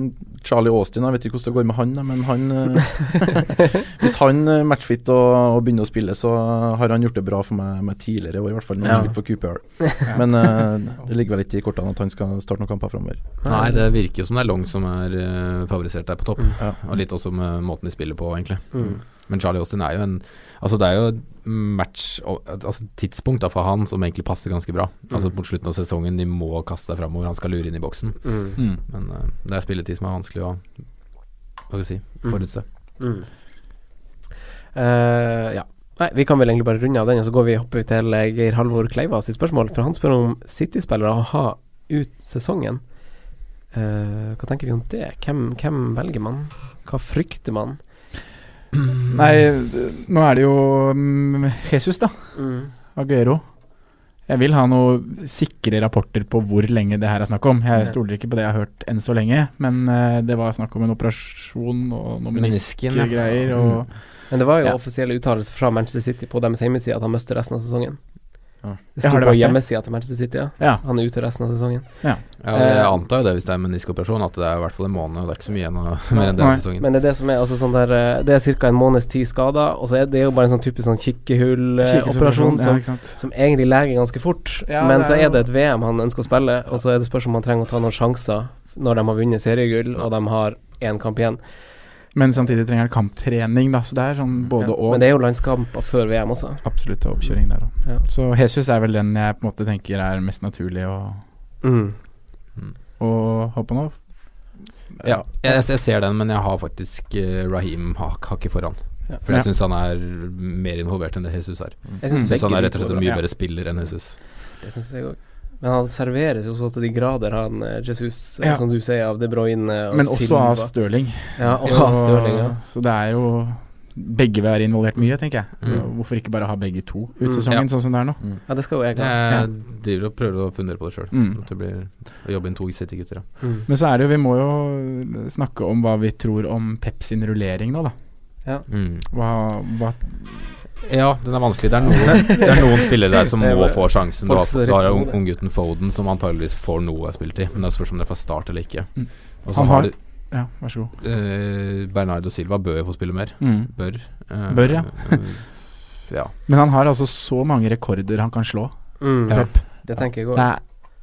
[SPEAKER 4] Charlie Austin, jeg vet ikke hvordan det går med han, da, men han eh, Hvis han er matchfit og, og begynner å spille, så har han gjort det bra for meg, meg tidligere i år, i hvert fall når han
[SPEAKER 3] Ja.
[SPEAKER 4] spilte for QPR. Men eh, det ligger vel ikke i kortene at han skal starte noen kamper framover.
[SPEAKER 5] Nei, det virker jo som det er Long som er eh, favorisert der på topp.
[SPEAKER 3] Mm.
[SPEAKER 4] Ja.
[SPEAKER 5] Og litt også med måten de spiller på, egentlig.
[SPEAKER 3] Mm.
[SPEAKER 5] Men Charlie Austin er jo en Altså, det er jo et match og- Altså, tidspunkt da for han som egentlig passer ganske bra. Altså, mot slutten av sesongen, de må kaste seg framover, han skal lure inn i boksen.
[SPEAKER 3] Mm.
[SPEAKER 2] mm.
[SPEAKER 5] Men eh, det er spilletid som er vanskelig å Hva skal du si forutse.
[SPEAKER 3] Mm. Eh, ja. Nei, vi kan vel egentlig bare runde av den, og så går vi hopper vi til eh, Geir Halvor Kleiva sitt spørsmål. For han spør om City-spillere å ha ut sesongen. Eh, hva tenker vi om det? Hvem, hvem velger man? Hva frykter man?
[SPEAKER 2] Nei, d- nå er det jo mm, Jesus, da.
[SPEAKER 3] Mm.
[SPEAKER 2] Aguero. Jeg vil ha noe sikre rapporter på hvor lenge det her er snakk om. Jeg stoler ikke på det jeg har hørt enn så lenge, men eh, det var snakk om en operasjon og noe
[SPEAKER 5] Menisken, ja.
[SPEAKER 3] Mm.
[SPEAKER 2] meniskgreier og
[SPEAKER 3] Men det var jo
[SPEAKER 2] Ja.
[SPEAKER 3] offisielle uttalelser fra Manchester City på deres hjemmeside at han mister resten av sesongen.
[SPEAKER 4] Ja.
[SPEAKER 3] Det
[SPEAKER 2] Ja, har
[SPEAKER 3] sto
[SPEAKER 2] det
[SPEAKER 3] på
[SPEAKER 2] vært det?
[SPEAKER 3] hjemmesida til Manchester City, ja.
[SPEAKER 2] Ja.
[SPEAKER 3] Han er ute resten av sesongen.
[SPEAKER 5] Ja, og jeg
[SPEAKER 3] Eh,
[SPEAKER 5] antar jo det hvis det er meniskoperasjon, at det er i hvert fall en måned, og det er ikke så mye igjen av- mer enn
[SPEAKER 2] Nei.
[SPEAKER 5] denne sesongen.
[SPEAKER 3] Men det er det som er altså sånn der eh, Det er ca. en måneds tid skader, og så er det jo bare en sånn typisk sånn kikkehull-operasjon
[SPEAKER 2] ja,
[SPEAKER 3] som
[SPEAKER 2] ikke sant?
[SPEAKER 3] som egentlig leger ganske fort,
[SPEAKER 2] Ja,
[SPEAKER 3] men
[SPEAKER 2] det
[SPEAKER 3] så
[SPEAKER 2] er
[SPEAKER 3] er
[SPEAKER 2] jo-
[SPEAKER 3] det et VM han ønsker å spille, og så er det spørsmål om han trenger å ta noen sjanser når de har vunnet seriegull og de har én kamp igjen.
[SPEAKER 2] Men samtidig trenger han kamptrening, da, så det er sånn både og.
[SPEAKER 3] Men det er jo landskamper før VM også.
[SPEAKER 2] Absolutt oppkjøring der òg.
[SPEAKER 3] Ja.
[SPEAKER 2] Så Jesus er vel den jeg på en måte tenker er mest naturlig å,
[SPEAKER 3] Mm.
[SPEAKER 2] å hoppe nå.
[SPEAKER 5] Ja, jeg, jeg, jeg ser den, men jeg har faktisk eh, Raheem hak, hakket foran.
[SPEAKER 3] Ja.
[SPEAKER 5] For jeg
[SPEAKER 2] Ja.
[SPEAKER 5] syns han er mer involvert enn det Jesus er.
[SPEAKER 3] Jeg syns
[SPEAKER 5] Jeg syns Mm. han er
[SPEAKER 3] begge
[SPEAKER 5] rett og slett en mye bedre spiller enn Jesus.
[SPEAKER 3] Det synes jeg også. Men han serveres jo så til de grader, han eh, Jesus, eh,
[SPEAKER 2] Ja.
[SPEAKER 3] som du sier, av De Bruyne og
[SPEAKER 2] Men også
[SPEAKER 3] Silva.
[SPEAKER 2] av Stirling.
[SPEAKER 3] Ja, også av Stirling, ja.
[SPEAKER 2] Så det er jo Begge vil være involvert mye, tenker jeg. Så
[SPEAKER 5] Mm.
[SPEAKER 2] Hvorfor ikke bare ha begge to
[SPEAKER 3] Mm.
[SPEAKER 2] ut sesongen,
[SPEAKER 5] Ja.
[SPEAKER 2] sånn som det er nå?
[SPEAKER 3] Ja, det skal jo jeg ha.
[SPEAKER 5] Jeg driver og prøver å fundere på det sjøl.
[SPEAKER 2] Mm.
[SPEAKER 5] At det blir å jobbe inn to City-gutter, ja.
[SPEAKER 3] Mm.
[SPEAKER 2] Men så er det jo Vi må jo snakke om hva vi tror om Pep sin rullering nå, da.
[SPEAKER 5] Mm.
[SPEAKER 2] Hva, hva
[SPEAKER 5] Ja, den er vanskelig. Det er noen, det er noen spillere der som
[SPEAKER 3] Det er
[SPEAKER 5] må
[SPEAKER 3] bare-
[SPEAKER 5] få sjansen. Du
[SPEAKER 3] folk
[SPEAKER 5] har,
[SPEAKER 3] som
[SPEAKER 5] du har
[SPEAKER 3] rister
[SPEAKER 5] jo
[SPEAKER 3] hodet.
[SPEAKER 5] unggutten Foden, som antageligvis får noe spilletid. Men det spørs om det er fra start eller ikke.
[SPEAKER 2] Mm.
[SPEAKER 5] Og så Altså,
[SPEAKER 2] Han
[SPEAKER 5] har
[SPEAKER 2] har
[SPEAKER 5] du
[SPEAKER 2] Ja, vær så god.
[SPEAKER 5] eh, Bernardo Silva bør jo få spille mer.
[SPEAKER 2] Mm.
[SPEAKER 5] Bør. eh,
[SPEAKER 2] Bør, ja.
[SPEAKER 5] eh, ja.
[SPEAKER 2] Men han har altså så mange rekorder han kan slå.
[SPEAKER 3] Mm.
[SPEAKER 5] Ja.
[SPEAKER 3] Det tenker jeg
[SPEAKER 2] Det
[SPEAKER 3] òg.
[SPEAKER 2] er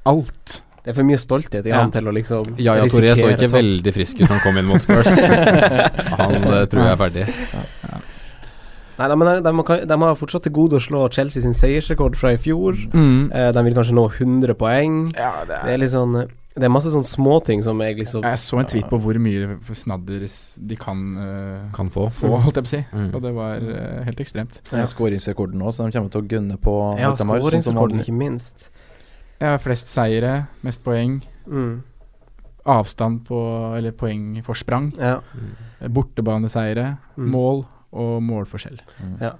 [SPEAKER 2] alt.
[SPEAKER 3] Det er for mye stolthet i
[SPEAKER 2] Ja.
[SPEAKER 3] han til å liksom
[SPEAKER 5] Ja, ja, Toré så
[SPEAKER 3] risikere
[SPEAKER 5] ikke
[SPEAKER 3] tap.
[SPEAKER 5] veldig frisk ut da han kom inn mot Spurs. han eh, tror jeg er ferdig.
[SPEAKER 3] Nei, nei, men de, kan- de har fortsatt til gode å slå Chelsea sin seiersrekord fra i fjor.
[SPEAKER 2] Mm.
[SPEAKER 3] Eh, de vil kanskje nå 100 poeng. det, er. litt sånn eh, Det er masse sånne småting som jeg liksom
[SPEAKER 2] Jeg så en tweet på hvor mye snadder s- de kan, eh,
[SPEAKER 5] Kan få.
[SPEAKER 2] holdt jeg på å si.
[SPEAKER 5] Mm.
[SPEAKER 2] Og det var eh, helt ekstremt.
[SPEAKER 4] Ja. Skåringsrekorden òg, så de kommer til å gunne på
[SPEAKER 3] Ja,
[SPEAKER 4] alt de har, sånn som
[SPEAKER 3] skåringsrekorden,
[SPEAKER 4] alle-
[SPEAKER 3] ikke minst.
[SPEAKER 2] Jeg har flest seire, mest poeng,
[SPEAKER 3] Mm.
[SPEAKER 2] avstand på Eller poengforsprang,
[SPEAKER 3] Ja.
[SPEAKER 2] bortebaneseire,
[SPEAKER 3] Mm.
[SPEAKER 2] mål og målforskjell.
[SPEAKER 5] Mm.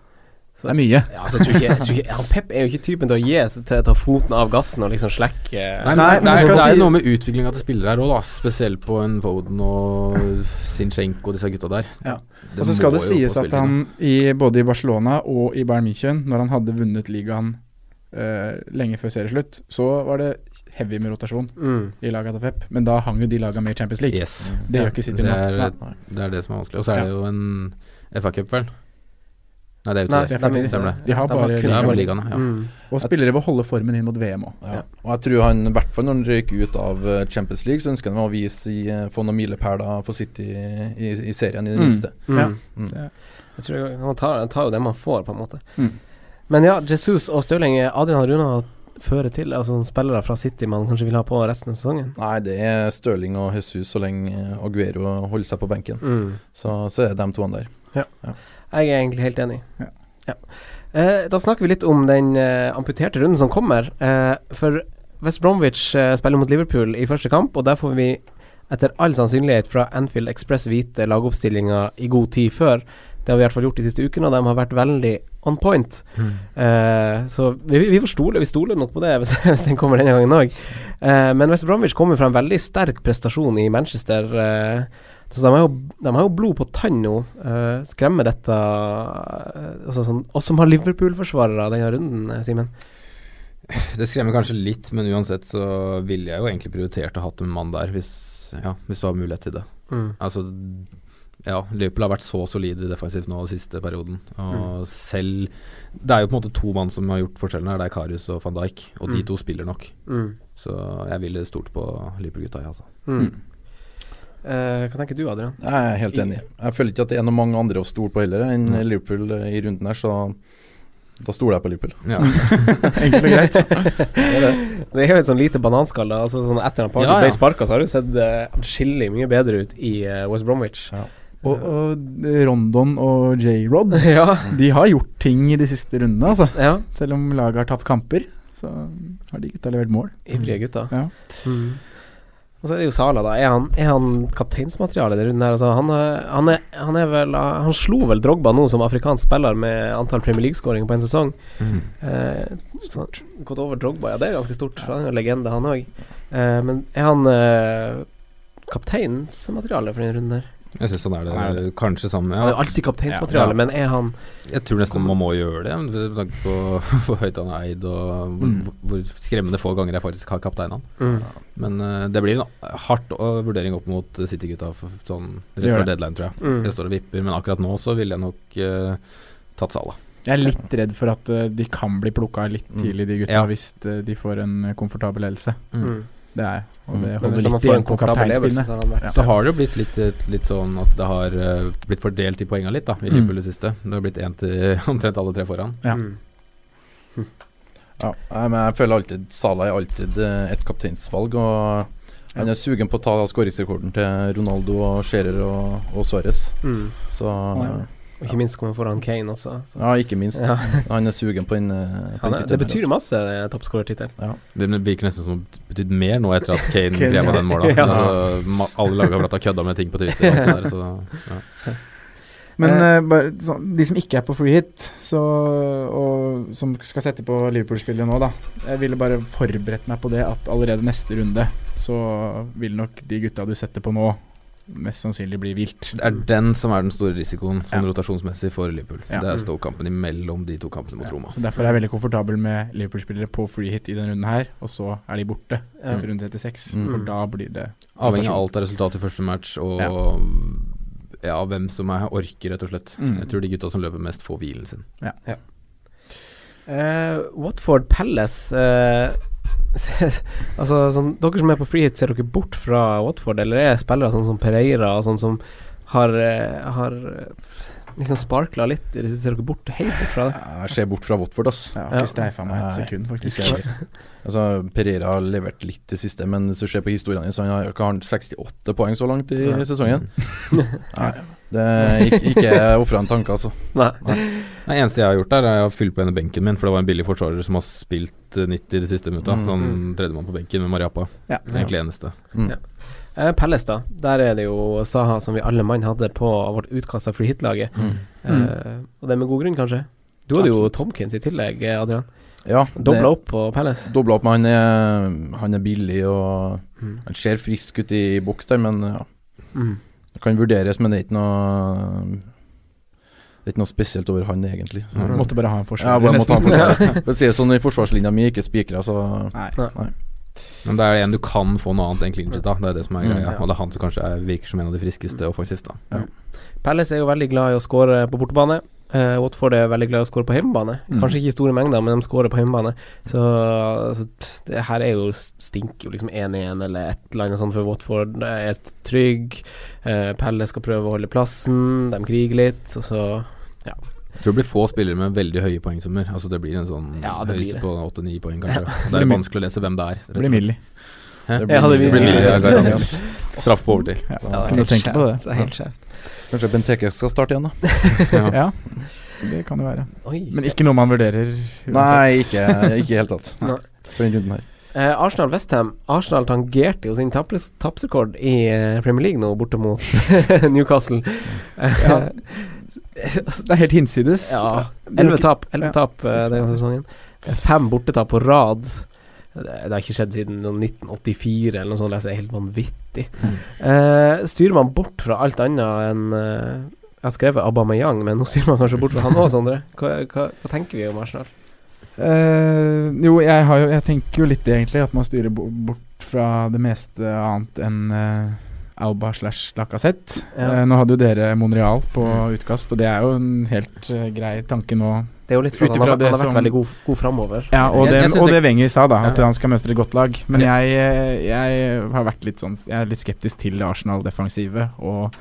[SPEAKER 3] Så
[SPEAKER 2] Det er mye.
[SPEAKER 3] Ja, så jeg tror ikke, jeg tror ikke, ja, Pep er jo ikke typen til å gi seg til å ta foten av gassen og liksom slekke
[SPEAKER 5] Nei, men,
[SPEAKER 2] Nei,
[SPEAKER 5] men
[SPEAKER 2] nei,
[SPEAKER 5] det,
[SPEAKER 2] skal
[SPEAKER 5] det er
[SPEAKER 2] si-
[SPEAKER 5] jo noe med utviklinga til spillere her òg, da. Spesielt på en Foden og Sinchenko og disse gutta der.
[SPEAKER 2] Ja.
[SPEAKER 5] Det
[SPEAKER 2] Og så
[SPEAKER 5] må
[SPEAKER 2] skal det
[SPEAKER 5] jo
[SPEAKER 2] sies
[SPEAKER 5] få
[SPEAKER 2] at
[SPEAKER 5] spilletid nå.
[SPEAKER 2] han i, både i Barcelona og i Bayern München, når han hadde vunnet ligaen eh, lenge før serieslutt, så var det heavy med rotasjon
[SPEAKER 3] mm.
[SPEAKER 2] i laga til Pep. Men da hang jo de laga med i Champions League.
[SPEAKER 5] Yes.
[SPEAKER 2] Det gjør ikke City
[SPEAKER 5] det
[SPEAKER 2] nå.
[SPEAKER 5] er,
[SPEAKER 2] Nei.
[SPEAKER 5] det er det som er vanskelig. Og så er det jo en FA-cup, vel? Nei, det er jo
[SPEAKER 3] Nei,
[SPEAKER 5] ikke det.
[SPEAKER 2] er ferdig.
[SPEAKER 3] de-
[SPEAKER 5] Stemmer det.
[SPEAKER 2] De har
[SPEAKER 3] de har
[SPEAKER 2] bare
[SPEAKER 5] Det er
[SPEAKER 2] ligaen.
[SPEAKER 5] bare ligaen, ja.
[SPEAKER 3] Mm.
[SPEAKER 2] Og spillere vil holde formen inn mot VM òg.
[SPEAKER 4] Ja. Og jeg tror han, i hvert fall når han røyk ut av eh, Champions League, så ønsker han å vise i, eh, få noen milepæler for City i, i serien, i det
[SPEAKER 2] Mm.
[SPEAKER 4] minste.
[SPEAKER 3] Mm.
[SPEAKER 2] Ja.
[SPEAKER 4] Mm.
[SPEAKER 3] Jeg tror han tar, han tar jo det man får, på en måte.
[SPEAKER 2] Mm.
[SPEAKER 3] Men ja, Jesus og Stirling er Adrian Runa fører til altså sånne spillere fra City man kanskje vil ha på resten av sesongen.
[SPEAKER 4] Nei, det er Stirling og Jesus så lenge eh, Aguero holder seg på benken.
[SPEAKER 3] Mm.
[SPEAKER 4] Så, så er det de toene der.
[SPEAKER 3] Jeg er egentlig helt enig.
[SPEAKER 2] Ja.
[SPEAKER 3] Ja. Eh, da snakker vi litt om den eh, amputerte runden som kommer. Eh, for West Bromwich eh, spiller mot Liverpool i første kamp, og der får vi etter all sannsynlighet fra Anfield Express vite lagoppstillinga i god tid før. Det har vi i hvert fall gjort de siste ukene, og de har vært veldig on point. Eh, så vi, vi får stole, vi stoler nok på det hvis, hvis den kommer denne gangen òg. men West Bromwich kommer fra en veldig sterk prestasjon i Manchester. eh, så de har, jo, de har jo blod på tann nå. Eh, skremmer dette eh, altså sånn, Oss som har Liverpool-forsvarere denne runden, eh, Simen.
[SPEAKER 5] Det skremmer kanskje litt, men uansett så ville jeg jo egentlig prioritert å hatt en mann der, hvis, ja, hvis du har mulighet til det.
[SPEAKER 3] Mm,
[SPEAKER 5] Altså, ja, Liverpool har vært så solide defensivt nå den siste perioden.
[SPEAKER 4] Mm.
[SPEAKER 5] Og selv Det er jo på en måte to mann som har gjort forskjellen her. Det er Karius og van Dijk, og de
[SPEAKER 3] Mm. mm.
[SPEAKER 5] to spiller nok. Så jeg ville stolt på Liverpool-gutta, jeg, altså.
[SPEAKER 3] Eh, hva tenker du, Adrian?
[SPEAKER 4] Jeg er helt enig. Jeg føler ikke at det er noen mange andre å stole på heller enn
[SPEAKER 5] Nei.
[SPEAKER 4] Liverpool eh, i runden her, så da stoler jeg på Liverpool.
[SPEAKER 5] Ja.
[SPEAKER 2] Enkelt og greit.
[SPEAKER 3] Det er jo et sånn lite bananskall. da. Altså, sånn etter at Party
[SPEAKER 5] Ja, ja.
[SPEAKER 3] ble sparka, så har det sett eh, atskillig mye bedre ut i eh, West Bromwich.
[SPEAKER 2] Og, og Rondon og J-Rod,
[SPEAKER 3] ja.
[SPEAKER 2] de har gjort ting i de siste rundene, altså.
[SPEAKER 3] ja.
[SPEAKER 2] Selv om laget har tapt kamper, så har de gutta levert mål.
[SPEAKER 3] Ivrige gutter.
[SPEAKER 2] Ja.
[SPEAKER 3] Mm. Og så er det jo Sala, da. Er han, er han kapteinsmateriale i denne runden her? Altså, han, er, han, er, han er vel ah, Han slo vel Drogba nå som afrikansk spiller med antall Premier League-skåringer på en sesong.
[SPEAKER 5] Mm.
[SPEAKER 3] Eh, stort. Gått over Drogba, ja det er ganske stort. Han er jo en legende, han òg. Eh, men er han eh, kapteinsmateriale for denne runden her?
[SPEAKER 5] Jeg syns han er det. Kanskje sammen
[SPEAKER 3] Han er jo
[SPEAKER 5] ja.
[SPEAKER 3] alltid kapteinsmateriale,
[SPEAKER 5] Ja.
[SPEAKER 3] men er han
[SPEAKER 5] Jeg tror nesten man må gjøre det, med tanke på hvor høyt han er eid, og hvor,
[SPEAKER 4] Mm.
[SPEAKER 5] hvor skremmende få ganger jeg faktisk har kaptein han.
[SPEAKER 3] mm,
[SPEAKER 5] Men eh, det blir en hardt eh, vurdering opp mot City-gutta for- sånn
[SPEAKER 2] Det
[SPEAKER 5] rett
[SPEAKER 2] gjør
[SPEAKER 5] før
[SPEAKER 2] det.
[SPEAKER 5] deadline, tror jeg.
[SPEAKER 3] mm.
[SPEAKER 5] Det står og vipper, men akkurat nå så ville jeg nok eh, tatt Sala.
[SPEAKER 2] Jeg er litt redd for at eh, de kan bli plukka litt tidlig, de gutta,
[SPEAKER 5] Ja.
[SPEAKER 2] hvis eh, de får en eh, komfortabel ledelse.
[SPEAKER 3] Mm.
[SPEAKER 2] Det er jeg. Og det
[SPEAKER 3] Men
[SPEAKER 2] holder
[SPEAKER 3] hvis han
[SPEAKER 2] litt
[SPEAKER 3] får en
[SPEAKER 2] igjen på
[SPEAKER 3] komfortabel levelse,
[SPEAKER 2] kapteinspinnet.
[SPEAKER 3] så har han vært
[SPEAKER 5] Så har det jo blitt litt, litt sånn at det har eh, blitt fordelt i poengene litt, da, i Liverpool
[SPEAKER 2] Mm.
[SPEAKER 5] det siste. Det har blitt én til omtrent alle tre foran.
[SPEAKER 2] Ja.
[SPEAKER 3] Mm.
[SPEAKER 4] Ja, nei, men jeg føler alltid Salah er alltid eh, et kapteinsvalg. Og han er sugen på å ta skåringsrekorden til Ronaldo og Scherer og, og Suárez.
[SPEAKER 3] Mm.
[SPEAKER 4] Så
[SPEAKER 2] ja.
[SPEAKER 3] Og ikke minst kommer foran Kane også. Så.
[SPEAKER 4] Ja, ikke minst.
[SPEAKER 3] Ja.
[SPEAKER 4] Han er sugen på en, eh, på
[SPEAKER 3] Han
[SPEAKER 4] en
[SPEAKER 3] er,
[SPEAKER 4] tittel
[SPEAKER 3] det
[SPEAKER 4] her,
[SPEAKER 3] betyr
[SPEAKER 4] altså.
[SPEAKER 3] masse, eh, toppskårertittel.
[SPEAKER 5] Det virker nesten som det har betydd mer nå etter at Kane
[SPEAKER 2] Kane,
[SPEAKER 5] drev med den måla.
[SPEAKER 3] ja.
[SPEAKER 5] altså, ma- alle lag har vært og kødda med ting på Twitter. Og alt det der, så, ja.
[SPEAKER 2] Men
[SPEAKER 3] Eh,
[SPEAKER 2] eh, bare, sånn, de som ikke er på free hit, så, og som skal sette på Liverpool-spillet nå, da Jeg ville bare forberedt meg på det at allerede neste runde så vil nok de gutta du setter på nå, mest sannsynlig bli vilt.
[SPEAKER 5] Det er den som er den store risikoen sånn
[SPEAKER 2] Ja.
[SPEAKER 5] rotasjonsmessig for Liverpool.
[SPEAKER 2] Ja.
[SPEAKER 4] Mm.
[SPEAKER 5] Det er Stoke-kampen imellom de to kampene mot
[SPEAKER 2] Ja,
[SPEAKER 5] Roma.
[SPEAKER 2] så Derfor er jeg veldig komfortabel med Liverpool-spillere på free hit i denne runden her, og så er de borte
[SPEAKER 3] Ja.
[SPEAKER 2] etter runde 36.
[SPEAKER 4] Mm.
[SPEAKER 2] For da blir det
[SPEAKER 5] Avhengig av alt av resultat i første match og ja. hvem som er orker, rett og slett.
[SPEAKER 2] Mm.
[SPEAKER 5] Jeg tror de gutta som løper mest, får hvilen sin.
[SPEAKER 3] Eh, Watford Palace eh, Altså, sånn, dere som er på frihet, ser dere bort fra Watford, eller er spillere sånn som Pereira og sånn som har, eh, har eh, Liksom sparkla litt. Dere ser dere bort, helt bort fra det.
[SPEAKER 4] Jeg ser bort fra Watford, ass.
[SPEAKER 2] Jeg har ikke streifa meg et
[SPEAKER 4] Nei,
[SPEAKER 2] sekund, faktisk.
[SPEAKER 4] ikke heller. altså, Pereira har levert litt det siste, men hvis du ser på historien hans, han har ikke har han 68 poeng så langt i
[SPEAKER 5] Ja.
[SPEAKER 4] sesongen.
[SPEAKER 5] Mm.
[SPEAKER 4] Nei, det er ikke, ikke ofra en tanke, altså.
[SPEAKER 3] Nei.
[SPEAKER 5] Det eneste jeg har gjort der, er å fylle på en av benken min, for det var en billig forsvarer som har spilt eh, 90 de siste minutta.
[SPEAKER 4] Mm.
[SPEAKER 5] Sånn tredjemann på benken med Mariappa.
[SPEAKER 2] Ja.
[SPEAKER 5] Det er egentlig det eneste.
[SPEAKER 4] Mm.
[SPEAKER 3] Ja. Eh, Pelles, da. Der er det jo Saha som vi alle mann hadde på vårt utkasta free hit-laget.
[SPEAKER 5] Mm.
[SPEAKER 3] Eh, og det med god grunn, kanskje. Du hadde jo Tomkins i tillegg, eh, Adrian.
[SPEAKER 4] Ja, det-
[SPEAKER 3] Dobla opp på Pelles.
[SPEAKER 4] Dobla opp, men han er, han er billig og
[SPEAKER 3] Mm.
[SPEAKER 4] han ser frisk ut i boks der, men ja.
[SPEAKER 3] Mm.
[SPEAKER 4] Det kan vurderes, men det er ikke noe Det er ikke noe spesielt over han, egentlig.
[SPEAKER 2] Jeg Måtte bare ha en
[SPEAKER 4] Ja,
[SPEAKER 2] forsvarer.
[SPEAKER 4] bare må ta
[SPEAKER 2] nesten.
[SPEAKER 4] en forsvarer. For å si det sånn, i forsvarslinja mi er ikke spikra, så
[SPEAKER 2] Nei.
[SPEAKER 5] Men det er en du kan få noe annet enn clean sheet, da. Det er det som er
[SPEAKER 4] Mm.
[SPEAKER 5] greia. Og det er han som kanskje er, virker som en av de friskeste offensivt, da.
[SPEAKER 3] Pelles er jo veldig glad i å skåre på bortebane. Eh, Watford er veldig glad i å skåre på hjemmebane.
[SPEAKER 2] Mm.
[SPEAKER 3] Kanskje ikke i store mengder, men de skårer på hjemmebane. Så, så t- det her er jo stinker jo liksom 1-1 eller et eller annet sånt for Watford. Det er trygg. Eh, Pelle skal prøve å holde plassen. De kriger litt, og så
[SPEAKER 5] Jeg tror det blir få spillere med veldig høye poengsummer. Altså Det blir en sånn
[SPEAKER 3] Ja, det blir
[SPEAKER 5] høyeste
[SPEAKER 3] det.
[SPEAKER 5] på åtte-ni poeng, kanskje. Det er vanskelig å lese hvem det er. rett og
[SPEAKER 2] Det blir
[SPEAKER 5] slett.
[SPEAKER 2] Millie.
[SPEAKER 5] Hæ?
[SPEAKER 4] det
[SPEAKER 3] Ja, det blir-
[SPEAKER 4] det blir
[SPEAKER 5] ja,
[SPEAKER 4] Millie,
[SPEAKER 5] ja.
[SPEAKER 4] ass.
[SPEAKER 5] Straff på overtid.
[SPEAKER 2] Ja,
[SPEAKER 5] Så-
[SPEAKER 2] Kunne du tenke på det?
[SPEAKER 3] Det er helt skjevt.
[SPEAKER 4] Kanskje Benteke skal starte igjen, da.
[SPEAKER 5] Ja.
[SPEAKER 2] Ja, det kan det være.
[SPEAKER 3] Oi.
[SPEAKER 2] Men ikke noe man vurderer uansett.
[SPEAKER 4] Nei, ikke i det hele tatt.
[SPEAKER 3] Nei.
[SPEAKER 4] For den runden her.
[SPEAKER 3] Eh, Arsenal-Westham. Arsenal tangerte jo sin tapres- tapsrekord i eh, Premier League nå, borte mot Newcastle.
[SPEAKER 2] Ja. Det er helt hinsides.
[SPEAKER 3] Ja.
[SPEAKER 2] Det er
[SPEAKER 3] Elleve
[SPEAKER 2] nok-
[SPEAKER 3] tap, 11
[SPEAKER 2] ja.
[SPEAKER 3] tap eh, denne sesongen. Eh, Fem bortetap på rad. Det det har ikke skjedd siden noe 1984 eller noe sånt. altså, Det er helt vanvittig.
[SPEAKER 2] Mm.
[SPEAKER 3] Eh, styrer man bort fra alt annet enn eh, Jeg har skrevet Aubameyang, men nå styrer man kanskje bort fra han òg, Sondre. Hva, hva, hva tenker vi om Arsenal?
[SPEAKER 2] Eh, jo, jeg, har jo, jeg tenker jo litt det, egentlig. At man styrer bo- bort fra det meste annet enn eh, Alba slash Lacassette.
[SPEAKER 3] Ja.
[SPEAKER 2] Eh, nå hadde jo dere Monreal på utkast, og det er jo en helt eh, grei tanke nå.
[SPEAKER 3] Det er jo litt for
[SPEAKER 2] Ut
[SPEAKER 3] at han
[SPEAKER 2] ifra
[SPEAKER 3] har, han
[SPEAKER 2] det
[SPEAKER 3] har vært
[SPEAKER 2] som-
[SPEAKER 3] veldig god, god framover.
[SPEAKER 2] Ja, og
[SPEAKER 5] Jeg-
[SPEAKER 2] det,
[SPEAKER 5] jeg synes
[SPEAKER 2] og
[SPEAKER 5] det-
[SPEAKER 2] det Wenger sa, da. At
[SPEAKER 5] Ja.
[SPEAKER 2] han skal mønstre et godt lag. Men jeg, eh, jeg har vært litt sånn Jeg er litt skeptisk til Arsenal-defensivet. Og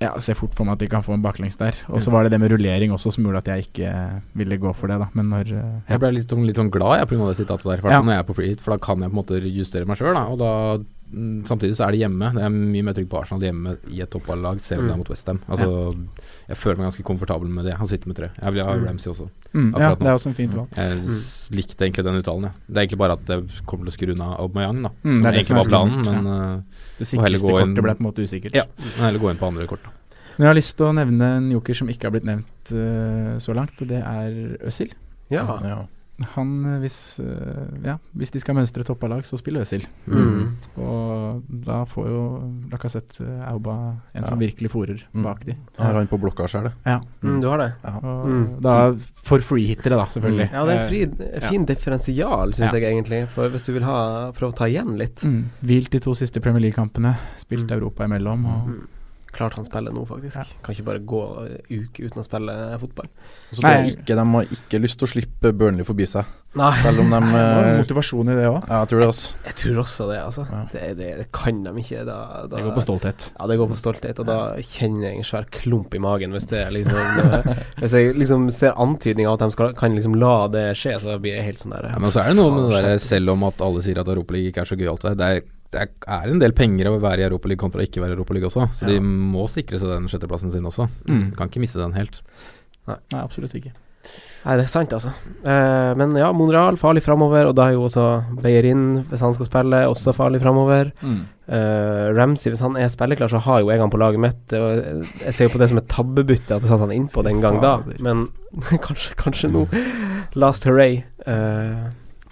[SPEAKER 2] ja, ser fort for meg at de kan få en baklengs der. Og så var det det med rullering også som gjorde at jeg ikke ville gå for det, da. Men når eh,
[SPEAKER 5] Jeg ble litt, sånn- litt sånn glad jeg, på grunn av det sitatet der, i hvert
[SPEAKER 2] Ja.
[SPEAKER 5] fall når jeg er på free hit, for da kan jeg på en måte justere meg sjøl. Og da mm, Samtidig så er det hjemme. Jeg er mye mer trygg på Arsenal hjemme i et toppballag, selv om det er mot Westham. Altså, Jeg føler meg ganske komfortabel med det. Han sitter med tre. Jeg vil ha
[SPEAKER 3] Mm.
[SPEAKER 5] Ramsey også.
[SPEAKER 2] mm, Ja,
[SPEAKER 5] Akkurat nå.
[SPEAKER 2] det er også en fint valg.
[SPEAKER 5] Jeg s- likte egentlig den uttalen, jeg. Det er egentlig bare at jeg kommer til å skru unna Aubameyang, da.
[SPEAKER 2] Mm,
[SPEAKER 5] som
[SPEAKER 2] det er det
[SPEAKER 5] egentlig
[SPEAKER 2] som er
[SPEAKER 5] var planen,
[SPEAKER 2] skummelt,
[SPEAKER 5] men
[SPEAKER 2] Det
[SPEAKER 5] Og heller
[SPEAKER 2] sikreste
[SPEAKER 5] gå inn-
[SPEAKER 2] kortet ble på en måte usikkert.
[SPEAKER 5] ja. jeg vil heller gå inn på andre kort. da.
[SPEAKER 2] Men jeg har lyst til å nevne en joker som ikke har blitt nevnt eh, så langt, og det er Øsil.
[SPEAKER 3] Ja.
[SPEAKER 4] Ja.
[SPEAKER 2] Han, eh, hvis, eh, ja, hvis de skal mønstre toppalag, så spiller Øsil.
[SPEAKER 3] Mm.
[SPEAKER 2] Og da får jo Lacassette eh, Auba en som
[SPEAKER 4] Ja.
[SPEAKER 2] virkelig fôrer
[SPEAKER 4] Mm.
[SPEAKER 2] bak de.
[SPEAKER 4] Jeg Har han på blokka sjøl, det.
[SPEAKER 2] Ja.
[SPEAKER 3] Mm, du har det.
[SPEAKER 2] Og
[SPEAKER 3] Mm.
[SPEAKER 2] da for freehittere, da, selvfølgelig.
[SPEAKER 3] Ja, det er en
[SPEAKER 2] Eh,
[SPEAKER 3] fri, en fin differensial, syns
[SPEAKER 2] Ja.
[SPEAKER 3] jeg egentlig. For hvis du vil ha, prøve å ta igjen litt
[SPEAKER 2] Mm. Hvilt de to siste Premier League-kampene, spilt
[SPEAKER 3] Mm.
[SPEAKER 2] Europa imellom. Og
[SPEAKER 3] Mm. Klart han spiller nå, faktisk.
[SPEAKER 2] Ja.
[SPEAKER 3] Kan ikke bare gå en uke uten å spille fotball.
[SPEAKER 4] Så det er
[SPEAKER 2] Nei.
[SPEAKER 4] ikke, de har ikke lyst til å slippe Burnley forbi seg,
[SPEAKER 3] Nei,
[SPEAKER 4] selv om de
[SPEAKER 2] Det var
[SPEAKER 4] eh,
[SPEAKER 2] motivasjon i det òg.
[SPEAKER 4] Ja, jeg tror det, altså.
[SPEAKER 3] jeg tror også det, altså.
[SPEAKER 4] Ja.
[SPEAKER 3] Det, det, det kan de ikke. Da, da,
[SPEAKER 2] Det går på stolthet.
[SPEAKER 3] Ja, det går på stolthet, og da kjenner jeg en svær klump i magen hvis, det er liksom, eh, hvis jeg liksom ser antydning av at de skal, kan liksom la det skje, så blir jeg helt sånn der
[SPEAKER 5] Ja, men så er det noe med det
[SPEAKER 3] faen,
[SPEAKER 5] der,
[SPEAKER 3] skjønt.
[SPEAKER 5] selv om at alle sier at Europaligaen ikke er så gøy alt det der, det er, det er- er en del penger å være i Europaligaen kontra ikke være i Europaligaen også, så de må sikre seg den sjetteplassen sin også.
[SPEAKER 2] Mm.
[SPEAKER 5] Kan ikke miste den helt.
[SPEAKER 2] Nei, absolutt ikke.
[SPEAKER 3] Nei, det er sant, altså. Eh, men ja, Monreal farlig framover, og da er jo også Beyerin, hvis han skal spille, også farlig framover.
[SPEAKER 2] Mm.
[SPEAKER 3] Eh, Ramsey, hvis han er spilleklar, så har jo jeg han på laget mitt. Og jeg ser jo på det som et tabbebytte at jeg satte han innpå den gang da,
[SPEAKER 2] Fader.
[SPEAKER 3] men kanskje, kanskje nå. Last hurray. Eh,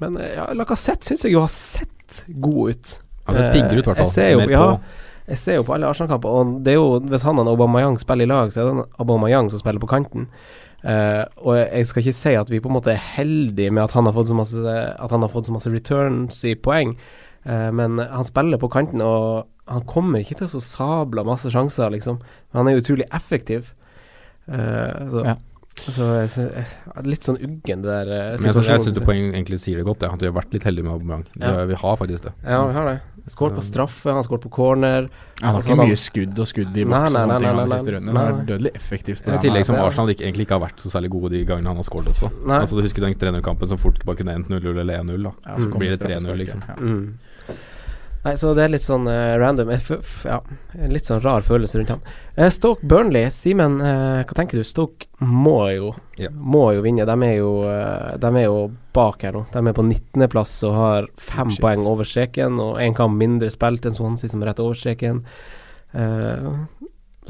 [SPEAKER 3] men eh, ja, Lacassette syns jeg jo har sett god ut.
[SPEAKER 5] Han
[SPEAKER 4] Altså,
[SPEAKER 5] ser
[SPEAKER 3] Eh,
[SPEAKER 5] piggere ut, i hvert
[SPEAKER 3] jeg
[SPEAKER 5] fall.
[SPEAKER 3] ser jo-
[SPEAKER 5] Mer
[SPEAKER 3] ja.
[SPEAKER 5] på.
[SPEAKER 3] Jeg ser jo på alle Arsenal-kamper, og det er jo, hvis han og Aubameyang spiller i lag, så er det Aubameyang som spiller på kanten. Eh, og jeg jeg skal ikke si at vi på en måte er heldige med at han har fått så masse, at han har fått så masse returns i poeng, Eh, men han spiller på kanten, og han kommer ikke til å så sabla masse sjanser, liksom. Men han er utrolig effektiv. Eh, så
[SPEAKER 2] Ja.
[SPEAKER 3] Så, jeg sy- jeg- litt sånn uggen det der eh,
[SPEAKER 4] Men jeg, synes- jeg syns
[SPEAKER 3] situasjonen.
[SPEAKER 4] du poeng egentlig sier det godt, ja, at vi har vært litt heldige med Aubameyang. Det-
[SPEAKER 3] Ja.
[SPEAKER 4] Vi har faktisk det.
[SPEAKER 3] Ja, vi har det. Skål på
[SPEAKER 4] Så-
[SPEAKER 3] straffe, han skål på corner.
[SPEAKER 2] Han har
[SPEAKER 3] Og så
[SPEAKER 2] ikke mye skudd og skudd i boks og sånne ting han de siste rundene, så han er dødelig effektivt. på
[SPEAKER 4] I
[SPEAKER 2] det han
[SPEAKER 4] tillegg
[SPEAKER 2] er.
[SPEAKER 4] som
[SPEAKER 2] Det er-
[SPEAKER 4] Arsenal ikke, egentlig ikke har vært så særlig gode de gangene han har skåret også.
[SPEAKER 3] Nei.
[SPEAKER 4] Altså Du husker den 3-0-kampen som fort bare kunne endt 0-0 eller 1-0. da
[SPEAKER 2] Ja, så
[SPEAKER 4] så
[SPEAKER 2] kom
[SPEAKER 4] blir det
[SPEAKER 2] det
[SPEAKER 4] 3-0,
[SPEAKER 2] straffespark,
[SPEAKER 4] liksom.
[SPEAKER 2] Mm. ja.
[SPEAKER 3] Mm. Nei, så det er litt sånn eh, random. Jeg f f ja, en litt sånn rar følelse rundt han. Eh, Stoke Burnley, Simen, eh, hva tenker du? Stoke må jo
[SPEAKER 4] Ja.
[SPEAKER 3] Må jo vinne. De er jo, eh, de er jo bak her nå. De er på 19.-plass og har fem
[SPEAKER 2] Shit.
[SPEAKER 3] poeng over streken og én kamp mindre spilt enn Swansea, som er rett over streken. Eh,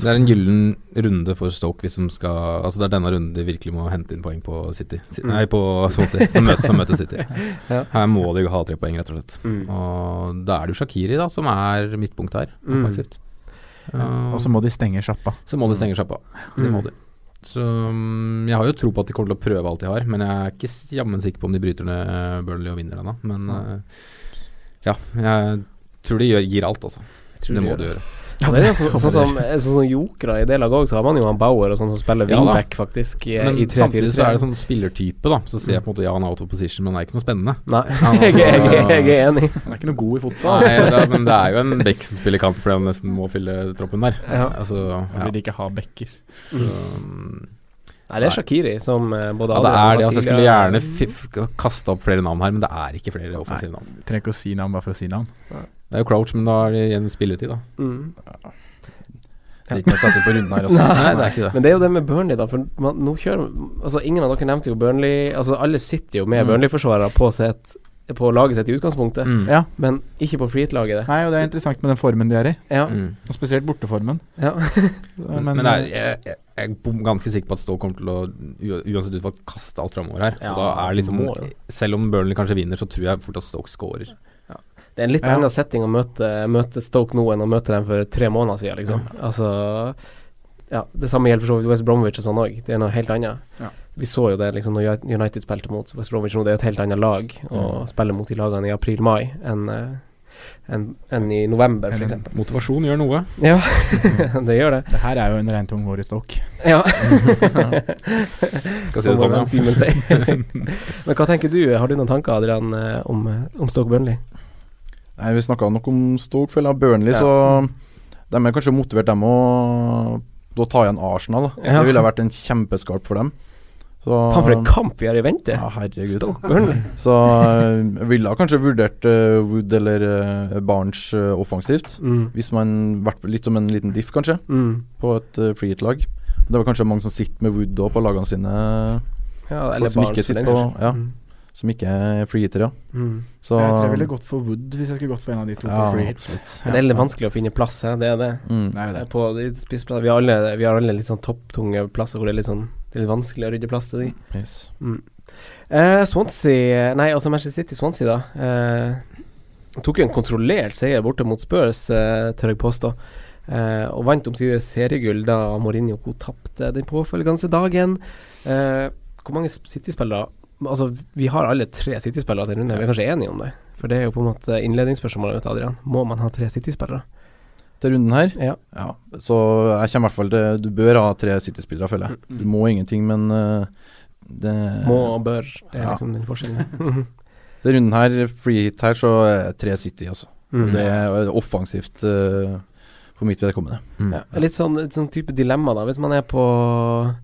[SPEAKER 4] Det er en gyllen runde for Stoke hvis de skal Altså det er denne runden de virkelig må hente inn poeng på City. Si-
[SPEAKER 3] Mm.
[SPEAKER 4] Nei, på Swansea, som møter, som møter City.
[SPEAKER 3] Ja.
[SPEAKER 4] Her må de ha tre poeng, rett og slett.
[SPEAKER 3] Mm.
[SPEAKER 4] Og da er det jo Shakiri da som er midtpunkt her,
[SPEAKER 3] Mm.
[SPEAKER 4] offensivt. Uh,
[SPEAKER 2] Og så må de stenge sjappa.
[SPEAKER 4] så må de stenge sjappa. Det må
[SPEAKER 3] Mm.
[SPEAKER 4] de. Så mm, jeg har jo tro på at de kommer til å prøve alt de har, men jeg er ikke s- jammen sikker på om de bryter ned Burnley og vinner ennå. Men eh, ja, jeg tror de gjør, gir alt, altså.
[SPEAKER 3] tror
[SPEAKER 4] Det
[SPEAKER 3] de
[SPEAKER 4] må
[SPEAKER 3] gjør
[SPEAKER 4] de gjøre.
[SPEAKER 3] Ja, det er jo så, sånn som sånn som jokere i det laget òg, så har man jo han Bauer og sånn som spiller
[SPEAKER 4] Ja da.
[SPEAKER 3] wingback, faktisk, i,
[SPEAKER 4] Men
[SPEAKER 3] i 3-4-3.
[SPEAKER 4] samtidig så er det sånn spillertype, da. Så ser jeg på en måte ja, han er out of position, men han er ikke noe spennende.
[SPEAKER 3] Nei,
[SPEAKER 4] Han,
[SPEAKER 3] jeg,
[SPEAKER 4] altså,
[SPEAKER 3] jeg, jeg, jeg er enig.
[SPEAKER 2] Han er ikke noe god i fotball.
[SPEAKER 4] Nei, da, men det er jo en bekk som spiller kamp fordi han nesten må fylle troppen der.
[SPEAKER 3] Ja.
[SPEAKER 4] Altså,
[SPEAKER 2] Han
[SPEAKER 4] ja. Mm.
[SPEAKER 2] vil ikke ha bekker.
[SPEAKER 4] Så,
[SPEAKER 3] Nei, det er Shakiri som eh, både
[SPEAKER 4] ja, det
[SPEAKER 3] Adrian
[SPEAKER 4] er
[SPEAKER 3] og
[SPEAKER 4] det. Altså, jeg skulle
[SPEAKER 3] tidligere-
[SPEAKER 4] gjerne fi- kasta opp flere navn her, men det er ikke flere offensive navn.
[SPEAKER 2] Vi trenger ikke å si navn bare for å si navn.
[SPEAKER 4] Det er jo Crouch, men da er det igjen spilletid, da.
[SPEAKER 3] Mm.
[SPEAKER 7] Det er ikke noe å sette på runden her, altså.
[SPEAKER 4] Nei, det er ikke det.
[SPEAKER 3] Men det er jo det med Burnley, da. For man, nå kjører Altså, ingen av dere nevnte jo Burnley Altså, alle sitter jo med
[SPEAKER 4] Mm.
[SPEAKER 3] Burnley-forsvarere på sitt på laget sitt i utgangspunktet,
[SPEAKER 4] Mm.
[SPEAKER 2] Ja.
[SPEAKER 3] men ikke på Freet-laget, det.
[SPEAKER 2] Nei, og det er interessant med den formen de er i,
[SPEAKER 3] Ja.
[SPEAKER 4] Mm.
[SPEAKER 2] og spesielt borteformen.
[SPEAKER 3] ja.
[SPEAKER 4] Men, men det er,
[SPEAKER 7] eh,
[SPEAKER 4] jeg, jeg, jeg er bom- ganske sikker på at Stoke kommer til å u- uansett utfall kaste alt framover her.
[SPEAKER 3] Ja,
[SPEAKER 4] og da er det liksom
[SPEAKER 3] de må jo.
[SPEAKER 4] Selv om Burnley kanskje vinner, så tror jeg fort at Stoke scorer.
[SPEAKER 3] Det er en litt
[SPEAKER 2] Ja.
[SPEAKER 3] annen setting å møte, møte Stoke nå enn å møte dem for tre måneder siden, liksom. Altså Ja, det samme gjelder for så vidt West Bromwich og sånn òg. Det er noe helt annet.
[SPEAKER 2] Ja.
[SPEAKER 3] Vi så jo det liksom når United spilte mot West Bromwich nå, det er jo et helt annet lag å spille mot de lagene i april-mai enn eh, enn- enn i november, f.eks.
[SPEAKER 4] Motivasjon gjør noe.
[SPEAKER 3] Ja, det gjør det.
[SPEAKER 2] Det her er jo en regntung hårestokk.
[SPEAKER 3] Ja.
[SPEAKER 4] Skal si
[SPEAKER 3] Som
[SPEAKER 4] det sånn,
[SPEAKER 3] Simen
[SPEAKER 4] ja.
[SPEAKER 3] sier. Men hva tenker du, har du noen tanker, Adrian, eh, om, om Stoke Burnley?
[SPEAKER 7] Nei, vi snakka nok om Stoke, føler jeg. Burnley,
[SPEAKER 3] Ja.
[SPEAKER 7] så de er kanskje motivert, dem å da ta igjen Arsenal. Da.
[SPEAKER 3] Ja.
[SPEAKER 7] Det ville vært en kjempeskarp for dem. Så,
[SPEAKER 3] Faen, for en kamp vi har i vente!
[SPEAKER 7] Ja, herregud.
[SPEAKER 3] Stoke Burnley.
[SPEAKER 7] Så eh, ville ha kanskje vurdert eh, Wood eller eh, Barnes eh, offensivt.
[SPEAKER 3] Mm.
[SPEAKER 7] Hvis man vært litt som en liten diff, kanskje,
[SPEAKER 3] Mm.
[SPEAKER 7] på et uh, freehit-lag. Det var kanskje mange som sitter med Wood òg på lagene sine,
[SPEAKER 3] Ja,
[SPEAKER 7] Folk som ikke
[SPEAKER 3] for den
[SPEAKER 7] sitter
[SPEAKER 3] saks
[SPEAKER 7] på- ja.
[SPEAKER 3] skyld.
[SPEAKER 7] som ikke er freehitere. Ja.
[SPEAKER 3] Mm.
[SPEAKER 7] Så
[SPEAKER 2] Jeg tror jeg ville gått for Wood hvis jeg skulle gått for en av de to.
[SPEAKER 7] Ja,
[SPEAKER 2] på free hit.
[SPEAKER 7] absolutt.
[SPEAKER 3] Men Det er litt vanskelig å finne plass, eh, det er det.
[SPEAKER 7] Mm.
[SPEAKER 2] Det er jo det.
[SPEAKER 3] På de spissplasser- vi, har alle, vi har alle litt sånn topptunge plasser hvor det er litt sånn det er litt vanskelig å rydde plass til de.
[SPEAKER 7] Yes.
[SPEAKER 3] Eh, Swansea Nei, altså Manchester City Swansea, da. Eh, tok jo en kontrollert seier borte mot Spurs, eh, tør jeg påstå. Eh, og vant omsider seriegull da Mourinho Co tapte den påfølgende dagen. Eh, hvor mange sp- City-spillere Altså, vi har alle tre City-spillere til runde, vi er kanskje enige om det? For det er jo på en måte innledningsspørsmålet mitt, Adrian. Må man ha tre City-spillere?
[SPEAKER 7] Til runden her
[SPEAKER 3] Ja.
[SPEAKER 7] Ja, så jeg kommer i hvert fall til Du bør ha tre City-spillere, føler jeg. Du må ingenting, men eh, det,
[SPEAKER 3] Mm. Må og bør, det er
[SPEAKER 7] Ja.
[SPEAKER 3] liksom den forskjellen.
[SPEAKER 7] det runden her, free hit her, så er tre City, altså.
[SPEAKER 3] Mm.
[SPEAKER 7] Det er offensivt eh, for mitt vedkommende.
[SPEAKER 4] Mm.
[SPEAKER 2] Mm.
[SPEAKER 3] Ja, litt sånn, et sånn type dilemma, da. Hvis man er på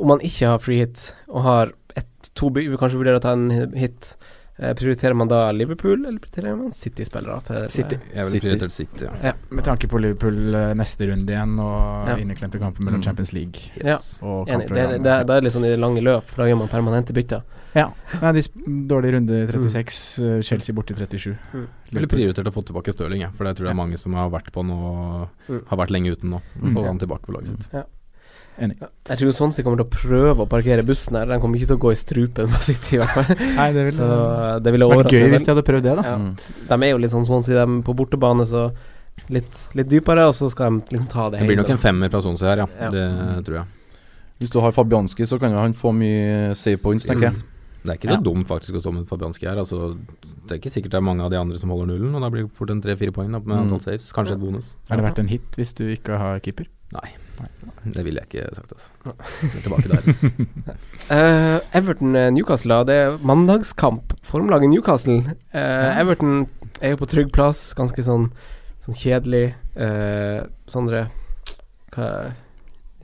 [SPEAKER 3] Om man ikke har free hit, og har ett, to by, vi kanskje vurderer å ta en hit, eh, prioriterer man da Liverpool, eller prioriterer man City-spillere? til- eh,
[SPEAKER 2] City.
[SPEAKER 4] Jeg ville
[SPEAKER 7] City.
[SPEAKER 4] prioritert City. Ja.
[SPEAKER 2] Med tanke på Liverpool eh, neste runde igjen, og
[SPEAKER 3] Ja.
[SPEAKER 2] inneklemte kamper mellom
[SPEAKER 4] Mm.
[SPEAKER 2] Champions League
[SPEAKER 3] Ja,
[SPEAKER 2] og
[SPEAKER 3] enig. Det, er-
[SPEAKER 2] kampprogrammet.
[SPEAKER 3] det, er- det er litt sånn i det lange løp, for da gjør man permanente bytter.
[SPEAKER 2] Nei, de sp dårlig runde 36, eh, Chelsea borte 37.
[SPEAKER 3] Mm.
[SPEAKER 4] Jeg ville prioritert å få tilbake Stirling, jeg, for det tror jeg er mange som har vært på nå,
[SPEAKER 3] Mm.
[SPEAKER 4] har vært lenge uten nå.
[SPEAKER 2] Mm.
[SPEAKER 4] Få han tilbake på laget sitt.
[SPEAKER 3] Jeg tror Swansea kommer til å prøve å parkere bussen her. De kommer ikke til å gå i strupen på City, i hvert fall.
[SPEAKER 2] Nei, det ville
[SPEAKER 3] Så eh, det ville
[SPEAKER 2] vært
[SPEAKER 3] overraske
[SPEAKER 2] gøy
[SPEAKER 3] meg
[SPEAKER 2] hvis de hadde prøvd det, da.
[SPEAKER 3] Ja.
[SPEAKER 7] Mm.
[SPEAKER 3] De er jo litt sånn Swansea, de på bortebane, så litt, litt dypere, og så skal de liksom ta det
[SPEAKER 4] Det blir nok en femmer fra Sonsi her,
[SPEAKER 3] Ja.
[SPEAKER 4] ja. Det tror jeg.
[SPEAKER 7] Hvis du har Fabianski, så kan jo han få mye save points, tenker jeg.
[SPEAKER 4] Mm. Det er ikke så dumt faktisk å stå med Fabianski her. Altså, det er ikke sikkert det er mange av de andre som holder nullen, og da blir det fort en tre-fire poeng da, med
[SPEAKER 7] Mm.
[SPEAKER 4] antall saves. Kanskje et bonus.
[SPEAKER 2] Er det vært en hit hvis du ikke har keeper?
[SPEAKER 4] Nei. Det ville jeg ikke sagt, altså. Jeg er tilbake der.
[SPEAKER 3] Eh, Everton eh, Newcastle, da. Det er mandagskamp. Formlaget Newcastle. Eh, Everton er jo på trygg plass. Ganske sånn, sånn kjedelig. Eh, Sondre, hva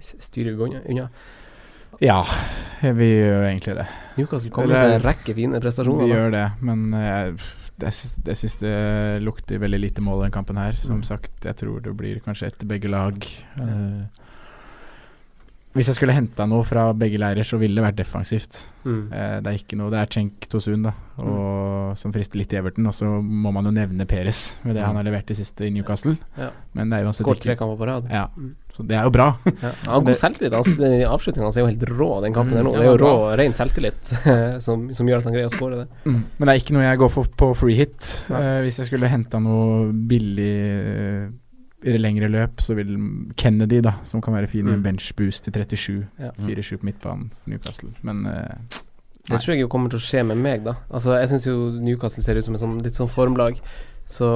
[SPEAKER 3] s- styrer vi unna? unna?
[SPEAKER 2] Ja, vi gjør jo egentlig det.
[SPEAKER 3] Newcastle kommer med en rekke fine prestasjoner,
[SPEAKER 2] De
[SPEAKER 3] da.
[SPEAKER 2] gjør det, men eh, jeg syns, jeg syns det lukter veldig lite mål i den kampen her. Som sagt, jeg tror det blir kanskje etter begge lag. Eh, hvis jeg skulle henta noe fra begge leirer, så ville det vært defensivt.
[SPEAKER 3] Mm.
[SPEAKER 2] Eh, det er ikke noe Det er Cenk Tosun, da, og, som frister litt i Everton. Og så må man jo nevne Peres med det han har levert i siste i Newcastle.
[SPEAKER 3] Ja.
[SPEAKER 2] Men det er uansett
[SPEAKER 3] Skåret tre kamper på rad.
[SPEAKER 2] Ja. Så det er jo bra.
[SPEAKER 3] Ja, han har god
[SPEAKER 2] Det-
[SPEAKER 3] selvtillit. Altså, den Avslutninga hans er jo helt rå, den kampen
[SPEAKER 2] Mm,
[SPEAKER 3] der nå.
[SPEAKER 2] ja,
[SPEAKER 3] Det er jo
[SPEAKER 2] bra.
[SPEAKER 3] rå, ren selvtillit som, som gjør at han greier å skåre det.
[SPEAKER 2] Mm. Men det er ikke noe jeg går for på free hit. Eh, hvis jeg skulle henta noe billig eh, i det lengre løp, så vil Kennedy, da, som kan være fin i
[SPEAKER 3] Mm.
[SPEAKER 2] bench boost til 37,
[SPEAKER 3] Ja.
[SPEAKER 2] 4-7 på midtbanen for Newcastle. Men eh,
[SPEAKER 3] Det tror jeg jo kommer til å skje med meg, da. Altså, jeg syns jo Newcastle ser ut som en sånn, litt sånn formlag. Så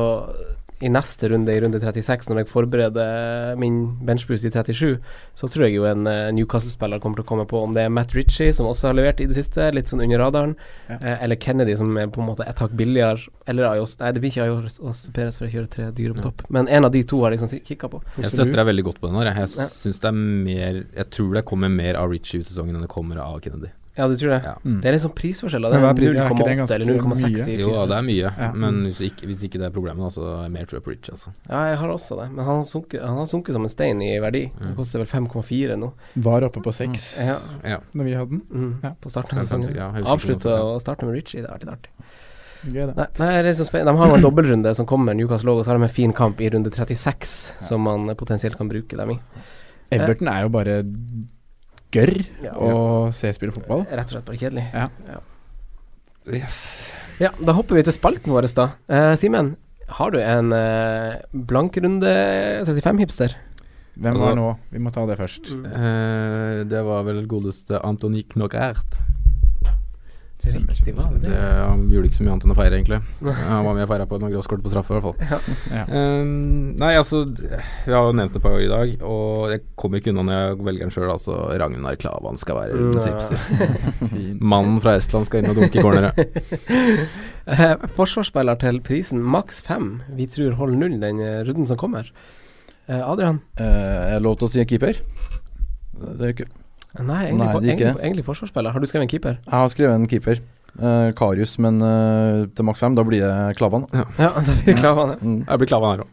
[SPEAKER 3] i neste runde, i runde 36, når jeg forbereder min benchboost i 37, så tror jeg jo en eh, Newcastle-spiller kommer til å komme på om det er Matt Ritchie, som også har levert i det siste, litt sånn under radaren, eh, eller Kennedy, som er på en måte et hakk billigere, eller Ajos Nei, det blir ikke Ajos og Perez, for jeg kjører tre dyre på topp, men en av de to har jeg liksom kikka på.
[SPEAKER 4] Jeg støtter deg veldig godt på den her. jeg.
[SPEAKER 3] Ja.
[SPEAKER 4] Jeg syns det er mer Jeg tror det kommer mer av Ritchie ut sesongen enn det kommer av Kennedy.
[SPEAKER 3] Ja, du tror det?
[SPEAKER 4] Ja.
[SPEAKER 2] Mm.
[SPEAKER 3] Det er liksom prisforskjeller.
[SPEAKER 2] Men hva er
[SPEAKER 3] Det
[SPEAKER 2] pri-
[SPEAKER 3] er
[SPEAKER 2] er ikke det
[SPEAKER 3] 0,8 eller 0,6 i
[SPEAKER 2] ganske mye?
[SPEAKER 3] prisforskjell.
[SPEAKER 4] Jo, ja, det er mye,
[SPEAKER 2] Ja.
[SPEAKER 4] men hvis ikke, hvis ikke det er problemet, da, så er jeg mer tror jeg på Ritchie, altså.
[SPEAKER 3] Ja, jeg har også det, men han har sunket, han har sunket som en stein i verdi.
[SPEAKER 4] Mm.
[SPEAKER 3] Det koster vel 5,4 nå.
[SPEAKER 2] var oppe på seks
[SPEAKER 8] Mm.
[SPEAKER 3] Ja,
[SPEAKER 4] Ja.
[SPEAKER 2] når vi hadde den.
[SPEAKER 3] mm,
[SPEAKER 2] Ja.
[SPEAKER 3] På starten av
[SPEAKER 4] Ja,
[SPEAKER 3] sesongen.
[SPEAKER 4] ja, jeg husker
[SPEAKER 3] Avslutte
[SPEAKER 4] ikke noe.
[SPEAKER 3] og starte med Ritchie, det er litt artig.
[SPEAKER 2] Gøy, det.
[SPEAKER 3] Nei, nei, det er liksom spen- De har jo en dobbeltrunde som kommer, Newcastle også, og så har de en fin kamp i runde 36 som man eh, potensielt kan bruke dem i.
[SPEAKER 8] eh.
[SPEAKER 2] Everton er jo bare gørr
[SPEAKER 3] Ja.
[SPEAKER 2] å se spille fotball.
[SPEAKER 8] Eh,
[SPEAKER 3] Rett og slett bare kjedelig.
[SPEAKER 2] Ja.
[SPEAKER 3] Ja. Ja, da hopper vi til spalten vår, da. Eh, Simen, har du en eh, blankrunde 35-hipster?
[SPEAKER 2] Hvem
[SPEAKER 4] Altså-
[SPEAKER 2] var nå? Vi må ta det først.
[SPEAKER 8] Mm.
[SPEAKER 4] Eh, det var vel godeste Antony Knockert.
[SPEAKER 3] Riktig, hva er
[SPEAKER 4] Det,
[SPEAKER 3] det?
[SPEAKER 4] han gjorde ikke så mye annet enn å feire, egentlig. Han var med og feira på noen gråskort på straffe, i hvert fall.
[SPEAKER 2] Ja.
[SPEAKER 4] Ehm, nei, altså Vi har jo nevnt det et par ganger i dag, og jeg kommer ikke unna når jeg velger den sjøl. Altså, Ragnar Klavan skal være
[SPEAKER 3] Nei.
[SPEAKER 4] hipster. Mannen fra Estland skal inn og dunke i corneret.
[SPEAKER 3] Eh, forsvarsspiller til prisen maks fem. Vi tror hold null den eh, runden som kommer. Eh, Adrian?
[SPEAKER 8] Eh, er det lov til å si keeper? Det er ikke
[SPEAKER 3] Nei, egentlig,
[SPEAKER 8] Nei, det er ikke
[SPEAKER 3] egentlig, egentlig forsvarsspiller. Har du skrevet en keeper?
[SPEAKER 8] Jeg har skrevet en keeper. Eh, Karius, men eh, til maks fem, da blir det Klavan. da.
[SPEAKER 3] Ja, da blir det Klavan. ja.
[SPEAKER 8] Mm.
[SPEAKER 4] Jeg blir Klavan her òg.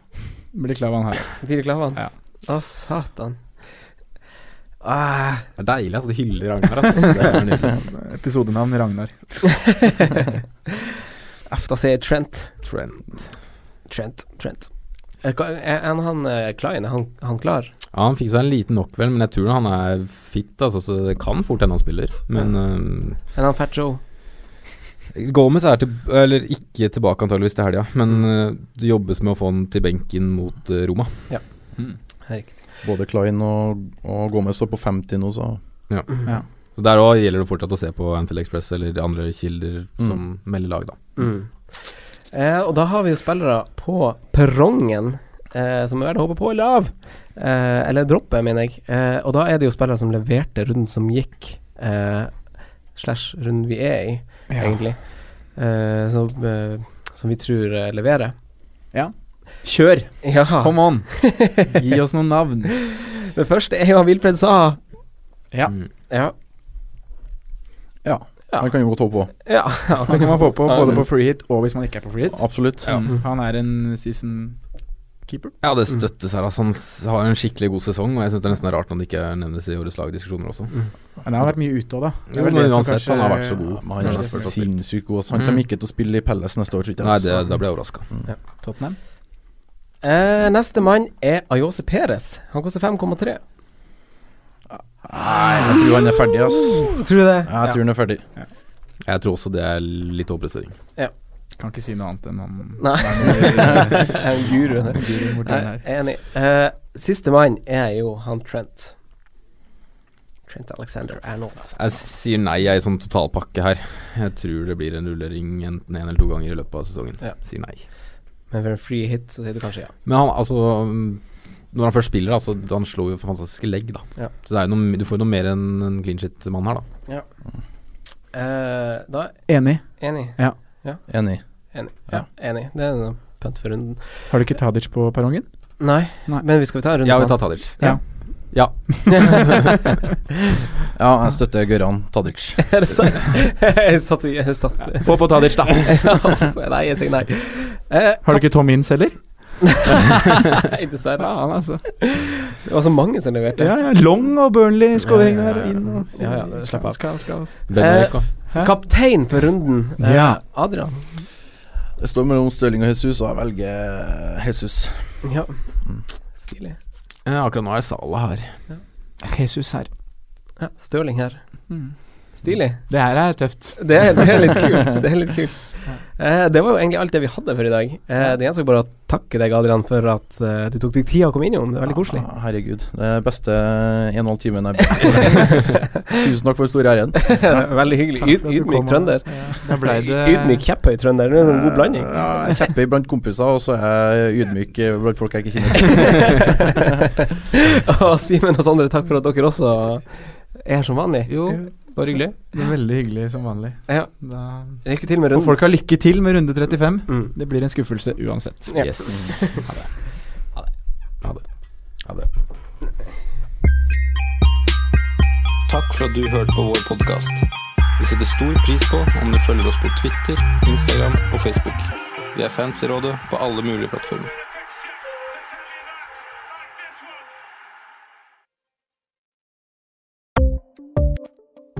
[SPEAKER 2] Blir Klavan her.
[SPEAKER 3] Blir det Klavan?
[SPEAKER 2] Ja.
[SPEAKER 3] Å, satan. Ah,
[SPEAKER 4] Det er deilig at du hyller Ragnar, ass. Det er nydelig.
[SPEAKER 2] Episodenavn Ragnar.
[SPEAKER 3] F, da sier jeg Trent.
[SPEAKER 4] Trent.
[SPEAKER 3] Trent, Trent. Er, hva- er er han eh, Klein, er han, han klar?
[SPEAKER 4] Ja, han fikk seg en liten knock, vel, men jeg tror han er fit, altså, så det kan fort hende han spiller. Men ehm,
[SPEAKER 3] Er han Fat Joe?
[SPEAKER 4] Gomez er til, eller ikke tilbake antageligvis til helga, men eh, det jobbes med å få han til benken mot eh, Roma.
[SPEAKER 3] Riktig.
[SPEAKER 8] Både Klein og, og Gomez står på 50 nå, så
[SPEAKER 4] Så der òg gjelder det fortsatt å se på Anfield Express eller andre kilder
[SPEAKER 8] Mm.
[SPEAKER 4] som melder lag, da.
[SPEAKER 3] Mm. Eh, og da har vi jo spillere på perrongen eh, som er verdt å håpe på eller av. Eh, eller droppe, mener jeg. Eh, og da er det jo spillere som leverte runden som gikk, eh, slash runden vi er i, egentlig. Eh, som, eh, som vi tror eh, leverer.
[SPEAKER 2] Kjør!
[SPEAKER 3] Ja.
[SPEAKER 2] Come on! Gi oss noen navn.
[SPEAKER 3] Det første er jo Wilfred Saha.
[SPEAKER 2] Ja.
[SPEAKER 4] Mm.
[SPEAKER 3] Ja.
[SPEAKER 8] ja.
[SPEAKER 3] Ja.
[SPEAKER 8] Han kan jo godt håpe på.
[SPEAKER 3] ja.
[SPEAKER 2] Han kan man få på både på free hit og hvis man ikke er på free hit.
[SPEAKER 8] Absolutt.
[SPEAKER 2] Mm. Han er en season keeper.
[SPEAKER 4] Ja, det
[SPEAKER 8] Mm.
[SPEAKER 4] støttes her. Altså, han s- har en skikkelig god sesong, og jeg syns det er nesten rart når det ikke nevnes i årets lagdiskusjoner også.
[SPEAKER 2] Men han har vært mye ute òg, da. Det er
[SPEAKER 4] Jo,
[SPEAKER 2] vel
[SPEAKER 4] Mm. men
[SPEAKER 2] det som
[SPEAKER 4] uansett, han har vært så god.
[SPEAKER 8] Ja, men han er
[SPEAKER 4] Kanskje spurt opp.
[SPEAKER 8] sinnssykt god. altså. Han
[SPEAKER 4] Mm.
[SPEAKER 8] kommer ikke til å spille i Pelles neste år, tror jeg.
[SPEAKER 4] Nei, det,
[SPEAKER 8] altså.
[SPEAKER 4] da ble jeg overraska.
[SPEAKER 2] Tottenham.
[SPEAKER 3] Eh, neste mann er Ayose Perez. Han koster 5,3.
[SPEAKER 8] Nei, jeg tror han er ferdig, ass.
[SPEAKER 3] Tror du det?
[SPEAKER 8] Jeg tror han er ferdig.
[SPEAKER 4] Jeg tror også det er litt overprestering.
[SPEAKER 2] Kan ikke si noe annet enn han
[SPEAKER 3] Nei. Jeg er en guru.
[SPEAKER 2] Han er en guru borti
[SPEAKER 3] Nei,
[SPEAKER 2] her.
[SPEAKER 3] jeg er enig. Eh, siste mann er jo han Trent. Trent Alexander Arnold.
[SPEAKER 4] Jeg sier nei, jeg, sånn totalpakke her. Jeg tror det blir en rullering enten én eller to ganger i løpet av sesongen.
[SPEAKER 3] Ja.
[SPEAKER 4] Sier nei.
[SPEAKER 3] Men for en free hit så sier du kanskje ja.
[SPEAKER 4] Men han, altså mm,
[SPEAKER 9] Når han først spiller, da, så han slo jo fantastiske legg, da.
[SPEAKER 3] Ja.
[SPEAKER 9] Så det er jo noe, du får jo noe mer enn en clean shit-mann her, da.
[SPEAKER 3] Ja. Eh, da
[SPEAKER 10] Enig.
[SPEAKER 3] Enig.
[SPEAKER 10] Ja.
[SPEAKER 3] Ja.
[SPEAKER 4] Enig.
[SPEAKER 3] Enig. Ja, enig. Det er en pønt for runden.
[SPEAKER 10] Har du ikke Tadic på perrongen?
[SPEAKER 3] Nei, men vi skal ta en runde
[SPEAKER 9] Ja, vi
[SPEAKER 3] på han.
[SPEAKER 9] tar Tadic.
[SPEAKER 10] Ja.
[SPEAKER 9] Ja.
[SPEAKER 4] ja, jeg støtter Gøran Tadic.
[SPEAKER 3] Er det sant? Jeg satt i jeg satt.
[SPEAKER 10] Få på Tadic, da.
[SPEAKER 3] Ja, nei, jeg sier nei. Eh,
[SPEAKER 10] Har du ikke Tom Inns heller?
[SPEAKER 3] nei, dessverre.
[SPEAKER 10] Faen, altså.
[SPEAKER 3] Det var så mange som leverte.
[SPEAKER 10] Ja, ja. Long og Burnley-skåring der. og Inn og
[SPEAKER 3] Ja, ja, det slapp av.
[SPEAKER 10] Skal, skal, skal.
[SPEAKER 9] Benedict, da.
[SPEAKER 3] Eh, Kaptein for runden, eh,
[SPEAKER 10] Ja.
[SPEAKER 3] Adrian.
[SPEAKER 4] Det står mellom Stirling og Jesus, og jeg velger Jesus.
[SPEAKER 3] Ja. Stilig.
[SPEAKER 9] Eh, akkurat nå er Salah her.
[SPEAKER 2] Eh,
[SPEAKER 10] Jesus her.
[SPEAKER 3] Ja, Stirling her. Stilig.
[SPEAKER 10] Det her er tøft.
[SPEAKER 3] Det er, det er litt kult. Det er litt kult. Eh, det var jo egentlig alt det vi hadde for i dag. Eh, det gjenstår bare å takke deg, Adrian, for at eh, du tok deg tid å komme innom. Det er veldig koselig.
[SPEAKER 4] Ja, herregud. Det er beste en og en halv timen jeg har brukt. Tusen takk for den store æren.
[SPEAKER 3] veldig hyggelig.
[SPEAKER 10] Takk for
[SPEAKER 3] Yd,
[SPEAKER 10] at du
[SPEAKER 3] ydmyk
[SPEAKER 10] kom,
[SPEAKER 3] trønder.
[SPEAKER 10] Ja. Da ble det
[SPEAKER 3] Ydmyk, kjepphøy trønder. Det er en god blanding.
[SPEAKER 4] Ja, jeg kjepper blant kompiser, og så er jeg ydmyk blant folk jeg ikke kjenner.
[SPEAKER 3] og Simen og Sondre, takk for at dere også er her som vanlig. Eh, Jo, bare hyggelig.
[SPEAKER 10] Det er veldig hyggelig som vanlig.
[SPEAKER 3] Ja.
[SPEAKER 10] Da
[SPEAKER 3] Lykke til med
[SPEAKER 10] får
[SPEAKER 3] runden.
[SPEAKER 10] folk ha lykke til med runde 35.
[SPEAKER 3] Mm.
[SPEAKER 10] Det blir en skuffelse uansett.
[SPEAKER 3] Ja.
[SPEAKER 11] Takk for at du hørte på vår podkast. Vi setter stor pris på om du følger oss på Twitter, Instagram og Facebook. Vi er fans i rådet på alle mulige plattformer.